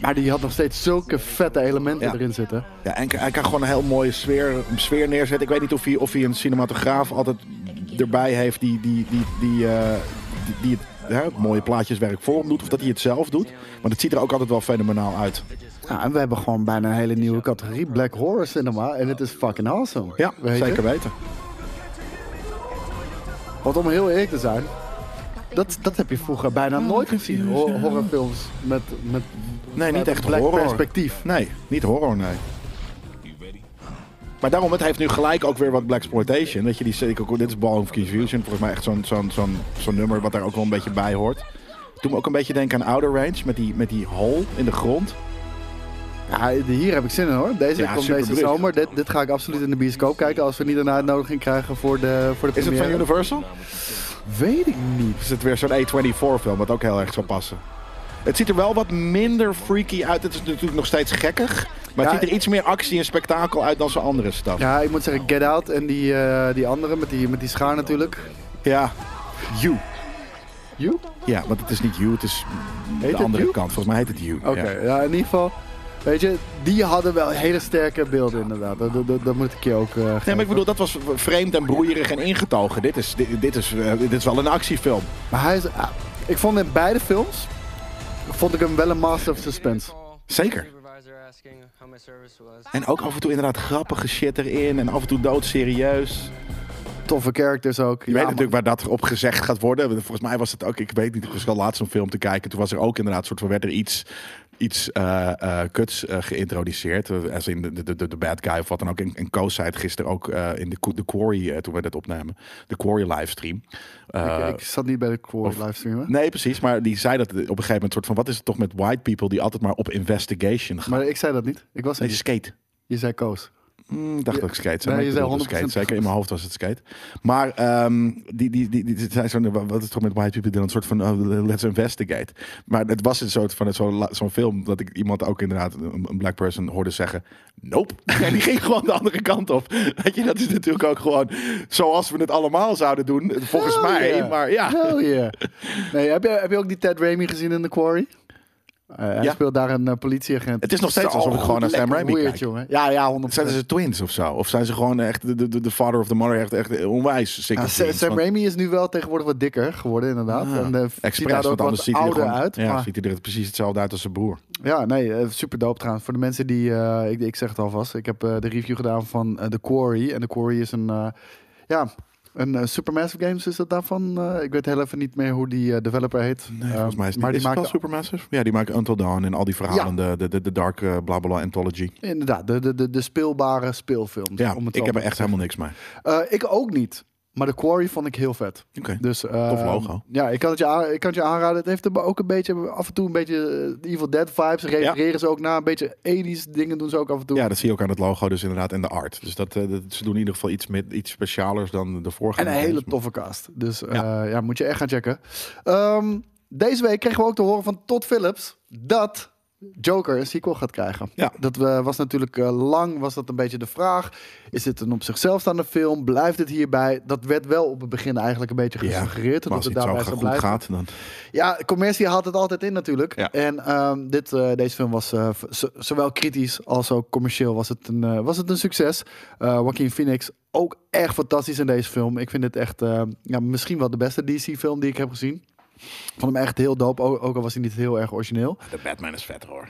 Speaker 3: Maar die had nog steeds zulke vette elementen
Speaker 2: Ja.
Speaker 3: erin zitten.
Speaker 2: Ja, en hij kan gewoon een heel mooie sfeer, sfeer neerzetten. Ik weet niet of hij, of hij een cinematograaf altijd erbij heeft die, die, die, die, eh, die, die het hè, het mooie plaatjeswerk voor hem doet. Of dat hij het zelf doet. Maar dat ziet er ook altijd wel fenomenaal uit.
Speaker 3: Ja, en we hebben gewoon bijna een hele nieuwe categorie, Black Horror Cinema. En het is fucking awesome.
Speaker 2: Ja,
Speaker 3: Weet je?
Speaker 2: zeker weten.
Speaker 3: Want om heel eerlijk te zijn, dat, dat heb je vroeger bijna nooit gezien. Ho- horrorfilms met, met
Speaker 2: Nee, niet
Speaker 3: met
Speaker 2: echt
Speaker 3: black
Speaker 2: horror.
Speaker 3: perspectief.
Speaker 2: Nee, niet horror, nee. Maar daarom, het heeft nu gelijk ook weer wat Black Exploitation. Dat je die zeker dit is Ball of Confusion, volgens mij echt zo'n zo'n zo'n zo'n nummer wat daar ook wel een beetje bij hoort. Toen me ook een beetje denken aan Outer Range met die, met die hole in de grond.
Speaker 3: Ja, hier heb ik zin in hoor. Deze
Speaker 2: Ja,
Speaker 3: komt deze
Speaker 2: superbrug.
Speaker 3: zomer. Dit, dit ga ik absoluut in de bioscoop kijken als we niet een uitnodiging krijgen voor de, voor de
Speaker 2: Is het van
Speaker 3: première.
Speaker 2: Universal?
Speaker 3: Weet ik niet.
Speaker 2: Is het weer zo'n A24-film, wat ook heel erg zou passen. Het ziet er wel wat minder freaky uit. Het is natuurlijk nog steeds gekkig. Maar het
Speaker 3: Ja,
Speaker 2: ziet er iets meer actie en spektakel uit dan zijn andere stad. Ja.
Speaker 3: Ja, ik moet zeggen, Get Out en die, eh, die andere met die, met die schaar natuurlijk.
Speaker 2: You.
Speaker 3: You?
Speaker 2: Ja, want het is niet You, het is de
Speaker 3: het
Speaker 2: andere
Speaker 3: You?
Speaker 2: kant. Volgens mij heet het You.
Speaker 3: Oké,
Speaker 2: Ja.
Speaker 3: ja. in ieder geval. Weet je, die hadden wel hele sterke beelden inderdaad. Dat, dat, dat- dat moet ik je ook eh
Speaker 2: Nee,
Speaker 3: geven.
Speaker 2: maar ik bedoel, dat was vreemd en broeierig en ingetogen. Dit is, dit, dit is, eh, dit is wel een actiefilm.
Speaker 3: Maar hij is, ah, ik vond in beide films, vond ik hem wel een master of suspense.
Speaker 2: Zeker. En ook af en toe inderdaad grappige shit erin. En af en toe doodserieus.
Speaker 3: Toffe characters ook.
Speaker 2: Je weet natuurlijk waar dat op gezegd gaat worden. Volgens mij was het ook, ik weet niet, ik was al laatst zo'n film te kijken. Toen was er ook inderdaad, soort van werd er iets, iets eh, eh, kuts eh, geïntroduceerd. Eh, Als in de, de, de, de bad guy of wat dan ook. En, en Koos zei het gisteren ook eh, in de, de Quarry, eh, toen we dat opnamen. De Quarry livestream. Eh,
Speaker 3: ik, ik zat niet bij de Quarry livestream, hè?
Speaker 2: Nee, precies. Maar die zei dat op een gegeven moment soort van... wat is het toch met white people die altijd maar op investigation gaan?
Speaker 3: Maar ik zei dat niet. Ik was er
Speaker 2: Nee,
Speaker 3: niet.
Speaker 2: skate.
Speaker 3: Je zei Koos.
Speaker 2: Hmm, ik dacht dat ik skate zei,
Speaker 3: Nee,
Speaker 2: maar
Speaker 3: je
Speaker 2: ik
Speaker 3: zei
Speaker 2: bedoelde skate.
Speaker 3: 100%
Speaker 2: Zeker in mijn hoofd was het skate. Maar ehm, die, die, die, die, die zei zo'n... wa- Wat is toch met white people dan? Een soort van oh, let's investigate. Maar het was een soort van zo'n la- zo'n film... dat ik iemand ook inderdaad, een, een black person, hoorde zeggen... Nope. En die ging gewoon de andere kant op. Weet je, dat is natuurlijk ook gewoon... zoals we het allemaal zouden doen. Volgens
Speaker 3: Hell
Speaker 2: mij,
Speaker 3: yeah.
Speaker 2: maar ja...
Speaker 3: Hell yeah. Nee, heb, je, heb je ook die Ted Raimi gezien in The Quarry? Eh, hij
Speaker 2: Ja.
Speaker 3: speelt daar een eh, politieagent.
Speaker 2: Het is nog steeds
Speaker 3: Zo
Speaker 2: alsof ik gewoon naar
Speaker 3: goed,
Speaker 2: Sam
Speaker 3: lekker
Speaker 2: Raimi
Speaker 3: weird,
Speaker 2: kijk.
Speaker 3: jongen. Ja, ja, 100%.
Speaker 2: Zijn ze twins of zo? Of zijn ze gewoon echt de, de, de father of the mother echt, echt onwijs? sick
Speaker 3: Ja,
Speaker 2: of
Speaker 3: Ah, Sam,
Speaker 2: twins?
Speaker 3: Sam
Speaker 2: Want-
Speaker 3: Raimi is nu wel tegenwoordig wat dikker geworden, inderdaad.
Speaker 2: Ah,
Speaker 3: en eh, ziet
Speaker 2: expres,
Speaker 3: daar ook
Speaker 2: want anders
Speaker 3: wat
Speaker 2: ziet hij er
Speaker 3: ouder
Speaker 2: gewoon,
Speaker 3: uit.
Speaker 2: Ja,
Speaker 3: maar-
Speaker 2: ziet hij er precies hetzelfde uit als zijn broer.
Speaker 3: Ja, nee, eh, super dope trouwens. Voor de mensen die, eh, ik, ik zeg het alvast, ik heb eh, de review gedaan van eh, The Quarry. En The Quarry is een, eh, ja, een eh, Supermassive Games is dat daarvan. Eh, ik weet heel even niet meer hoe die eh, developer heet.
Speaker 2: Nee, volgens mij is het,
Speaker 3: maar
Speaker 2: maar
Speaker 3: die
Speaker 2: is het wel
Speaker 3: maakt
Speaker 2: Supermassive? Ja, die maakt Until Dawn en al die verhalen, de, de, de, de Dark eh, bla bla bla anthology.
Speaker 3: inderdaad de, de, de, de speelbare speelfilms.
Speaker 2: Ja,
Speaker 3: om het
Speaker 2: ik
Speaker 3: zo
Speaker 2: heb
Speaker 3: maar
Speaker 2: er
Speaker 3: te
Speaker 2: echt helemaal niks mee.
Speaker 3: Eh, ik ook niet. Maar de Quarry vond ik heel vet.
Speaker 2: Oké.
Speaker 3: Dus, eh,
Speaker 2: Tof logo.
Speaker 3: Ja, ik kan, het je aan- ik kan het je aanraden. Het heeft er ook een beetje, af en toe een beetje eh, de Evil Dead vibes. Refereren ze ook naar een beetje 80s dingen doen ze ook af en toe.
Speaker 2: Ja, dat zie je ook aan het logo dus inderdaad en de art. Dus dat, eh, dat- ze doen in ieder geval iets, met, iets specialers dan de
Speaker 3: en
Speaker 2: voorgaande.
Speaker 3: een hele
Speaker 2: games.
Speaker 3: toffe cast. Dus eh, ja. moet je echt gaan checken. Ehm, deze week kregen we ook te horen van Todd Phillips dat Joker een sequel gaat krijgen.
Speaker 2: Ja.
Speaker 3: Dat eh, was natuurlijk eh, lang, was dat een beetje de vraag. Is dit een op zichzelf staande film? Blijft het hierbij? Dat werd wel op het begin eigenlijk een beetje
Speaker 2: Ja,
Speaker 3: gesuggereerd.
Speaker 2: maar als
Speaker 3: dat
Speaker 2: het
Speaker 3: het
Speaker 2: zo
Speaker 3: daarbij
Speaker 2: goed
Speaker 3: zou blijven.
Speaker 2: gaat, dan...
Speaker 3: Ja, commercie haalt het altijd in natuurlijk.
Speaker 2: Ja.
Speaker 3: En ehm, dit, eh, deze film was eh, v- z- zowel kritisch als ook commercieel was het een, eh, was het een succes. Eh Joaquin Phoenix ook echt fantastisch in deze film. Ik vind het echt eh, ja, misschien wel de beste DC-film die ik heb gezien. Ik vond hem echt heel dope, ook, ook al was hij niet heel erg origineel.
Speaker 2: De Batman is vet hoor.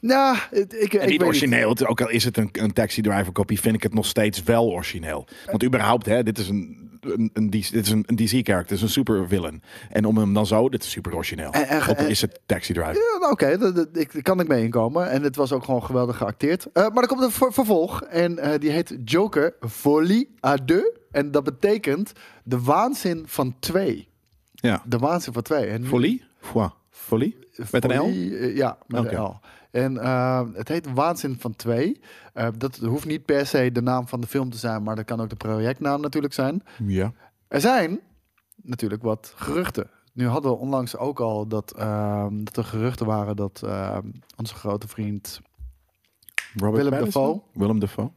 Speaker 3: Nou, het- ik, ik
Speaker 2: En niet
Speaker 3: weet niet.
Speaker 2: origineel, het- ook al is het een, een taxi driver kopie, vind ik het nog steeds wel origineel. Want überhaupt, hè, dit is een een, een, DC dit is een, een DC-character, is een supervillain. En om hem dan zo, dit is super origineel.
Speaker 3: En- en-
Speaker 2: Ook al
Speaker 3: en-
Speaker 2: is het Taxi Driver.
Speaker 3: Ja, nou, Oké, dat- dat- ik daar kan ik mee inkomen. En het was ook gewoon geweldig geacteerd. Eh, maar er komt een ver- vervolg. En eh, die heet Joker Folie à deux. En dat betekent de waanzin van twee.
Speaker 2: Ja.
Speaker 3: De waanzin van twee. En
Speaker 2: Folie? Foi. Folie? Met een L?
Speaker 3: Folie, eh, ja, met
Speaker 2: Oké.
Speaker 3: een L. En eh, het heet Waanzin van Twee. Eh, dat hoeft niet per se de naam van de film te zijn, maar dat kan ook de projectnaam natuurlijk zijn.
Speaker 2: Ja.
Speaker 3: Er zijn natuurlijk wat geruchten. Nu hadden we onlangs ook al dat, ehm, dat er geruchten waren dat ehm, onze grote vriend
Speaker 2: Robert
Speaker 3: Willem
Speaker 2: Pattinson?
Speaker 3: Dafoe.
Speaker 2: Willem Dafoe.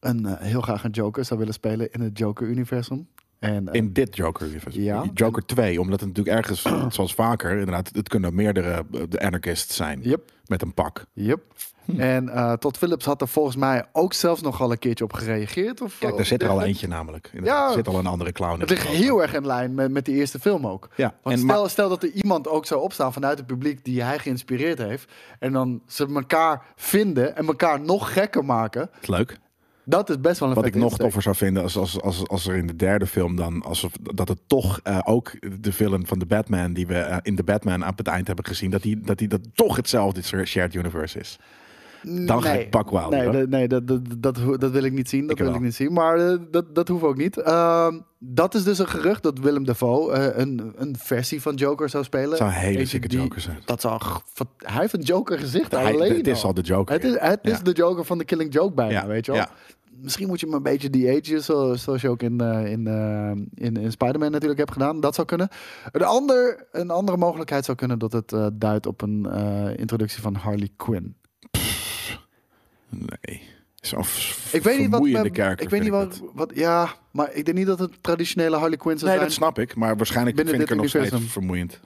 Speaker 3: een, eh, heel graag een Joker zou willen spelen in het Joker-universum. En eh,
Speaker 2: In dit Joker.
Speaker 3: Ja.
Speaker 2: Joker 2. Omdat het natuurlijk ergens, zoals vaker, inderdaad, het kunnen meerdere eh, de anarchists zijn.
Speaker 3: Yep.
Speaker 2: Met een pak.
Speaker 3: Yep.
Speaker 2: Hm.
Speaker 3: En eh, Todd Phillips had er volgens mij ook zelfs nogal een keertje op gereageerd. Of,
Speaker 2: Kijk, daar
Speaker 3: of
Speaker 2: zit er al
Speaker 3: dergelijks.
Speaker 2: eentje namelijk. Inderdaad, Er zit al een andere clown in.
Speaker 3: Het ligt heel erg in lijn met, met die eerste film ook.
Speaker 2: Ja,
Speaker 3: Want
Speaker 2: en
Speaker 3: stel, stel dat er iemand ook zou opstaan vanuit het publiek die hij geïnspireerd heeft. En dan ze elkaar vinden en elkaar nog gekker maken.
Speaker 2: Het is leuk.
Speaker 3: Dat is best wel een
Speaker 2: Wat ik
Speaker 3: vette
Speaker 2: nog
Speaker 3: insteek.
Speaker 2: toffer zou vinden, als, als, als, als er in de derde film dan, als dat het toch eh, ook de film van de Batman, die we eh, in de Batman aan het eind hebben gezien, dat die, dat die dat toch hetzelfde shared universe is. Dan ga ik pak wel.
Speaker 3: Nee, dat, nee dat, dat, dat, ho- dat wil ik niet zien. Dat
Speaker 2: Ik
Speaker 3: wil
Speaker 2: wel.
Speaker 3: ik niet zien. Maar eh, dat, dat hoeft ook niet. Ehm, dat is dus een gerucht dat Willem Dafoe eh, een, een versie van Joker zou spelen.
Speaker 2: zou een hele
Speaker 3: Eentje
Speaker 2: zieke
Speaker 3: die-
Speaker 2: Joker zijn.
Speaker 3: Dat zou, g- van- hij heeft een Joker gezicht
Speaker 2: Hij-
Speaker 3: alleen
Speaker 2: het is al de Joker,
Speaker 3: Het is,
Speaker 2: ja.
Speaker 3: het is
Speaker 2: Ja.
Speaker 3: de Joker van de Killing Joke bijna,
Speaker 2: Ja,
Speaker 3: weet je wel.
Speaker 2: ja.
Speaker 3: Misschien moet je hem een beetje de-agen, zo- zoals je ook in, eh, in, eh, in, in Spider-Man natuurlijk hebt gedaan. Dat zou kunnen. Een, ander, een andere mogelijkheid zou kunnen dat het eh, duidt op een eh, introductie van Harley Quinn.
Speaker 2: Nee. Zo'n v-
Speaker 3: Ik weet niet wat.
Speaker 2: vermoeiende
Speaker 3: mijn-
Speaker 2: character
Speaker 3: ik weet niet
Speaker 2: vind
Speaker 3: wat, wat. Ja, maar ik denk niet dat het traditionele Harley Quinn
Speaker 2: dat.
Speaker 3: zou
Speaker 2: Nee,
Speaker 3: zijn.
Speaker 2: dat snap ik, maar waarschijnlijk
Speaker 3: Binnen
Speaker 2: vind ik er
Speaker 3: dit
Speaker 2: nog steeds
Speaker 3: universum.
Speaker 2: vermoeiend.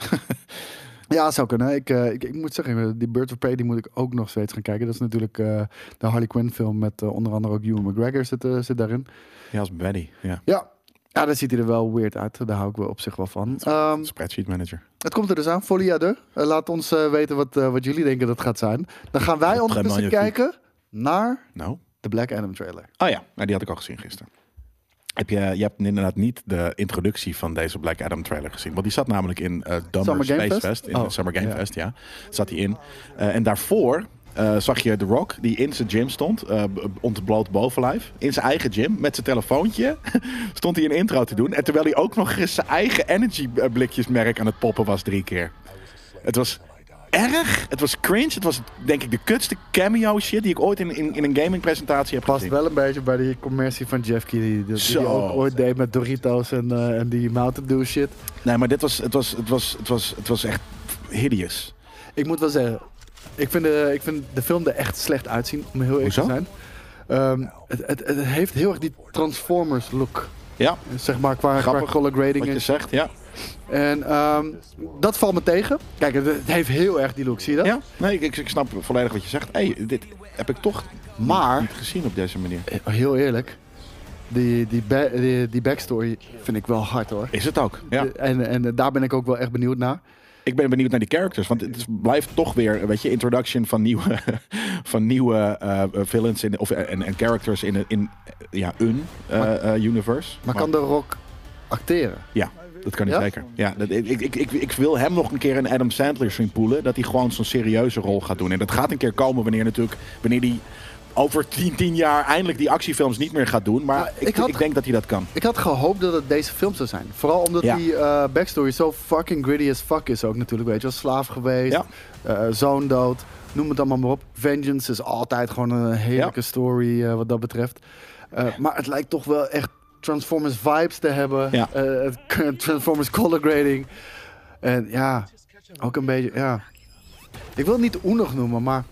Speaker 3: Ja, zou kunnen. Ik, eh, ik, ik moet zeggen, die Birds of Prey die moet ik ook nog steeds gaan kijken. Dat is natuurlijk eh, de Harley Quinn film met eh, onder andere ook Ewan McGregor zit, eh, zit daarin.
Speaker 2: Ja, als Betty. Ja.
Speaker 3: Ja. ja, daar ziet hij er wel weird uit. Daar hou ik wel op zich wel van. Ehm,
Speaker 2: Spreadsheet manager.
Speaker 3: het komt er dus aan, Folia de. Eh, laat ons eh, weten wat, eh, wat jullie denken dat het gaat zijn. Dan gaan wij
Speaker 2: Très
Speaker 3: ondertussen
Speaker 2: magnifique.
Speaker 3: kijken naar
Speaker 2: Nou.
Speaker 3: de Black Adam trailer.
Speaker 2: Ah ja, nou, die had ik al gezien gisteren. Heb je, je hebt inderdaad niet de introductie van deze Black Adam trailer gezien. Want die zat namelijk in eh Dumber
Speaker 3: Summer Game
Speaker 2: Space Fest.
Speaker 3: Fest?
Speaker 2: In de
Speaker 3: Oh,
Speaker 2: Summer Game
Speaker 3: ja.
Speaker 2: Fest, ja. Zat die in. Eh, en daarvoor eh, zag je The Rock, die in zijn gym stond. eh, b- ontbloot bovenlijf. In zijn eigen gym, met zijn telefoontje. stond hij een intro te doen. En terwijl hij ook nog eens zijn eigen energy eh, blikjesmerk aan het poppen was drie keer. Het was erg. Het was cringe. Het was denk ik de kutste cameo shit die ik ooit in, in, in een gaming presentatie heb
Speaker 3: Past
Speaker 2: gezien.
Speaker 3: wel een beetje bij die commercie van Jeff Keighley. Die, die
Speaker 2: Zo.
Speaker 3: hij ook ooit deed met Doritos en, eh, en die Mountain Dew shit.
Speaker 2: Nee, maar dit was, het was, het was, het was, het was echt hideous.
Speaker 3: Ik moet wel zeggen, ik vind de, ik vind de film er echt slecht uitzien, om heel eerlijk te
Speaker 2: Hoezo?
Speaker 3: zijn. Ehm, het, het, het heeft heel erg die Transformers look,
Speaker 2: Ja,
Speaker 3: zeg maar, qua, qua
Speaker 2: Grappig,
Speaker 3: color grading.
Speaker 2: wat je
Speaker 3: en-
Speaker 2: zegt, ja.
Speaker 3: En ehm, dat valt me tegen. Kijk, het, het heeft heel erg die look, zie je dat?
Speaker 2: Ja, nee, ik- ik, ik snap volledig wat je zegt. Hé, hey, dit heb ik toch
Speaker 3: Maar,
Speaker 2: niet gezien op deze manier.
Speaker 3: Eh, heel eerlijk, die, die, ba- die, die backstory vind ik wel hard hoor.
Speaker 2: Is het ook, ja.
Speaker 3: En, en daar ben ik ook wel echt benieuwd naar.
Speaker 2: Ik ben benieuwd naar die characters, want het is- blijft toch weer, weet je, introduction van nieuwe, van nieuwe eh, villains in, of, en, en characters in, in ja, een eh, eh, universe.
Speaker 3: Maar, kan de Rock acteren?
Speaker 2: Ja, dat kan niet
Speaker 3: Ja?
Speaker 2: zeker. Ja, dat, ik, ik, ik, ik wil hem nog een keer een Adam Sandler zien poelen. Dat hij gewoon zo'n serieuze rol gaat doen. En dat gaat een keer komen wanneer natuurlijk... Wanneer hij over 10, 10 jaar eindelijk die actiefilms niet meer gaat doen. Maar
Speaker 3: Nou,
Speaker 2: ik, ik,
Speaker 3: ik had-
Speaker 2: denk dat hij dat kan.
Speaker 3: Ik had gehoopt dat het deze film zou zijn. Vooral omdat
Speaker 2: Ja.
Speaker 3: die eh, backstory zo fucking gritty as fuck is ook natuurlijk. Weet je wel, slaaf geweest,
Speaker 2: Ja.
Speaker 3: eh, zoon dood, noem het allemaal maar op. Vengeance is altijd gewoon een heerlijke story eh, wat dat betreft. Eh, maar het lijkt toch wel echt Transformers vibes te hebben.
Speaker 2: Ja.
Speaker 3: Eh, het- Transformers color grading. En ja, ook een beetje, ja. Ik wil het niet oenig noemen, maar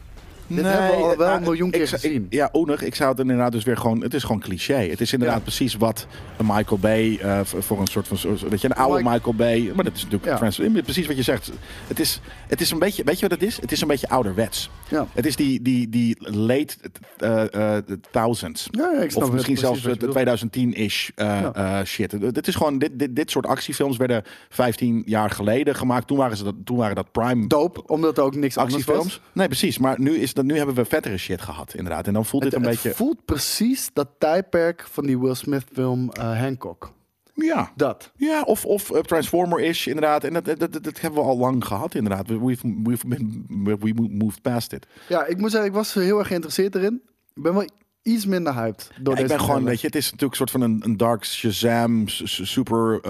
Speaker 3: dit hebben we al wel
Speaker 2: nou,
Speaker 3: een miljoen
Speaker 2: ik
Speaker 3: keer
Speaker 2: zou-
Speaker 3: gezien.
Speaker 2: ik- ja, onig. Ik zou het inderdaad dus weer gewoon... Het is gewoon cliché. Het is inderdaad
Speaker 3: Ja.
Speaker 2: precies wat een Michael Bay eh, v- voor een soort van... zo- zo- Weet je, een oude
Speaker 3: Mike-
Speaker 2: Michael Bay. Maar dat is natuurlijk
Speaker 3: Ja.
Speaker 2: Trans- precies wat je zegt. Het is, het is een beetje... Weet je wat het is? Het is een beetje ouderwets.
Speaker 3: ja.
Speaker 2: Het is die, die, die late eh, eh, thousands.
Speaker 3: Ja, ja, ik snap
Speaker 2: of misschien
Speaker 3: precies
Speaker 2: zelfs
Speaker 3: wat je bedoelt.
Speaker 2: 2010-ish eh, eh, shit. Eh, Dit, is gewoon, dit, dit, dit soort actiefilms werden 15 jaar geleden gemaakt. Toen waren, ze dat, toen waren dat prime
Speaker 3: Dope, omdat er ook niks anders was.
Speaker 2: actiefilms. Nee, precies. Maar nu, is dat, nu hebben we vettere shit gehad, inderdaad. En dan voelt
Speaker 3: Het,
Speaker 2: dit een
Speaker 3: het
Speaker 2: beetje...
Speaker 3: voelt precies dat tijdperk van die Will Smith film eh, Hancock.
Speaker 2: Ja.
Speaker 3: Dat.
Speaker 2: Ja, of, of eh, Transformer-ish, inderdaad. En dat, dat, dat, dat hebben we al lang gehad, inderdaad. We- We've, we've been, we moved past it.
Speaker 3: Ja, ik moet zeggen, ik was heel erg geïnteresseerd erin. Ik ben wel iets minder hyped door
Speaker 2: Ja,
Speaker 3: deze
Speaker 2: ik ben gewoon,
Speaker 3: trailer.
Speaker 2: weet je, het is natuurlijk een soort van een, een Dark Shazam, s- s-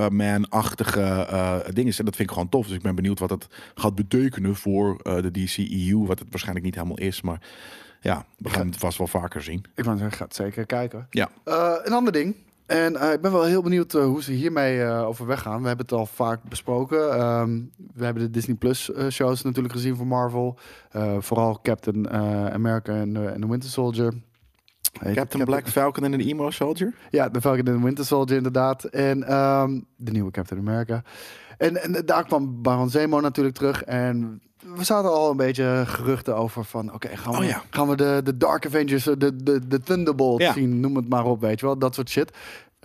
Speaker 2: Superman-achtige eh ding is. En dat vind ik gewoon tof. Dus ik ben benieuwd wat het gaat betekenen voor eh de DCEU. Wat het waarschijnlijk niet helemaal is, maar ja, we gaan het vast wel vaker zien.
Speaker 3: Ik wou zeggen, gaat zeker kijken.
Speaker 2: Ja,
Speaker 3: Eh, een ander ding. En eh, ik ben wel heel benieuwd eh, hoe ze hiermee eh, over weggaan. We hebben het al vaak besproken. Ehm, we hebben de Disney Plus eh, shows natuurlijk gezien van Marvel. Eh, vooral Captain eh, America en eh, en The Winter Soldier. Heet het?
Speaker 2: Captain Black Falcon en de Emo Soldier.
Speaker 3: Ja, The Falcon and the Winter Soldier inderdaad. En ehm, de nieuwe Captain America. En, en daar kwam Baron Zemo natuurlijk terug. En we zaten al een beetje geruchten over van... Oké, gaan we,
Speaker 2: Oh ja.
Speaker 3: gaan we de, de Dark Avengers, eh, de, de, de Thunderbolt
Speaker 2: Ja.
Speaker 3: zien? Noem het maar op, weet je wel. Dat soort shit.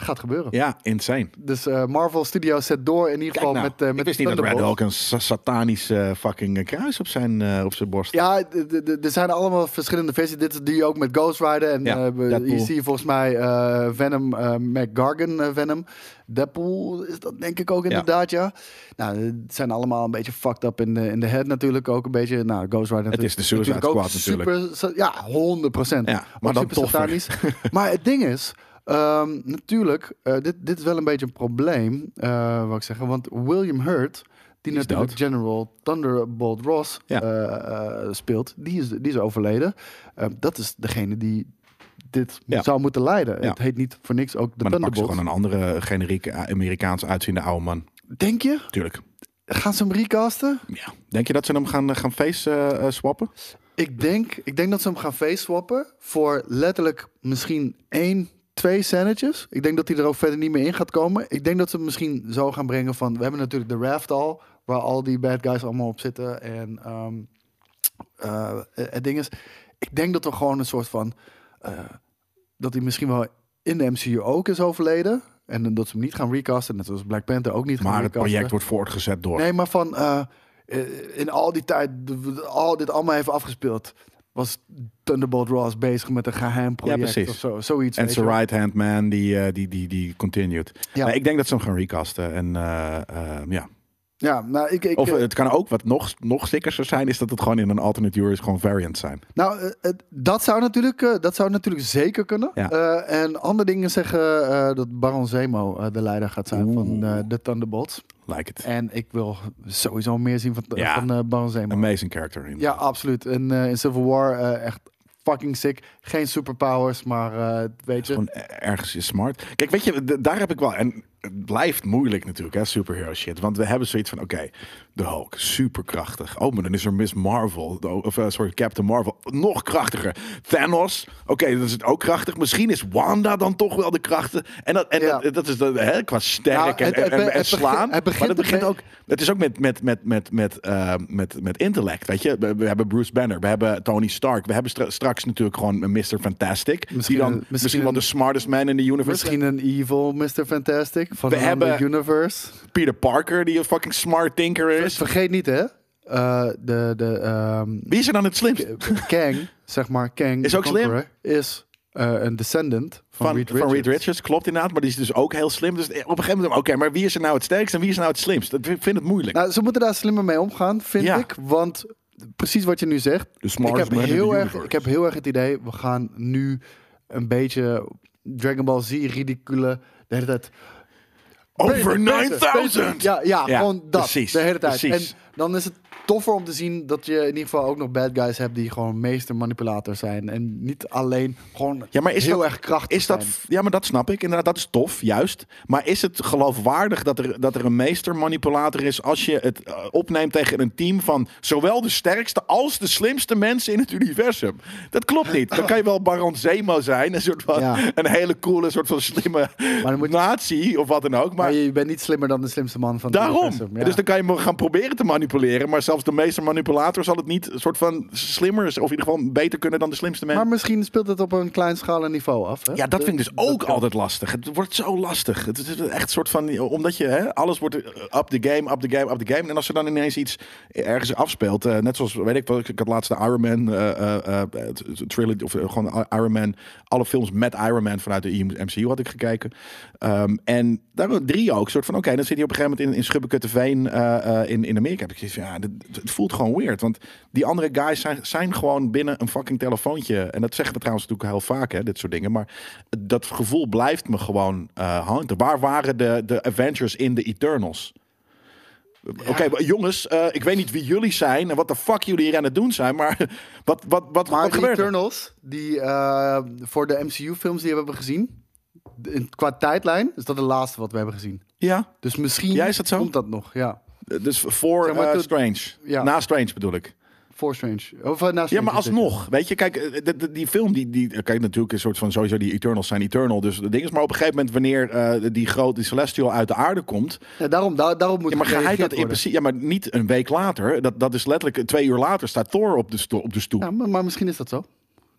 Speaker 3: Gaat gebeuren.
Speaker 2: Ja, insane.
Speaker 3: Dus eh, Marvel Studios zet door in ieder
Speaker 2: Kijk
Speaker 3: geval
Speaker 2: nou,
Speaker 3: met, eh,
Speaker 2: ik
Speaker 3: met
Speaker 2: wist niet dat Red
Speaker 3: Thunderbolt.
Speaker 2: Hulk een sa- satanische eh, fucking eh, kruis op zijn, eh, op zijn borst.
Speaker 3: Ja, d- d- d- er zijn allemaal verschillende versies. Dit is die ook met Ghost Rider. En
Speaker 2: Ja,
Speaker 3: eh, we-
Speaker 2: Deadpool.
Speaker 3: hier zie je volgens mij eh, Venom, eh McGargan eh, Venom. Deadpool is dat denk ik ook inderdaad, ja. Nou, het zijn allemaal een beetje fucked up in de, in de head natuurlijk ook een beetje. Nou, Ghost Rider
Speaker 2: Het is de Suicide Squad natuurlijk.
Speaker 3: Super, sa- ja, 100 procent.
Speaker 2: Ja, maar dan toffer.
Speaker 3: maar het ding is... ehm, natuurlijk, eh, dit, dit is wel een beetje een probleem, eh wou ik zeggen. Want William Hurt, die
Speaker 2: Die is
Speaker 3: natuurlijk
Speaker 2: dood.
Speaker 3: General Thunderbolt Ross
Speaker 2: Ja.
Speaker 3: eh, eh, speelt, die is, die is overleden. Eh, dat is degene die dit
Speaker 2: Ja.
Speaker 3: zou moeten leiden.
Speaker 2: Ja.
Speaker 3: Het heet niet voor niks ook de
Speaker 2: maar dan pak ze
Speaker 3: Thunderbolt.
Speaker 2: gewoon een andere generiek eh, Amerikaans uitziende oude man.
Speaker 3: Denk je?
Speaker 2: Tuurlijk.
Speaker 3: Gaan ze hem recasten?
Speaker 2: Ja. Denk je dat ze hem gaan, eh, gaan face eh, eh, swappen?
Speaker 3: Ik denk, ik denk dat ze hem gaan face-swappen voor letterlijk misschien één, twee scènetjes. Ik denk dat hij er ook verder niet meer in gaat komen. Ik denk dat ze hem misschien zo gaan brengen van... We hebben natuurlijk de raft al, waar al die bad guys allemaal op zitten. En ehm, eh, het ding is, ik denk dat er gewoon een soort van... eh, dat hij misschien wel in de MCU ook is overleden. En dat ze hem niet gaan recasten. Net zoals Black Panther ook niet gaan
Speaker 2: Maar het
Speaker 3: recasten.
Speaker 2: project wordt voortgezet door.
Speaker 3: Nee, maar van eh, eh, in al die tijd, d- al dit allemaal heeft afgespeeld, was Thunderbolt Ross bezig met een geheim project
Speaker 2: precies.
Speaker 3: of zo, zoiets.
Speaker 2: en
Speaker 3: weet
Speaker 2: zijn
Speaker 3: je wel.
Speaker 2: right-hand man, die, eh, die, die, die continued.
Speaker 3: Ja.
Speaker 2: Maar ik denk dat ze hem gaan recasten. En, eh, eh, ja.
Speaker 3: Ja, nou, ik, ik,
Speaker 2: Of
Speaker 3: eh,
Speaker 2: het kan ook, wat nog, nog sicker zou zijn, is dat het gewoon in een alternate universe gewoon variants zijn.
Speaker 3: nou eh, het- dat, zou natuurlijk, eh, dat zou natuurlijk zeker kunnen.
Speaker 2: Ja.
Speaker 3: Eh, en andere dingen zeggen eh, dat Baron Zemo eh, de leider gaat zijn van eh, de Thunderbolts.
Speaker 2: Lijkt het.
Speaker 3: En ik wil sowieso meer zien van,
Speaker 2: Ja.
Speaker 3: van eh, Baron Zemo.
Speaker 2: Amazing character. In.
Speaker 3: Ja, absoluut. En eh, in Civil War eh, echt fucking sick. Geen superpowers, maar eh, weet je.
Speaker 2: Gewoon ergens is smart. Kijk, weet je, d- daar heb ik wel. En het blijft moeilijk natuurlijk, hè, superhero shit. Want we hebben zoiets van: oké, de Hulk, superkrachtig. Oh, maar dan is er Miss Marvel. de- Of eh, sorry, Captain Marvel. Nog krachtiger. Thanos, oké, dat is het ook krachtig. Misschien is Wanda dan toch wel de krachten. En dat, en
Speaker 3: Ja.
Speaker 2: dat, dat is de, hè, qua sterk
Speaker 3: Nou,
Speaker 2: en,
Speaker 3: het- het
Speaker 2: en-
Speaker 3: be-
Speaker 2: en
Speaker 3: het
Speaker 2: slaan.
Speaker 3: begint- het begint
Speaker 2: maar dat begint
Speaker 3: ermee-
Speaker 2: ook. Het is ook met, met, met, met, met, eh, met, met intellect. Weet je, we, we hebben Bruce Banner, we hebben Tony Stark, we hebben stra- straks natuurlijk gewoon Mr. Fantastic.
Speaker 3: Misschien
Speaker 2: die dan
Speaker 3: een-
Speaker 2: misschien,
Speaker 3: misschien
Speaker 2: wel
Speaker 3: een-
Speaker 2: de smartest man in the universe.
Speaker 3: Misschien een evil Mr. Fantastic van
Speaker 2: We
Speaker 3: een ander
Speaker 2: hebben-
Speaker 3: universe.
Speaker 2: Peter Parker, die een fucking smart thinker is.
Speaker 3: Vergeet niet, hè? eh, de de ehm,
Speaker 2: Wie is er dan het slimst?
Speaker 3: Kang, zeg maar, Kang
Speaker 2: Is
Speaker 3: the
Speaker 2: ook slim.
Speaker 3: Conqueror, is eh, een descendant van,
Speaker 2: Van,
Speaker 3: Reed
Speaker 2: van
Speaker 3: Richards.
Speaker 2: Reed Richards, klopt inderdaad, maar die is dus ook heel slim. Dus op een gegeven moment, oké, maar wie is er nou het sterkst en wie is nou het slimst? Dat- Ik vind het moeilijk.
Speaker 3: Nou, ze moeten daar slimmer mee omgaan, vind
Speaker 2: Ja.
Speaker 3: ik. Want precies wat je nu zegt.
Speaker 2: De
Speaker 3: Ik
Speaker 2: smartest
Speaker 3: heb,
Speaker 2: man in the
Speaker 3: heel erg,
Speaker 2: universe.
Speaker 3: ik heb heel erg het idee, we gaan nu een beetje Dragon Ball Z ridicule. De hele tijd.
Speaker 2: Over
Speaker 3: Beter, beter,
Speaker 2: 9000!
Speaker 3: beter. Ja, ja,
Speaker 2: Ja,
Speaker 3: gewoon dat.
Speaker 2: precies,
Speaker 3: de hele tijd.
Speaker 2: precies.
Speaker 3: En dan is het toffer om te zien dat je in ieder geval ook nog bad guys hebt die gewoon meester manipulators zijn. En niet alleen gewoon
Speaker 2: Ja, maar is
Speaker 3: heel
Speaker 2: dat,
Speaker 3: erg krachtig
Speaker 2: is dat,
Speaker 3: zijn.
Speaker 2: Ja, maar dat snap ik. Inderdaad, dat is tof, juist. Maar is het geloofwaardig dat er, dat er een meestermanipulator is als je het eh, opneemt tegen een team van zowel de sterkste als de slimste mensen in het universum? Dat klopt niet. Dan kan je wel Baron Zemo zijn, een soort van
Speaker 3: Ja.
Speaker 2: een hele coole, soort van slimme
Speaker 3: dan moet je-
Speaker 2: natie of wat dan ook. Maar,
Speaker 3: Maar je bent niet slimmer dan de slimste man van het
Speaker 2: daarom.
Speaker 3: universum, ja.
Speaker 2: Dus dan kan je hem gaan proberen te manipuleren, maar zelfs zelfs de meeste manipulator zal het niet een soort van slimmer of in ieder geval beter kunnen dan de slimste
Speaker 3: Maar
Speaker 2: mensen.
Speaker 3: misschien speelt het op een kleinschalig niveau af. Hè?
Speaker 2: Ja, dat vind ik dus ook altijd lastig. Het wordt zo lastig. Het is dus echt een soort van, omdat je, hè, alles wordt eh, up the game, up the game, up the game. En als er dan ineens iets ergens afspeelt, eh, net zoals, weet ik wel, ik had laatst de Iron Man eh, eh, eh, trilogy, of eh, gewoon Iron Man, alle films met Iron Man vanuit de MCU had ik gekeken. Ehm, en daar waren drie ook, soort van, oké, dan zit hij op een gegeven moment in, in Schubbekutteveen eh, eh, in, in Amerika. Heb ik zoiets van, ja, dit- het voelt gewoon weird, want die andere guys zijn, zijn gewoon binnen een fucking telefoontje. En dat zeggen we trouwens natuurlijk heel vaak, hè, dit soort dingen. Maar dat gevoel blijft me gewoon eh hangen. Waar waren de, de Avengers in de Eternals? Oké, maar jongens, eh, ik weet niet wie jullie zijn en wat de fuck jullie hier aan het doen zijn, maar wat, wat, wat,
Speaker 3: Maar
Speaker 2: wat
Speaker 3: de
Speaker 2: gebeurt er?
Speaker 3: Eternals, die eh, voor de MCU-films die we hebben gezien, de- qua tijdlijn, is dat de laatste wat we hebben gezien.
Speaker 2: Ja,
Speaker 3: Dus misschien
Speaker 2: Ja, is dat zo?
Speaker 3: komt dat nog, ja.
Speaker 2: dus voor
Speaker 3: Zeg maar,
Speaker 2: eh,
Speaker 3: toen-
Speaker 2: Strange.
Speaker 3: Ja.
Speaker 2: Na Strange bedoel ik.
Speaker 3: Voor Strange. Of, eh, na
Speaker 2: Ja,
Speaker 3: Strange
Speaker 2: maar
Speaker 3: is dit.
Speaker 2: alsnog, weet je, kijk, eh, de- de- die film, die, die, kijk, natuurlijk een soort van sowieso die Eternals zijn Eternal, dus de ding is, maar op een gegeven moment wanneer eh, die grote die Celestial uit de aarde komt,
Speaker 3: Ja, daarom, daar, daarom moet
Speaker 2: ja, maar ga hij dat in
Speaker 3: gereageerd worden.
Speaker 2: principe, ja, maar niet een week later, dat, dat is letterlijk eh, twee uur later staat Thor op de, sto- op de stoep.
Speaker 3: Ja, maar, maar misschien is dat zo.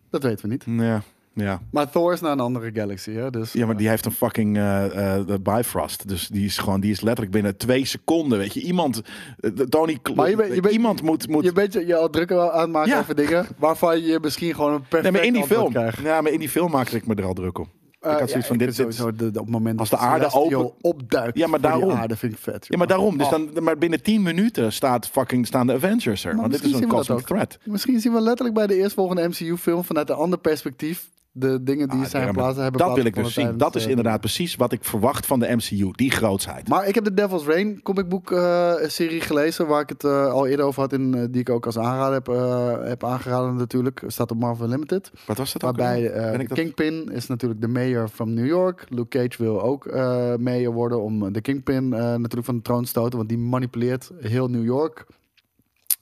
Speaker 3: Dat weten we niet.
Speaker 2: Ja, ja.
Speaker 3: Maar Thor is naar een andere galaxy, hè? Dus,
Speaker 2: Mm. Ja, maar die heeft een fucking eh, eh, de Bifrost. Dus die is gewoon, die is letterlijk binnen twee seconden. Weet je, iemand, eh, de- Tony, Kl-
Speaker 3: Maar je bent- je bent-
Speaker 2: iemand moet, moet.
Speaker 3: Je bent je, je al druk aan het maken
Speaker 2: Ja.
Speaker 3: over dingen waarvan je misschien gewoon een perfect
Speaker 2: nee, maar in die
Speaker 3: antwoord
Speaker 2: film.
Speaker 3: krijgt.
Speaker 2: Ja, maar in die film maakte ik me er al druk om.
Speaker 3: Eh,
Speaker 2: ik had zoiets
Speaker 3: ja,
Speaker 2: van
Speaker 3: ik
Speaker 2: dit.
Speaker 3: vind
Speaker 2: dit-
Speaker 3: sowieso de, op het moment
Speaker 2: Als
Speaker 3: dat
Speaker 2: de aarde
Speaker 3: Celestial
Speaker 2: open-
Speaker 3: opduikt.
Speaker 2: Ja, maar
Speaker 3: voor die
Speaker 2: daarom.
Speaker 3: aarde vind ik vet.
Speaker 2: ja, maar daarom. Dus
Speaker 3: Oh.
Speaker 2: dan, maar binnen tien minuten staat fucking staan de Avengers er.
Speaker 3: Maar
Speaker 2: want dit is
Speaker 3: misschien
Speaker 2: een
Speaker 3: zien we dat
Speaker 2: cosmic
Speaker 3: ook.
Speaker 2: threat.
Speaker 3: Misschien zien we letterlijk bij de eerstvolgende MCU-film vanuit een ander perspectief de dingen die
Speaker 2: Ah,
Speaker 3: zijn
Speaker 2: damn it.
Speaker 3: plaats hebben.
Speaker 2: dat wil ik
Speaker 3: plaatsgevonden
Speaker 2: dus zien.
Speaker 3: tijdens,
Speaker 2: Dat is
Speaker 3: eh,
Speaker 2: inderdaad precies wat ik verwacht van de MCU. Die grootsheid.
Speaker 3: Maar ik heb de Devil's Rain comic book eh, serie gelezen, waar ik het eh, al eerder over had en eh, die ik ook als aanrader heb, eh, heb aangeraden natuurlijk. Staat op Marvel Limited.
Speaker 2: Wat was dat ook?
Speaker 3: Waarbij
Speaker 2: alweer?
Speaker 3: eh,
Speaker 2: Ben ik dat-
Speaker 3: Kingpin is natuurlijk de mayor van New York. Luke Cage wil ook eh mayor worden om de Kingpin eh, natuurlijk van de troon te stoten. Want die manipuleert heel New York.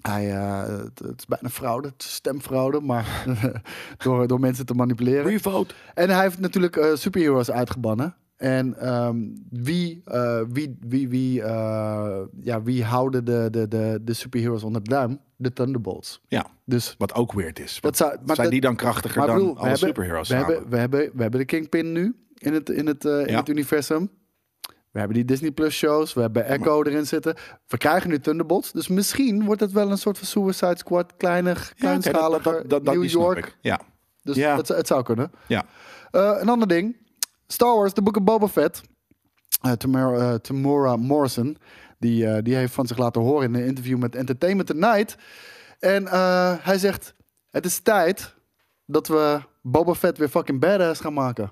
Speaker 3: Hij, eh, het, het is bijna fraude, het is stemfraude, maar door, door mensen te manipuleren.
Speaker 2: Revote.
Speaker 3: En hij heeft natuurlijk eh superheroes uitgebannen. En ehm, wie, eh, wie, wie, wie, eh, ja, wie houden de, de, de, de superheroes onder de duim? De Thunderbolts.
Speaker 2: Ja.
Speaker 3: Dus
Speaker 2: Wat ook weird is.
Speaker 3: dat zou, maar
Speaker 2: zijn
Speaker 3: dat-
Speaker 2: die dan krachtiger
Speaker 3: maar ik
Speaker 2: dan
Speaker 3: bedoel,
Speaker 2: alle superheroes
Speaker 3: we
Speaker 2: samen?
Speaker 3: hebben, we, hebben, we hebben de Kingpin nu in het, in het, eh, in
Speaker 2: Ja.
Speaker 3: het universum. We hebben die Disney Plus shows. We hebben Echo erin zitten. We krijgen nu Thunderbolts. Dus misschien wordt het wel een soort van Suicide Squad. Kleiner,
Speaker 2: Ja, oké, dat-
Speaker 3: kleinschaliger.
Speaker 2: dat- dat- dat- dat-
Speaker 3: New
Speaker 2: die snap
Speaker 3: York.
Speaker 2: ik. Ja.
Speaker 3: Dus
Speaker 2: Ja.
Speaker 3: het, het zou kunnen.
Speaker 2: Ja.
Speaker 3: Eh, een ander ding. Star Wars, de Book of Boba Fett. Eh Tamara, eh, Tamora Morrison. Die, eh, die heeft van zich laten horen in een interview met Entertainment Tonight. En eh, hij zegt... Het is tijd dat we Boba Fett weer fucking badass gaan maken.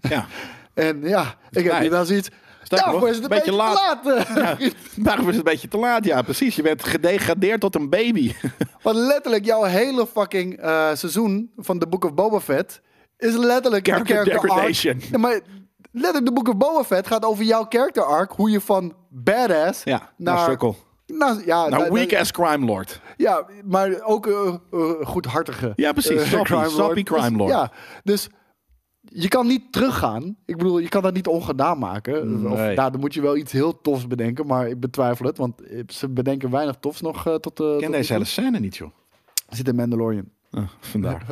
Speaker 2: ja.
Speaker 3: En ja, ik heb
Speaker 2: tijd.
Speaker 3: hier dan zoiets...
Speaker 2: tijd,
Speaker 3: Daarvoor
Speaker 2: hoor.
Speaker 3: is het een beetje,
Speaker 2: Beetje
Speaker 3: laat.
Speaker 2: laat.
Speaker 3: eh,
Speaker 2: Ja, daarom is het een beetje te laat. Ja, precies. Je bent gedegradeerd tot een baby. Nou,
Speaker 3: Want letterlijk jouw hele fucking eh, seizoen van The Book of Boba Fett is letterlijk de
Speaker 2: Character
Speaker 3: character arc.
Speaker 2: degradation.
Speaker 3: Ja, maar letterlijk The Book of Boba Fett gaat over jouw character arc, hoe je van badass
Speaker 2: Ja, naar sukkel.
Speaker 3: naar- ja, naar-
Speaker 2: Nou,
Speaker 3: naar-
Speaker 2: weak ass crime lord.
Speaker 3: ja, maar ook eh, eh, goedhartige.
Speaker 2: Ja, precies.
Speaker 3: eh,
Speaker 2: Sappy, sappy
Speaker 3: Dus-
Speaker 2: crime lord.
Speaker 3: ja, dus je kan niet teruggaan. Ik bedoel, je kan dat niet ongedaan maken. Of,
Speaker 2: Nee.
Speaker 3: nou, dan moet je wel iets heel tofs bedenken, maar ik betwijfel het, want eh, ze bedenken weinig tofs nog eh, tot. eh,
Speaker 2: Ik ken
Speaker 3: tot
Speaker 2: deze hele scène niet, joh.
Speaker 3: Zit in Mandalorian.
Speaker 2: Ah, vandaar.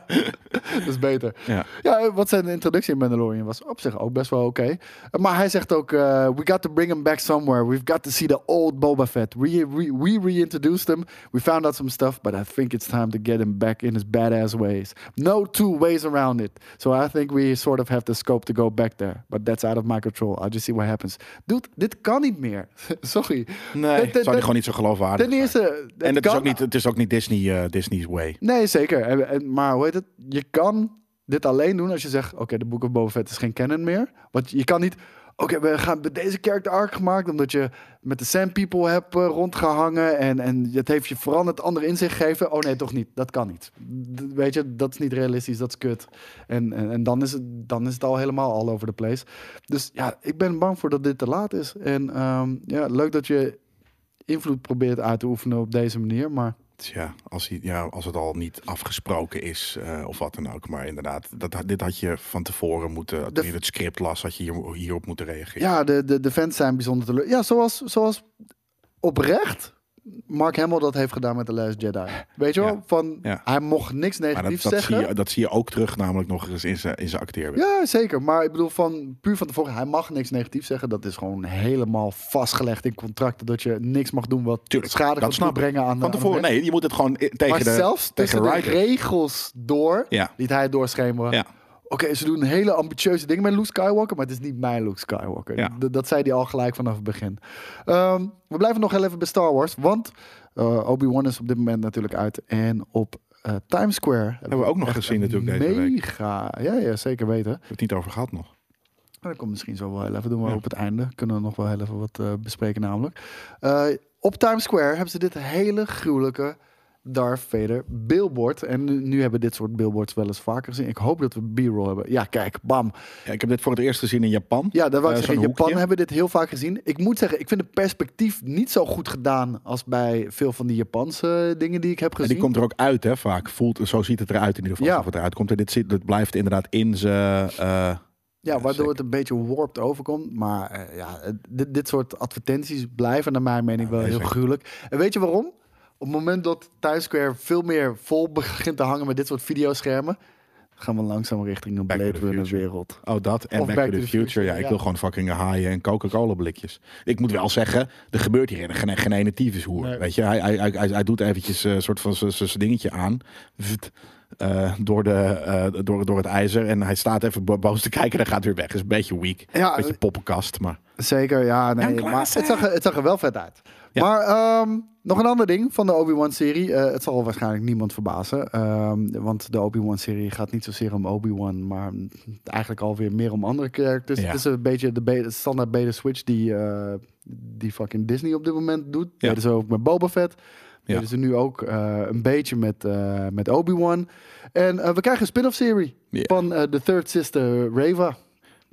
Speaker 3: Dat is beter.
Speaker 2: Ja.
Speaker 3: Ja, eh, wat zijn introductie in Mandalorian was op zich ook best wel oké. Eh, Maar hij zegt ook, eh, we got to bring him back somewhere. We've got to see the old Boba Fett. We, we, we reintroduced him. We found out some stuff, but I think it's time to get him back in his badass ways. No two ways around it. So I think we sort of have the scope to go back there. But that's out of my control. I'll just see what happens. Dude, dit kan niet meer. Sorry.
Speaker 2: Nee, zou
Speaker 3: Dat- dat-
Speaker 2: die
Speaker 3: dat-
Speaker 2: gewoon niet zo geloofwaardig
Speaker 3: Ten eerste... het
Speaker 2: En het is,
Speaker 3: kan-
Speaker 2: ook niet, het is ook niet Disney, eh, Disney's way.
Speaker 3: Nee, zeker. En, en- maar hoe heet het? Je kan dit alleen doen als je zegt... oké, de Book of Boba Fett is geen canon meer. Want je kan niet... oké, we gaan bij deze character arc gemaakt... omdat je met de Sand People hebt eh, rondgehangen... En, en het heeft je veranderd, ander inzicht gegeven. Oh nee, toch niet. Dat kan niet. D- weet je, dat is niet realistisch, dat is kut. En, en, en dan, is het, dan is het al helemaal all over the place. Dus ja, ik ben bang voor dat dit te laat is. En ehm, ja, leuk dat je invloed probeert uit te oefenen op deze manier, maar...
Speaker 2: Tja, als, hij, Dus ja, als het al niet afgesproken is eh, of wat dan ook. Maar inderdaad, dat, dit had je van tevoren moeten...
Speaker 3: De-
Speaker 2: Toen je het script las, had je hier, hierop moeten reageren.
Speaker 3: Ja, de, de, de fans zijn bijzonder teleur. Ja, zoals, zoals oprecht Mark Hamill dat heeft gedaan met The Last Jedi. Weet je wel?
Speaker 2: Ja.
Speaker 3: Van,
Speaker 2: Ja.
Speaker 3: Hij mocht niks
Speaker 2: Maar dat,
Speaker 3: negatiefs
Speaker 2: dat,
Speaker 3: zeggen.
Speaker 2: zie je, dat zie je ook terug namelijk nog eens in zijn, in zijn acteerwerk.
Speaker 3: Ja, zeker. Maar ik bedoel, van, puur van tevoren, hij mag niks negatiefs zeggen. Dat is gewoon helemaal vastgelegd in contracten. Dat je niks mag doen wat
Speaker 2: Tuurlijk,
Speaker 3: schade
Speaker 2: dat
Speaker 3: kan
Speaker 2: snap ik.
Speaker 3: toebrengen aan
Speaker 2: Van
Speaker 3: aan
Speaker 2: tevoren,
Speaker 3: mensen.
Speaker 2: nee, je moet het gewoon i- tegen
Speaker 3: Maar
Speaker 2: de
Speaker 3: zelfs
Speaker 2: tegen
Speaker 3: tussen de
Speaker 2: writer.
Speaker 3: regels door,
Speaker 2: Ja.
Speaker 3: liet hij het doorschemeren.
Speaker 2: Ja.
Speaker 3: Oké, ze doen hele ambitieuze dingen met Luke Skywalker, maar het is niet mijn Luke Skywalker.
Speaker 2: Ja.
Speaker 3: D- dat zei hij al gelijk vanaf het begin. Ehm, we blijven nog heel even bij Star Wars, want eh, Obi-Wan is op dit moment natuurlijk uit. En op eh, Times Square
Speaker 2: Hebben we ook nog gezien natuurlijk deze week. We
Speaker 3: mega, ja, ja, zeker weten.
Speaker 2: hebben het niet over gehad nog.
Speaker 3: Maar Nou, dat komt misschien zo wel heel even. Doen we
Speaker 2: Ja.
Speaker 3: op het einde. Kunnen we nog wel heel even wat eh, bespreken namelijk. Eh, op Times Square hebben ze dit hele gruwelijke Darth Vader billboard. En nu, nu hebben we dit soort billboards wel eens vaker gezien. Ik hoop dat we B-roll hebben. Ja, kijk, bam.
Speaker 2: Ja, ik heb dit voor het eerst gezien in Japan.
Speaker 3: Ja, dat wou ik
Speaker 2: Eh,
Speaker 3: zeggen. In
Speaker 2: zo'n
Speaker 3: Japan
Speaker 2: hoekje.
Speaker 3: hebben we dit heel vaak gezien. Ik moet zeggen, ik vind het perspectief niet zo goed gedaan als bij veel van die Japanse dingen die ik heb
Speaker 2: En
Speaker 3: gezien.
Speaker 2: die komt er ook uit, hè, vaak. Voelt, zo ziet het eruit in ieder geval.
Speaker 3: Ja.
Speaker 2: Ja. het eruit komt. En dit zit, dat blijft inderdaad in zijn... eh,
Speaker 3: Ja, waardoor
Speaker 2: zeker.
Speaker 3: het een beetje warped overkomt. Maar eh, ja, eh, dit, dit soort advertenties blijven naar mijn mening wel
Speaker 2: nee,
Speaker 3: heel
Speaker 2: zeker.
Speaker 3: gruwelijk. En weet je waarom? Op het moment dat Times Square veel meer vol begint te hangen met dit soort videoschermen, gaan we langzaam richting een
Speaker 2: Back to
Speaker 3: Blade
Speaker 2: the
Speaker 3: Runner
Speaker 2: Future.
Speaker 3: wereld.
Speaker 2: Oh, dat. En
Speaker 3: Of
Speaker 2: Back, to the, Future. Ja, ik
Speaker 3: ja.
Speaker 2: wil gewoon fucking haaien en Coca-Cola blikjes. Ik moet wel zeggen, er gebeurt hier geen, geen ene tyfushoer.
Speaker 3: Nee.
Speaker 2: Weet je, hij, hij, hij, hij- hij doet eventjes eh, een soort van zijn- zijn zijn dingetje aan. Vft, eh, door, de, eh, door, door het ijzer. En hij staat even bo- boos te kijken en hij gaat weer weg. Is een beetje weak.
Speaker 3: Ja, eh,
Speaker 2: beetje poppenkast, maar...
Speaker 3: Zeker, ja. Nee,
Speaker 2: Jan
Speaker 3: maar
Speaker 2: Klaassen.
Speaker 3: het, zag, er- het zag er wel vet uit.
Speaker 2: Ja.
Speaker 3: Maar ehm, nog een ander ding van de Obi-Wan-serie. Eh, het zal waarschijnlijk niemand verbazen. ehm, want de Obi-Wan-serie gaat niet zozeer om Obi-Wan... maar eigenlijk alweer meer om andere characters.
Speaker 2: Ja.
Speaker 3: Het is een beetje de be- standaard beta-switch die, eh, die fucking Disney op dit moment doet.
Speaker 2: Ja.
Speaker 3: Deden ze ook met Boba Fett.
Speaker 2: Ja.
Speaker 3: Deden ze nu ook eh, een beetje met, eh, met Obi-Wan. En eh, we krijgen een spin-off-serie
Speaker 2: Ja.
Speaker 3: van eh The Third Sister Reva.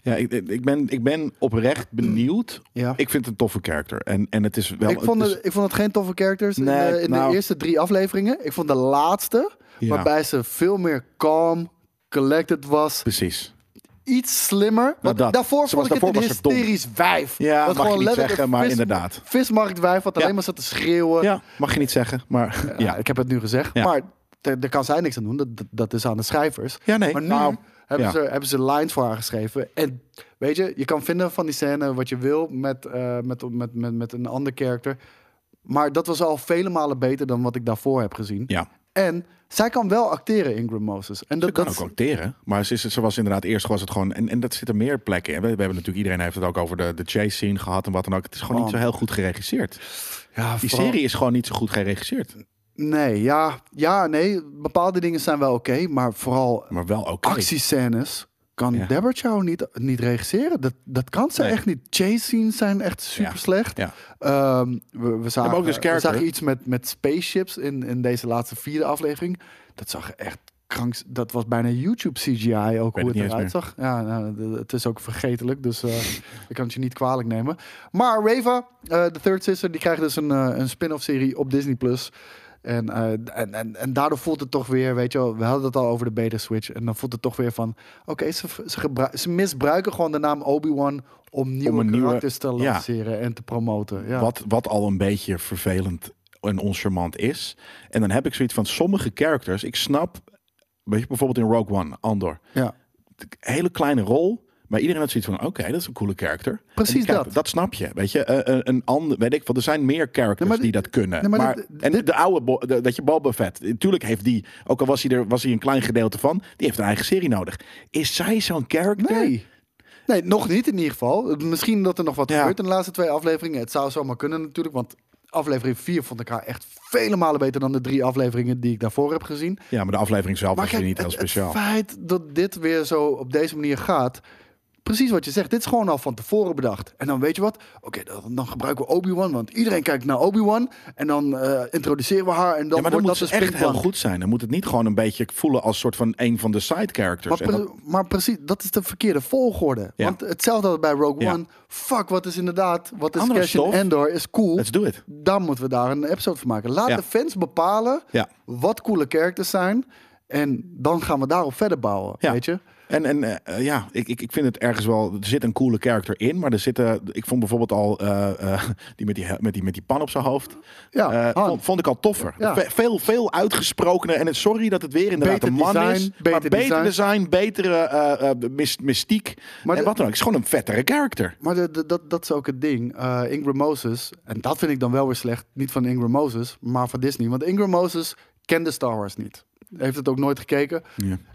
Speaker 2: Ja, ik, ik, ben, ik ben oprecht benieuwd.
Speaker 3: Ja.
Speaker 2: Ik vind het een toffe character. En, en het is wel...
Speaker 3: ik, vond
Speaker 2: is-
Speaker 3: het, ik vond het geen toffe characters in,
Speaker 2: Nee,
Speaker 3: de, in
Speaker 2: nou-
Speaker 3: de eerste drie afleveringen. Ik vond de laatste,
Speaker 2: Ja.
Speaker 3: waarbij ze veel meer calm, collected was.
Speaker 2: Precies.
Speaker 3: Iets slimmer. Want
Speaker 2: Nou, dat.
Speaker 3: daarvoor
Speaker 2: Ze
Speaker 3: vond ik
Speaker 2: was-
Speaker 3: het een
Speaker 2: daarvoor was ze dom.
Speaker 3: hysterisch wijf.
Speaker 2: Ja,
Speaker 3: Wat
Speaker 2: mag je niet
Speaker 3: gewoon letterlijk
Speaker 2: zeggen,
Speaker 3: een
Speaker 2: maar
Speaker 3: vis-
Speaker 2: inderdaad.
Speaker 3: Vismarktwijf, wat alleen
Speaker 2: Ja.
Speaker 3: maar zat te schreeuwen.
Speaker 2: Ja, mag je niet zeggen, maar...
Speaker 3: Ja,
Speaker 2: Ja,
Speaker 3: Ik heb het nu gezegd,
Speaker 2: Ja.
Speaker 3: maar daar daar kan zij niks aan doen. Dat, dat, dat is aan de schrijvers.
Speaker 2: Ja, nee.
Speaker 3: Maar nu
Speaker 2: Nou,
Speaker 3: hebben,
Speaker 2: ja.
Speaker 3: ze, hebben ze lines voor haar geschreven. En weet je, je kan vinden van die scène wat je wil met, eh, met, met, met, met een ander karakter. Maar dat was al vele malen beter dan wat ik daarvoor heb gezien.
Speaker 2: ja.
Speaker 3: En zij kan wel acteren, Ingram Moses. En dat,
Speaker 2: Ze kan
Speaker 3: dat is-
Speaker 2: ook acteren, maar ze, is, ze was inderdaad eerst was het gewoon en, en dat zit er meer plekken in. We, we hebben natuurlijk iedereen heeft het ook over de, de chase scene gehad en wat dan ook. Het is gewoon
Speaker 3: Man.
Speaker 2: niet zo heel goed geregisseerd.
Speaker 3: Oh. ja,
Speaker 2: Die
Speaker 3: vooral-
Speaker 2: serie is gewoon niet zo goed geregisseerd,
Speaker 3: Nee, ja, ja, nee. Bepaalde dingen zijn wel oké, maar vooral
Speaker 2: maar wel oké.
Speaker 3: actiescènes kan
Speaker 2: Ja.
Speaker 3: Deborah Chow niet, niet regisseren. Dat, dat kan ze
Speaker 2: Nee.
Speaker 3: echt niet. Chase scenes zijn echt super slecht.
Speaker 2: Ja.
Speaker 3: Ehm, we, we, zagen,
Speaker 2: ook dus
Speaker 3: we
Speaker 2: character.
Speaker 3: zagen iets met, met spaceships in, in deze laatste vierde aflevering. Dat zag er echt kranks. Dat was bijna YouTube CGI ook
Speaker 2: weet
Speaker 3: hoe
Speaker 2: het
Speaker 3: het
Speaker 2: niet eens
Speaker 3: eruit
Speaker 2: meer.
Speaker 3: zag. Ja, nou, d- het is ook vergetelijk, dus eh, ik kan het je niet kwalijk nemen. Maar Reva, eh The Third Sister, die krijgt dus een, eh, een spin-off serie op Disney+. Plus. En, eh, en, en, en daardoor voelt het toch weer, weet je wel, we hadden het al over de beta switch. En dan voelt het toch weer van, oké, ze, ze, gebru- ze misbruiken gewoon de naam Obi-Wan om nieuwe
Speaker 2: een nieuwe-
Speaker 3: karakters te
Speaker 2: ja.
Speaker 3: lanceren en te promoten. Ja.
Speaker 2: Wat, wat al een beetje vervelend en oncharmant is. En dan heb ik zoiets van sommige characters. Ik snap, weet je, bijvoorbeeld in Rogue One, Andor,
Speaker 3: Ja.
Speaker 2: hele kleine rol. Maar iedereen had zoiets van, oké, dat is een coole character.
Speaker 3: Precies
Speaker 2: En die kijkt-
Speaker 3: dat.
Speaker 2: Dat snap je, weet je. Eh, eh, een ander, weet ik veel, er zijn meer characters
Speaker 3: Nee, maar
Speaker 2: die
Speaker 3: dit-
Speaker 2: dat kunnen.
Speaker 3: nee, maar
Speaker 2: maar
Speaker 3: dit-
Speaker 2: en de oude, Bo- de- dat je Boba Fett, natuurlijk heeft die, ook al was hij er was hij een klein gedeelte van, die heeft een eigen serie nodig. Is zij zo'n character?
Speaker 3: Nee. Nee, nog niet in ieder geval. Misschien dat er nog wat
Speaker 2: Ja.
Speaker 3: gebeurt in de laatste twee afleveringen. Het zou zomaar kunnen natuurlijk, want aflevering 4 vond ik haar echt vele malen beter dan de drie afleveringen die ik daarvoor heb gezien.
Speaker 2: Ja, maar de aflevering zelf
Speaker 3: Maar
Speaker 2: was weer
Speaker 3: kijk,
Speaker 2: niet heel
Speaker 3: het, het
Speaker 2: speciaal.
Speaker 3: feit dat dit weer zo op deze manier gaat, precies wat je zegt, dit is gewoon al van tevoren bedacht. En dan weet je wat? Oké, dan, dan gebruiken we Obi-Wan, want iedereen kijkt naar Obi-Wan en dan eh, introduceren we haar en dan
Speaker 2: ja, maar dan
Speaker 3: wordt
Speaker 2: moet
Speaker 3: dat
Speaker 2: ze
Speaker 3: dus
Speaker 2: echt heel goed zijn. Dan moet het niet gewoon een beetje voelen als soort van een van de side characters.
Speaker 3: Maar,
Speaker 2: En
Speaker 3: pre- maar precies, dat is de verkeerde volgorde.
Speaker 2: Ja.
Speaker 3: Want hetzelfde als bij Rogue
Speaker 2: Ja.
Speaker 3: One. Fuck, wat is inderdaad, wat is
Speaker 2: Andere
Speaker 3: Cash in
Speaker 2: stof.
Speaker 3: Endor, is cool.
Speaker 2: Let's do it.
Speaker 3: Dan moeten we daar een episode van maken. Laat
Speaker 2: Ja.
Speaker 3: de fans bepalen
Speaker 2: Ja.
Speaker 3: wat coole characters zijn. En dan gaan we daarop verder bouwen,
Speaker 2: Ja.
Speaker 3: weet je?
Speaker 2: En, en eh, eh, ja, ik, ik, ik vind het ergens wel. Er zit een coole character in, maar er zitten. Ik vond bijvoorbeeld al eh, eh, die, met die, met die met die pan op zijn hoofd.
Speaker 3: Ja,
Speaker 2: eh,
Speaker 3: Han.
Speaker 2: vond, vond ik al toffer.
Speaker 3: Ja.
Speaker 2: Ve- veel, veel uitgesprokener. En het sorry dat het weer inderdaad
Speaker 3: Beter
Speaker 2: een man
Speaker 3: design,
Speaker 2: is.
Speaker 3: beter
Speaker 2: maar beter
Speaker 3: design.
Speaker 2: design, betere eh, eh, mys- mystiek.
Speaker 3: Maar
Speaker 2: en
Speaker 3: de-
Speaker 2: wat dan ook. Het is gewoon een vettere character.
Speaker 3: Maar de, de- dat, dat is ook het ding. Eh, Ingram Moses, en dat vind ik dan wel weer slecht. Niet van Ingram Moses, maar van Disney. Want Ingram Moses kende Star Wars niet. Heeft het ook nooit gekeken.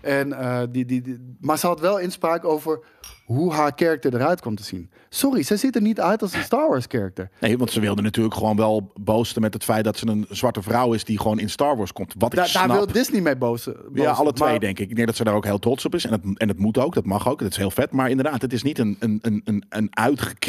Speaker 3: En, eh, die, die, die- maar ze had wel inspraak over hoe haar karakter eruit kwam te zien. Sorry, zij ziet er niet uit als een Star Wars karakter.
Speaker 2: Nee, want ze wilde natuurlijk gewoon wel boosten met het feit dat ze een zwarte vrouw is die gewoon in Star Wars komt. Wat ik
Speaker 3: Da-
Speaker 2: snap.
Speaker 3: daar wil Disney mee bozen.
Speaker 2: Ja,
Speaker 3: bozen.
Speaker 2: alle twee
Speaker 3: Maar-
Speaker 2: denk ik. Ik denk dat ze daar ook heel trots op is. En het, en het moet ook, dat mag ook. Dat is heel vet. Maar inderdaad, het is niet een, een, een- een, een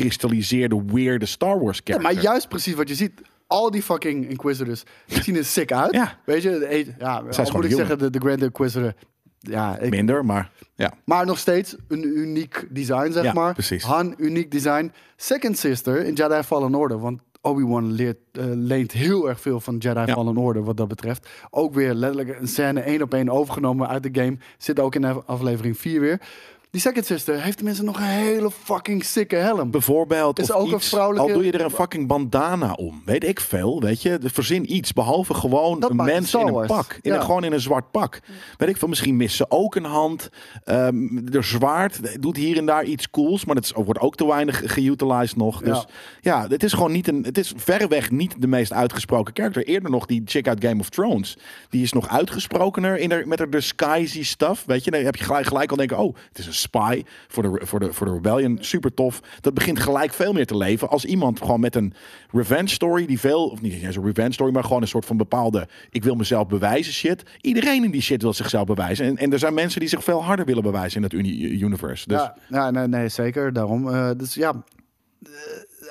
Speaker 2: uitgekristalliseerde, weirde Star Wars
Speaker 3: Ja,
Speaker 2: character.
Speaker 3: maar juist precies wat je ziet. Al die fucking Inquisitors die zien er sick uit.
Speaker 2: Ja.
Speaker 3: Weet je, de, een- ja, al
Speaker 2: gewoon
Speaker 3: moet
Speaker 2: human.
Speaker 3: ik zeggen, de, de Grand Inquisitor. Ja, ik,
Speaker 2: Minder, maar ja.
Speaker 3: Maar nog steeds een uniek design, zeg
Speaker 2: Ja,
Speaker 3: maar.
Speaker 2: precies.
Speaker 3: Han, uniek design. Second Sister in Jedi Fallen Order. Want Obi-Wan leert, eh, leent heel erg veel van Jedi
Speaker 2: Ja.
Speaker 3: Fallen Order wat dat betreft. Ook weer letterlijk een scène één op één overgenomen uit de game. Zit ook in af- aflevering 4 weer. Die Second Sister heeft mensen nog een hele fucking sicke helm.
Speaker 2: Bijvoorbeeld,
Speaker 3: Is
Speaker 2: of
Speaker 3: ook een
Speaker 2: iets,
Speaker 3: vrouwelijke-
Speaker 2: al doe je er een fucking bandana om. Weet ik veel, weet je. De- Verzin iets, behalve gewoon
Speaker 3: Dat
Speaker 2: een
Speaker 3: maakt
Speaker 2: mens
Speaker 3: Star
Speaker 2: in een
Speaker 3: Wars.
Speaker 2: pak. In een-
Speaker 3: Ja.
Speaker 2: gewoon in een zwart pak. Weet ik veel, misschien missen ze ook een hand. Ehm er zwaard doet hier en daar iets cools. Maar dat is- wordt ook te weinig geutilized nog. Dus ja, het is gewoon niet een... Het is verreweg niet de meest uitgesproken character. Eerder nog die chick uit Game of Thrones. Die is nog uitgesprokener in haar, met haar disguisey stuff. Weet je, dan heb je gelijk, gelijk al denken... Oh, het is een spy voor de, voor, de, voor de rebellion. Super tof. Dat begint gelijk veel meer te leven. Als iemand gewoon met een revenge story... die veel, of niet eens een revenge story... maar gewoon een soort van bepaalde... ik wil mezelf bewijzen shit. Iedereen in die shit wil zichzelf bewijzen. En, en er zijn mensen die zich veel harder willen bewijzen... in dat uni- universe. Dus
Speaker 3: Ja, ja, nee, nee, zeker. Daarom. Eh, dus ja.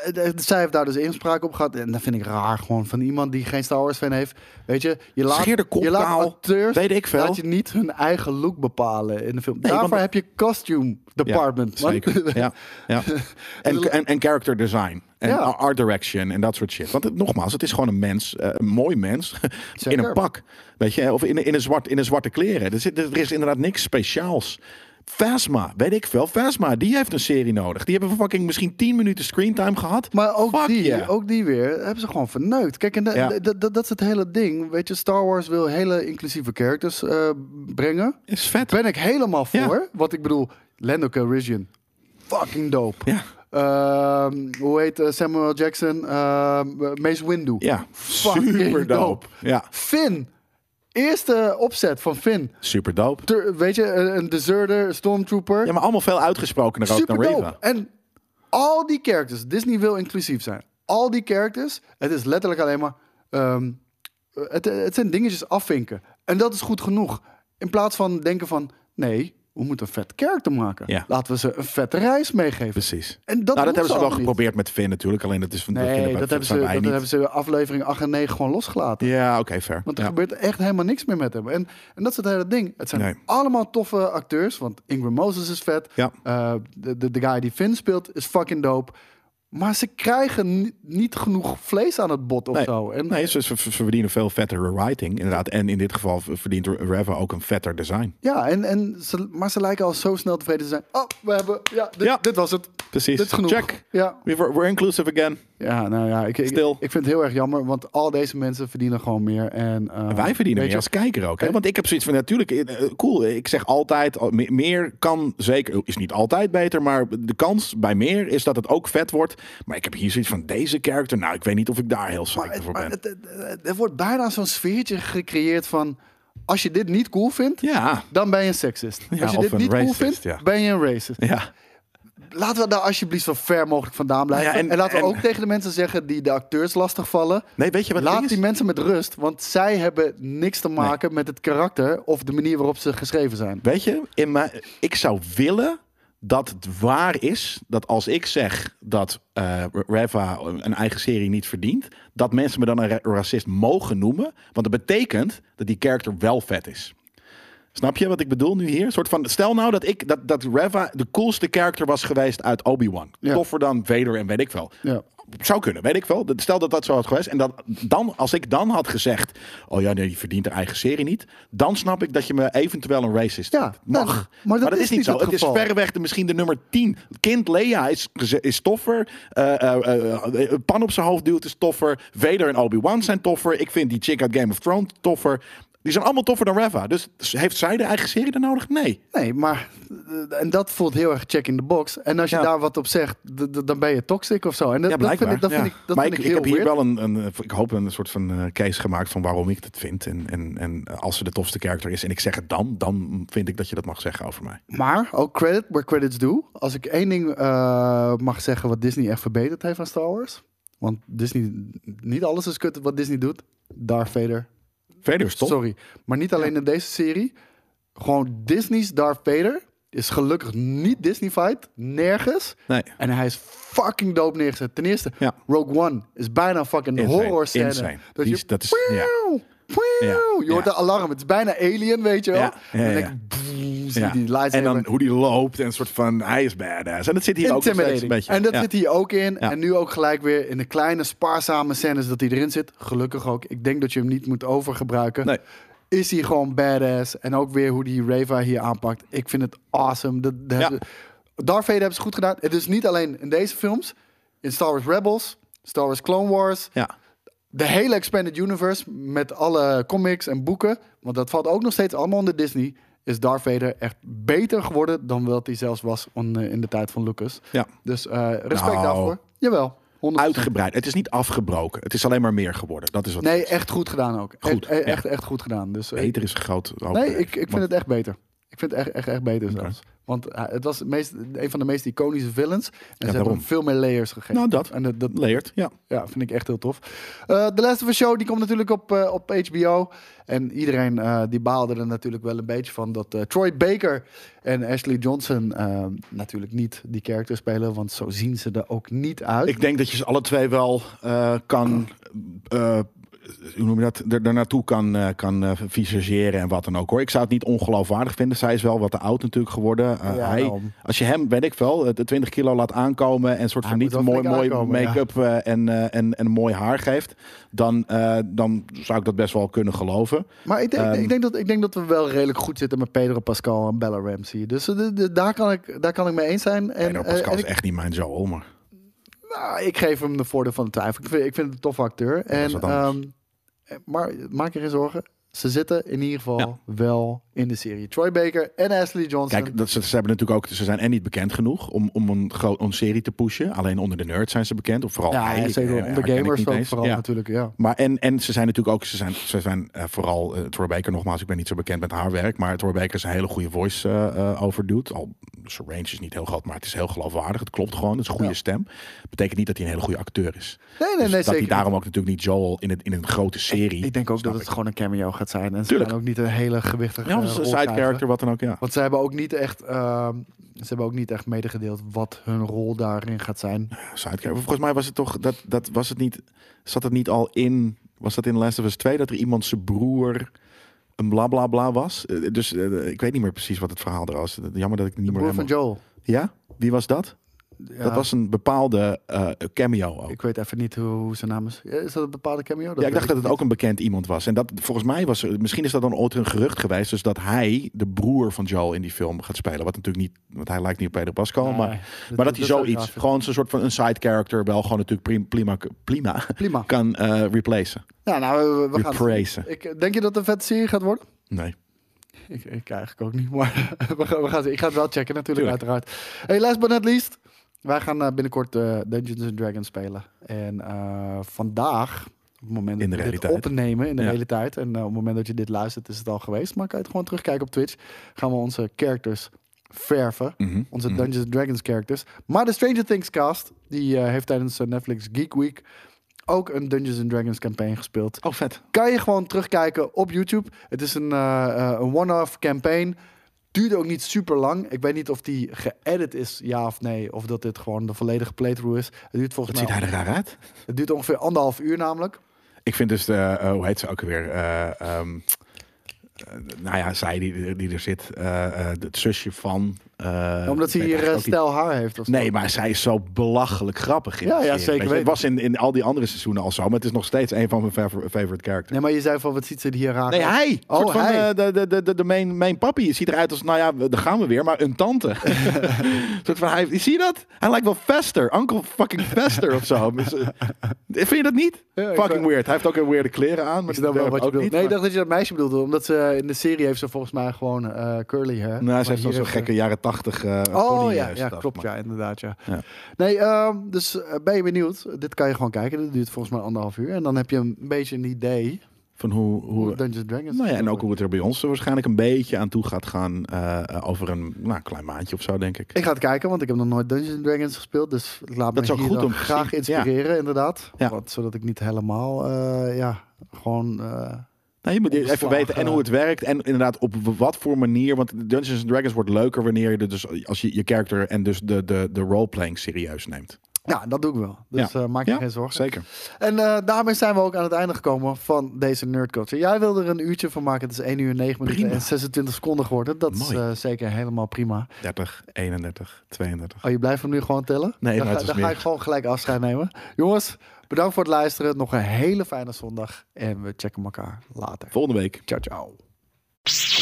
Speaker 3: eh, eh, Zij heeft daar dus inspraak op gehad. En dat vind ik raar gewoon van iemand die geen Star Wars fan heeft. Weet je, je laat,
Speaker 2: Scheerde
Speaker 3: je laat
Speaker 2: koptaal,
Speaker 3: acteurs
Speaker 2: weet ik veel.
Speaker 3: Laat je niet hun eigen look bepalen in de film. Daarvoor
Speaker 2: want-
Speaker 3: heb je costume
Speaker 2: Ja,
Speaker 3: department. man.
Speaker 2: zeker. Ja, ja. En, en, en character design. En
Speaker 3: Ja.
Speaker 2: art direction en dat soort shit. Want het, nogmaals, het is gewoon een mens, eh, een mooi mens, in
Speaker 3: Zeker.
Speaker 2: een pak. Weet je, of in, in, een zwart, in een zwarte kleren. Er, zit, er is inderdaad niks speciaals. Phasma, weet ik veel. Phasma, die heeft een serie nodig. Die hebben fucking misschien 10 minuten screentime gehad.
Speaker 3: Maar ook
Speaker 2: Fuck
Speaker 3: die,
Speaker 2: yeah.
Speaker 3: ook die weer, hebben ze gewoon verneukt. Kijk, en da-
Speaker 2: Ja.
Speaker 3: da- da- dat is het hele ding. Weet je, Star Wars wil hele inclusieve characters eh, brengen.
Speaker 2: is vet.
Speaker 3: ben ik helemaal
Speaker 2: Ja.
Speaker 3: voor. Wat ik bedoel, Lando Calrissian. Fucking dope.
Speaker 2: Ja.
Speaker 3: Ehm, hoe heet eh, Samuel Jackson? Ehm, Mace Windu.
Speaker 2: Ja,
Speaker 3: Fucking
Speaker 2: super dope.
Speaker 3: dope.
Speaker 2: Ja,
Speaker 3: Finn. Eerste opzet van Finn.
Speaker 2: super dope.
Speaker 3: Ter- weet je, een, een deserter, een stormtrooper.
Speaker 2: Ja, maar allemaal veel uitgesprokener ook dan
Speaker 3: Super
Speaker 2: Reva.
Speaker 3: dope. En al die characters, Disney wil inclusief zijn. Al die characters, het is letterlijk alleen maar. ehm, het, het zijn dingetjes afvinken. En dat is goed genoeg. In plaats van denken van. Nee, we moeten een vet character maken.
Speaker 2: Ja.
Speaker 3: Laten we ze een vette reis meegeven.
Speaker 2: Precies.
Speaker 3: En
Speaker 2: nou,
Speaker 3: dat doen
Speaker 2: dat hebben
Speaker 3: ze
Speaker 2: ze wel
Speaker 3: allemaal niet.
Speaker 2: geprobeerd met Finn natuurlijk. Alleen dat is van dat
Speaker 3: Nee,
Speaker 2: vinden wij-
Speaker 3: dat hebben, ze,
Speaker 2: zijn wij
Speaker 3: dat
Speaker 2: niet.
Speaker 3: hebben ze aflevering 8 en 9 gewoon losgelaten.
Speaker 2: Ja, oké, fair.
Speaker 3: Want er
Speaker 2: Ja.
Speaker 3: gebeurt echt helemaal niks meer met hem. En, en dat is het hele ding. Het zijn
Speaker 2: Nee.
Speaker 3: allemaal toffe acteurs. Want Ingram Moses is vet.
Speaker 2: Ja.
Speaker 3: Eh, de, de, de guy die Finn speelt is fucking dope. Maar ze krijgen ni- niet genoeg vlees aan het bot of
Speaker 2: Nee,
Speaker 3: zo. En, eh,
Speaker 2: nee ze, ze- ze verdienen veel vettere writing, inderdaad. En in dit geval verdient Reva ook een vetter design.
Speaker 3: Ja, en, en ze, maar ze lijken al zo snel tevreden te zijn. Oh, we hebben... Ja, dit,
Speaker 2: Ja.
Speaker 3: dit was het.
Speaker 2: Precies.
Speaker 3: Dit is genoeg.
Speaker 2: Check.
Speaker 3: Ja.
Speaker 2: We're, we're inclusive again.
Speaker 3: Ja, nou ja, ik, ik,
Speaker 2: Stil.
Speaker 3: ik vind het heel erg jammer, want al deze mensen verdienen gewoon meer. En, eh,
Speaker 2: Wij verdienen
Speaker 3: weet
Speaker 2: meer
Speaker 3: je,
Speaker 2: als kijker ook. Hè? Want ik heb zoiets van, natuurlijk, eh, eh, cool. Ik zeg altijd, al- me- meer kan zeker, is niet altijd beter, maar de kans bij meer is dat het ook vet wordt. Maar ik heb hier zoiets van, deze character, nou, ik weet niet of ik daar heel
Speaker 3: Maar,
Speaker 2: zeker
Speaker 3: het,
Speaker 2: voor
Speaker 3: maar
Speaker 2: ben.
Speaker 3: het, het- het- er wordt bijna zo'n sfeertje gecreëerd van... Als je dit niet cool vindt,
Speaker 2: Ja,
Speaker 3: dan ben je een seksist. als je
Speaker 2: of
Speaker 3: dit
Speaker 2: een
Speaker 3: niet cool
Speaker 2: racist,
Speaker 3: vindt,
Speaker 2: ja.
Speaker 3: ben je een racist.
Speaker 2: ja.
Speaker 3: Laten we daar alsjeblieft zo ver mogelijk vandaan blijven.
Speaker 2: Nou ja, en-
Speaker 3: en, laten we
Speaker 2: en-
Speaker 3: ook tegen de mensen zeggen die de acteurs lastigvallen.
Speaker 2: Nee, weet je wat het
Speaker 3: Laat
Speaker 2: ding
Speaker 3: die
Speaker 2: is?
Speaker 3: mensen met rust, want zij hebben niks te maken met het karakter of de manier waarop ze geschreven zijn.
Speaker 2: Weet je, in mijn, ik zou willen dat het waar is dat als ik zeg dat eh, Reva een eigen serie niet verdient, dat mensen me dan een ra- racist mogen noemen. Want dat betekent dat die character wel vet is. Snap je wat ik bedoel nu hier? Een soort van, stel nou dat, ik, dat, dat Reva de coolste character was geweest uit Obi-Wan.
Speaker 3: Ja.
Speaker 2: Toffer dan Vader en weet ik wel.
Speaker 3: Ja.
Speaker 2: zou kunnen, weet ik wel. Stel dat dat zo had geweest. En dat, dan, als ik dan had gezegd... Oh ja, nee, je verdient haar eigen serie niet. Dan snap ik dat je me eventueel een racist
Speaker 3: Ja,
Speaker 2: vindt.
Speaker 3: nou,
Speaker 2: Mag.
Speaker 3: maar
Speaker 2: maar
Speaker 3: dat
Speaker 2: dat
Speaker 3: is
Speaker 2: is,
Speaker 3: niet
Speaker 2: niet zo.
Speaker 3: het
Speaker 2: Het, is
Speaker 3: geval.
Speaker 2: verreweg de, misschien de nummer 10. Kind Lea is, geze- is toffer. Eh, eh, eh, een pan op zijn hoofd duwt is toffer. Vader en Obi-Wan zijn toffer. Ik vind die chick uit Game of Thrones toffer. Die zijn allemaal toffer dan Reva. Dus heeft zij de eigen serie dan nodig? Nee.
Speaker 3: Nee, maar eh, en dat voelt heel erg check in the box. En als je
Speaker 2: Ja.
Speaker 3: daar wat op zegt, d- d- dan ben je toxic of zo. En dat,
Speaker 2: Ja,
Speaker 3: dat vind
Speaker 2: blijkbaar.
Speaker 3: ik, dat vind
Speaker 2: Ja.
Speaker 3: ik, dat
Speaker 2: maar
Speaker 3: vind
Speaker 2: ik,
Speaker 3: heel
Speaker 2: heb hier
Speaker 3: weird.
Speaker 2: wel een, een, ik hoop een soort van eh, case gemaakt van waarom ik dat vind. En, en, en als ze de tofste character is en ik zeg het dan, dan vind ik dat je dat mag zeggen over mij.
Speaker 3: Maar ook credit where credits due. Als ik één ding eh, mag zeggen wat Disney echt verbeterd heeft aan Star Wars. Want Disney, niet alles is kut wat Disney doet. Darth Vader.
Speaker 2: Vader is top.
Speaker 3: Sorry. Maar niet alleen in deze serie. Gewoon Disney's Darth Vader is gelukkig niet Disney-fight. Nergens.
Speaker 2: Nee.
Speaker 3: En hij is fucking dope neergezet. Ten eerste,
Speaker 2: Ja.
Speaker 3: Rogue One is bijna een fucking
Speaker 2: Insane.
Speaker 3: horror scène.
Speaker 2: Insane.
Speaker 3: Dat
Speaker 2: Die
Speaker 3: je,
Speaker 2: is- dat is- ja.
Speaker 3: Wauw,
Speaker 2: Ja.
Speaker 3: wauw. Je hoort
Speaker 2: Ja.
Speaker 3: de alarm. Het is bijna Alien, weet je wel.
Speaker 2: Ja. Ja,
Speaker 3: En dan
Speaker 2: ja,
Speaker 3: denk ik, boem, zie je die lightsaber.
Speaker 2: En dan hoe die loopt en een soort van hij is badass. En dat zit hier ook nog steeds
Speaker 3: Intimidating.
Speaker 2: een beetje.
Speaker 3: En dat
Speaker 2: Ja.
Speaker 3: zit hier ook in.
Speaker 2: Ja.
Speaker 3: En nu ook gelijk weer in de kleine spaarzame scènes dat hij erin zit. Gelukkig ook. Ik denk dat je hem niet moet overgebruiken.
Speaker 2: Nee.
Speaker 3: Is hij gewoon badass. En ook weer hoe die Reva hier aanpakt. Ik vind het awesome. Dat,
Speaker 2: Ja.
Speaker 3: dat hebben- Darth Vader hebben ze goed gedaan. Het is niet alleen in deze films. In Star Wars Rebels, Star Wars Clone Wars.
Speaker 2: Ja.
Speaker 3: De hele Expanded Universe met alle comics en boeken. Want dat valt ook nog steeds allemaal onder Disney. Is Darth Vader echt beter geworden dan wat hij zelfs was on- eh, in de tijd van Lucas.
Speaker 2: Ja.
Speaker 3: Dus eh, respect
Speaker 2: Nou.
Speaker 3: daarvoor. Jawel. 100%.
Speaker 2: Uitgebreid. Het is niet afgebroken. Het is alleen maar meer geworden. Dat is wat
Speaker 3: Nee, echt goed gedaan ook.
Speaker 2: Goed,
Speaker 3: Echt, e-
Speaker 2: ja.
Speaker 3: echt, echt goed gedaan. Dus, eh,
Speaker 2: beter is een groot.
Speaker 3: Nee, ik, ik vind het echt beter. Ik vind het echt, echt, echt beter zelfs. Want eh, het was het meest, een van de meest iconische villains. En ze hebben
Speaker 2: daarom.
Speaker 3: hem veel meer layers gegeven.
Speaker 2: Nou, dat.
Speaker 3: En dat, dat,
Speaker 2: leert. Ja.
Speaker 3: Ja, vind ik echt heel tof. Eh The Last of Us Show, die komt natuurlijk op, eh, op HBO. En iedereen eh, die baalde er natuurlijk wel een beetje van dat eh, Troy Baker en Ashley Johnson eh, natuurlijk niet die character spelen. Want zo zien ze er ook niet uit.
Speaker 2: Ik denk dat je ze alle twee wel eh, kan. eh, hoe noem je dat? Er, er naartoe kan, eh kan eh, visageren en wat dan ook hoor. Ik zou het niet ongeloofwaardig vinden. Zij is wel wat te oud natuurlijk geworden. Eh,
Speaker 3: Ja,
Speaker 2: hij,
Speaker 3: daarom.
Speaker 2: als je hem, weet ik wel, eh, de 20 kilo laat aankomen en soort
Speaker 3: Hij
Speaker 2: van
Speaker 3: moet
Speaker 2: niet
Speaker 3: wel
Speaker 2: mooi,
Speaker 3: flink
Speaker 2: mooi
Speaker 3: aankomen, ja.
Speaker 2: make-up eh, en, eh, en, en mooi haar geeft, dan, eh, dan zou ik dat best wel kunnen geloven.
Speaker 3: maar ik denk,
Speaker 2: Ehm.
Speaker 3: ik, denk dat, ik denk dat we wel redelijk goed zitten met Pedro Pascal en Bella Ramsey. Dus eh, de- de- daar, kan ik, daar kan ik mee eens zijn. En,
Speaker 2: Pedro
Speaker 3: eh,
Speaker 2: Pascal
Speaker 3: en
Speaker 2: is
Speaker 3: ik,
Speaker 2: echt niet mijn Joel, maar
Speaker 3: nou, ik geef hem de voordeel van de twijfel. Ik vind, ik vind het een toffe acteur. En,
Speaker 2: wat anders.
Speaker 3: ehm, maar maak je geen zorgen. Ze zitten in ieder geval wel in de serie. Troy Baker en Ashley Johnson.
Speaker 2: Kijk, dat, ze, ze hebben natuurlijk ook, ze zijn en niet bekend genoeg om, om een groot een serie te pushen. Alleen onder de nerds zijn ze bekend, of vooral
Speaker 3: ja,
Speaker 2: hij. Ik-
Speaker 3: zeker
Speaker 2: eh, haar
Speaker 3: onder
Speaker 2: ken ik
Speaker 3: gamers
Speaker 2: niet
Speaker 3: ook
Speaker 2: eens.
Speaker 3: vooral
Speaker 2: Ja.
Speaker 3: natuurlijk. Ja.
Speaker 2: Maar en, en ze zijn natuurlijk ook, ze zijn, ze zijn eh, vooral eh Troy Baker nogmaals, ik ben niet zo bekend met haar werk, maar Troy Baker is een hele goede voice eh, eh, overduwt. Al zijn range is niet heel groot, maar het is heel geloofwaardig. Het klopt gewoon, het is een goede
Speaker 3: Ja.
Speaker 2: stem. Betekent niet dat hij een hele goede acteur is.
Speaker 3: Nee, nee,
Speaker 2: Dus
Speaker 3: nee,
Speaker 2: dat hij
Speaker 3: zeker.
Speaker 2: daarom ook natuurlijk niet Joel in, het, in een grote serie.
Speaker 3: ik denk ook
Speaker 2: snap
Speaker 3: dat het gewoon een cameo gaat zijn. En ze
Speaker 2: Tuurlijk.
Speaker 3: gaan ook niet een hele gewichtige
Speaker 2: ja,
Speaker 3: eh,
Speaker 2: of een
Speaker 3: rol
Speaker 2: side
Speaker 3: krijgen.
Speaker 2: character, wat dan ook, ja.
Speaker 3: Want ze hebben ook niet echt, ehm, ze hebben ook niet echt medegedeeld wat hun rol daarin gaat zijn.
Speaker 2: Side character. Volgens mij was het toch, dat, dat was het niet, zat het niet al in, was dat in Last of Us 2, dat er iemand zijn broer een blablabla was? Eh, dus eh, ik weet niet meer precies wat het verhaal er was. Eh, Jammer dat ik het niet meer
Speaker 3: Broer van
Speaker 2: helemaal...
Speaker 3: Joel.
Speaker 2: Ja? Wie was dat?
Speaker 3: Ja,
Speaker 2: Dat was een bepaalde eh, cameo ook.
Speaker 3: Ik weet even niet hoe, hoe zijn naam is. Ja, Is dat een bepaalde cameo?
Speaker 2: ja, ik dacht
Speaker 3: weet
Speaker 2: dat het ook een bekend iemand was. En dat volgens mij was er, misschien is dat dan ooit een gerucht geweest, dus dat hij de broer van Joel in die film gaat spelen. Wat natuurlijk niet, want hij lijkt niet op Pedro Pascal,
Speaker 3: Nee,
Speaker 2: maar,
Speaker 3: dat-
Speaker 2: maar
Speaker 3: dat
Speaker 2: dat hij
Speaker 3: zou ik
Speaker 2: zoiets,
Speaker 3: raar vinden.
Speaker 2: gewoon zo'n soort van een side character, wel gewoon natuurlijk prim- prima, prima,
Speaker 3: Prima.
Speaker 2: kan eh replacen.
Speaker 3: Ja, nou, we, we gaan.
Speaker 2: Replacen.
Speaker 3: Ik, denk je dat het een vette serie gaat worden?
Speaker 2: Nee.
Speaker 3: Ik, ik eigenlijk ook niet, maar we gaan, we gaan, zien. ik ga het wel checken natuurlijk,
Speaker 2: Tuurlijk.
Speaker 3: uiteraard. Hey, last but not least. Wij gaan eh, binnenkort eh, Dungeons and Dragons spelen. En eh, vandaag, op het moment
Speaker 2: In de
Speaker 3: dat we dit
Speaker 2: realiteit.
Speaker 3: opnemen in de
Speaker 2: Ja.
Speaker 3: realiteit... en eh, op het moment dat je dit luistert is het al geweest... maar kan je het gewoon terugkijken op Twitch. Gaan we onze characters verven.
Speaker 2: Mhm.
Speaker 3: Onze
Speaker 2: Mhm.
Speaker 3: Dungeons and Dragons characters. Maar de Stranger Things cast, die eh, heeft tijdens eh, Netflix Geek Week... ook een Dungeons and Dragons campaign gespeeld
Speaker 2: Oh, vet.
Speaker 3: kan je gewoon terugkijken op YouTube. Het is een, eh, eh, een one-off campaign. Duurde ook niet super lang. Ik weet niet of die geëdit is, ja of nee. Of dat dit gewoon de volledige playthrough is. Het duurt
Speaker 2: Wat
Speaker 3: volgens
Speaker 2: ziet
Speaker 3: mij.
Speaker 2: hij er raar uit?
Speaker 3: Het duurt ongeveer anderhalf uur namelijk.
Speaker 2: Ik vind dus, de, eh, hoe heet ze ook weer? Eh, ehm, eh, nou ja, zij die, die er zit. eh, eh, het zusje van eh,
Speaker 3: Omdat hij
Speaker 2: weet
Speaker 3: hier eh,
Speaker 2: eigenlijk ook niet-
Speaker 3: stijl haar heeft. Of zo.
Speaker 2: Nee, maar zij is zo belachelijk grappig. In
Speaker 3: Ja,
Speaker 2: die
Speaker 3: ja,
Speaker 2: serie,
Speaker 3: zeker
Speaker 2: weet je. Het
Speaker 3: weten.
Speaker 2: was in, in al die andere seizoenen al zo, maar het is nog steeds een van mijn favor- favorite characters.
Speaker 3: Nee, maar je zei van, wat ziet ze hier raken?
Speaker 2: Nee, hij. Een
Speaker 3: Oh,
Speaker 2: soort van,
Speaker 3: hij.
Speaker 2: eh, de, de, de, de, de main, main papi. Je ziet eruit als, nou ja, we- daar gaan we weer, maar een tante. Een soort van, hij, zie je dat? Hij lijkt wel Fester. Uncle fucking Fester of zo. Dus, eh, vind je dat niet?
Speaker 3: Ja, ik
Speaker 2: fucking
Speaker 3: wel.
Speaker 2: weird. Hij heeft ook een weirde kleren aan. Maar
Speaker 3: Ik snap wel
Speaker 2: dat
Speaker 3: wat je
Speaker 2: ook
Speaker 3: bedoelt.
Speaker 2: niet.
Speaker 3: nee, ik
Speaker 2: maar-
Speaker 3: dacht dat je dat meisje bedoelde. Omdat ze eh, in de serie heeft ze volgens mij gewoon eh, curly hair.
Speaker 2: nou,
Speaker 3: Maar
Speaker 2: ze heeft
Speaker 3: hier
Speaker 2: zo'n
Speaker 3: heeft ze-
Speaker 2: gekke jaren tachtig eh
Speaker 3: Oh
Speaker 2: pony,
Speaker 3: ja,
Speaker 2: eh,
Speaker 3: ja
Speaker 2: stuff,
Speaker 3: klopt.
Speaker 2: man.
Speaker 3: Ja, inderdaad. Ja.
Speaker 2: Ja.
Speaker 3: Nee, ehm, dus eh, ben je benieuwd? Dit kan je gewoon kijken. Dit duurt volgens mij anderhalf uur. En dan heb je een beetje een idee
Speaker 2: Van hoe... hoe
Speaker 3: hoe Dungeons Dragons.
Speaker 2: nou ja, en ook hoe het er bij ons er waarschijnlijk een beetje aan toe gaat gaan eh, eh, over een nou, klein maandje of zo, denk ik.
Speaker 3: Ik ga het kijken, want ik heb nog nooit Dungeons Dragons gespeeld. Dus ik laat
Speaker 2: Dat is
Speaker 3: me
Speaker 2: ook
Speaker 3: hier
Speaker 2: goed
Speaker 3: dan
Speaker 2: om te
Speaker 3: graag
Speaker 2: zien,
Speaker 3: inspireren, inderdaad.
Speaker 2: Ja.
Speaker 3: Want, zodat ik niet helemaal, eh, ja, gewoon... eh,
Speaker 2: Nou, je moet even
Speaker 3: Ontslagen.
Speaker 2: weten en hoe het werkt en inderdaad op w- wat voor manier. Want Dungeons Dragons wordt leuker wanneer je er dus als je je character en dus de, de, de roleplaying serieus neemt.
Speaker 3: ja, dat doe ik wel. Dus eh, maak je
Speaker 2: Ja,
Speaker 3: geen zorgen.
Speaker 2: Zeker.
Speaker 3: En eh, daarmee zijn we ook aan het einde gekomen van deze Nerd Culture. Jij wilde er een uurtje van maken. Het is 1 uur 9 minuten
Speaker 2: Prima.
Speaker 3: en 26 seconden geworden. Dat is
Speaker 2: Mooi.
Speaker 3: eh, zeker helemaal prima.
Speaker 2: 30, 31, 32.
Speaker 3: Oh, je blijft hem nu gewoon tellen?
Speaker 2: Nee,
Speaker 3: dan
Speaker 2: maar het was
Speaker 3: ga, dan ga
Speaker 2: meer.
Speaker 3: ik gewoon gelijk afscheid nemen. Jongens, bedankt voor het luisteren. Nog een hele fijne zondag. En we checken elkaar later.
Speaker 2: Volgende week.
Speaker 3: Ciao, ciao.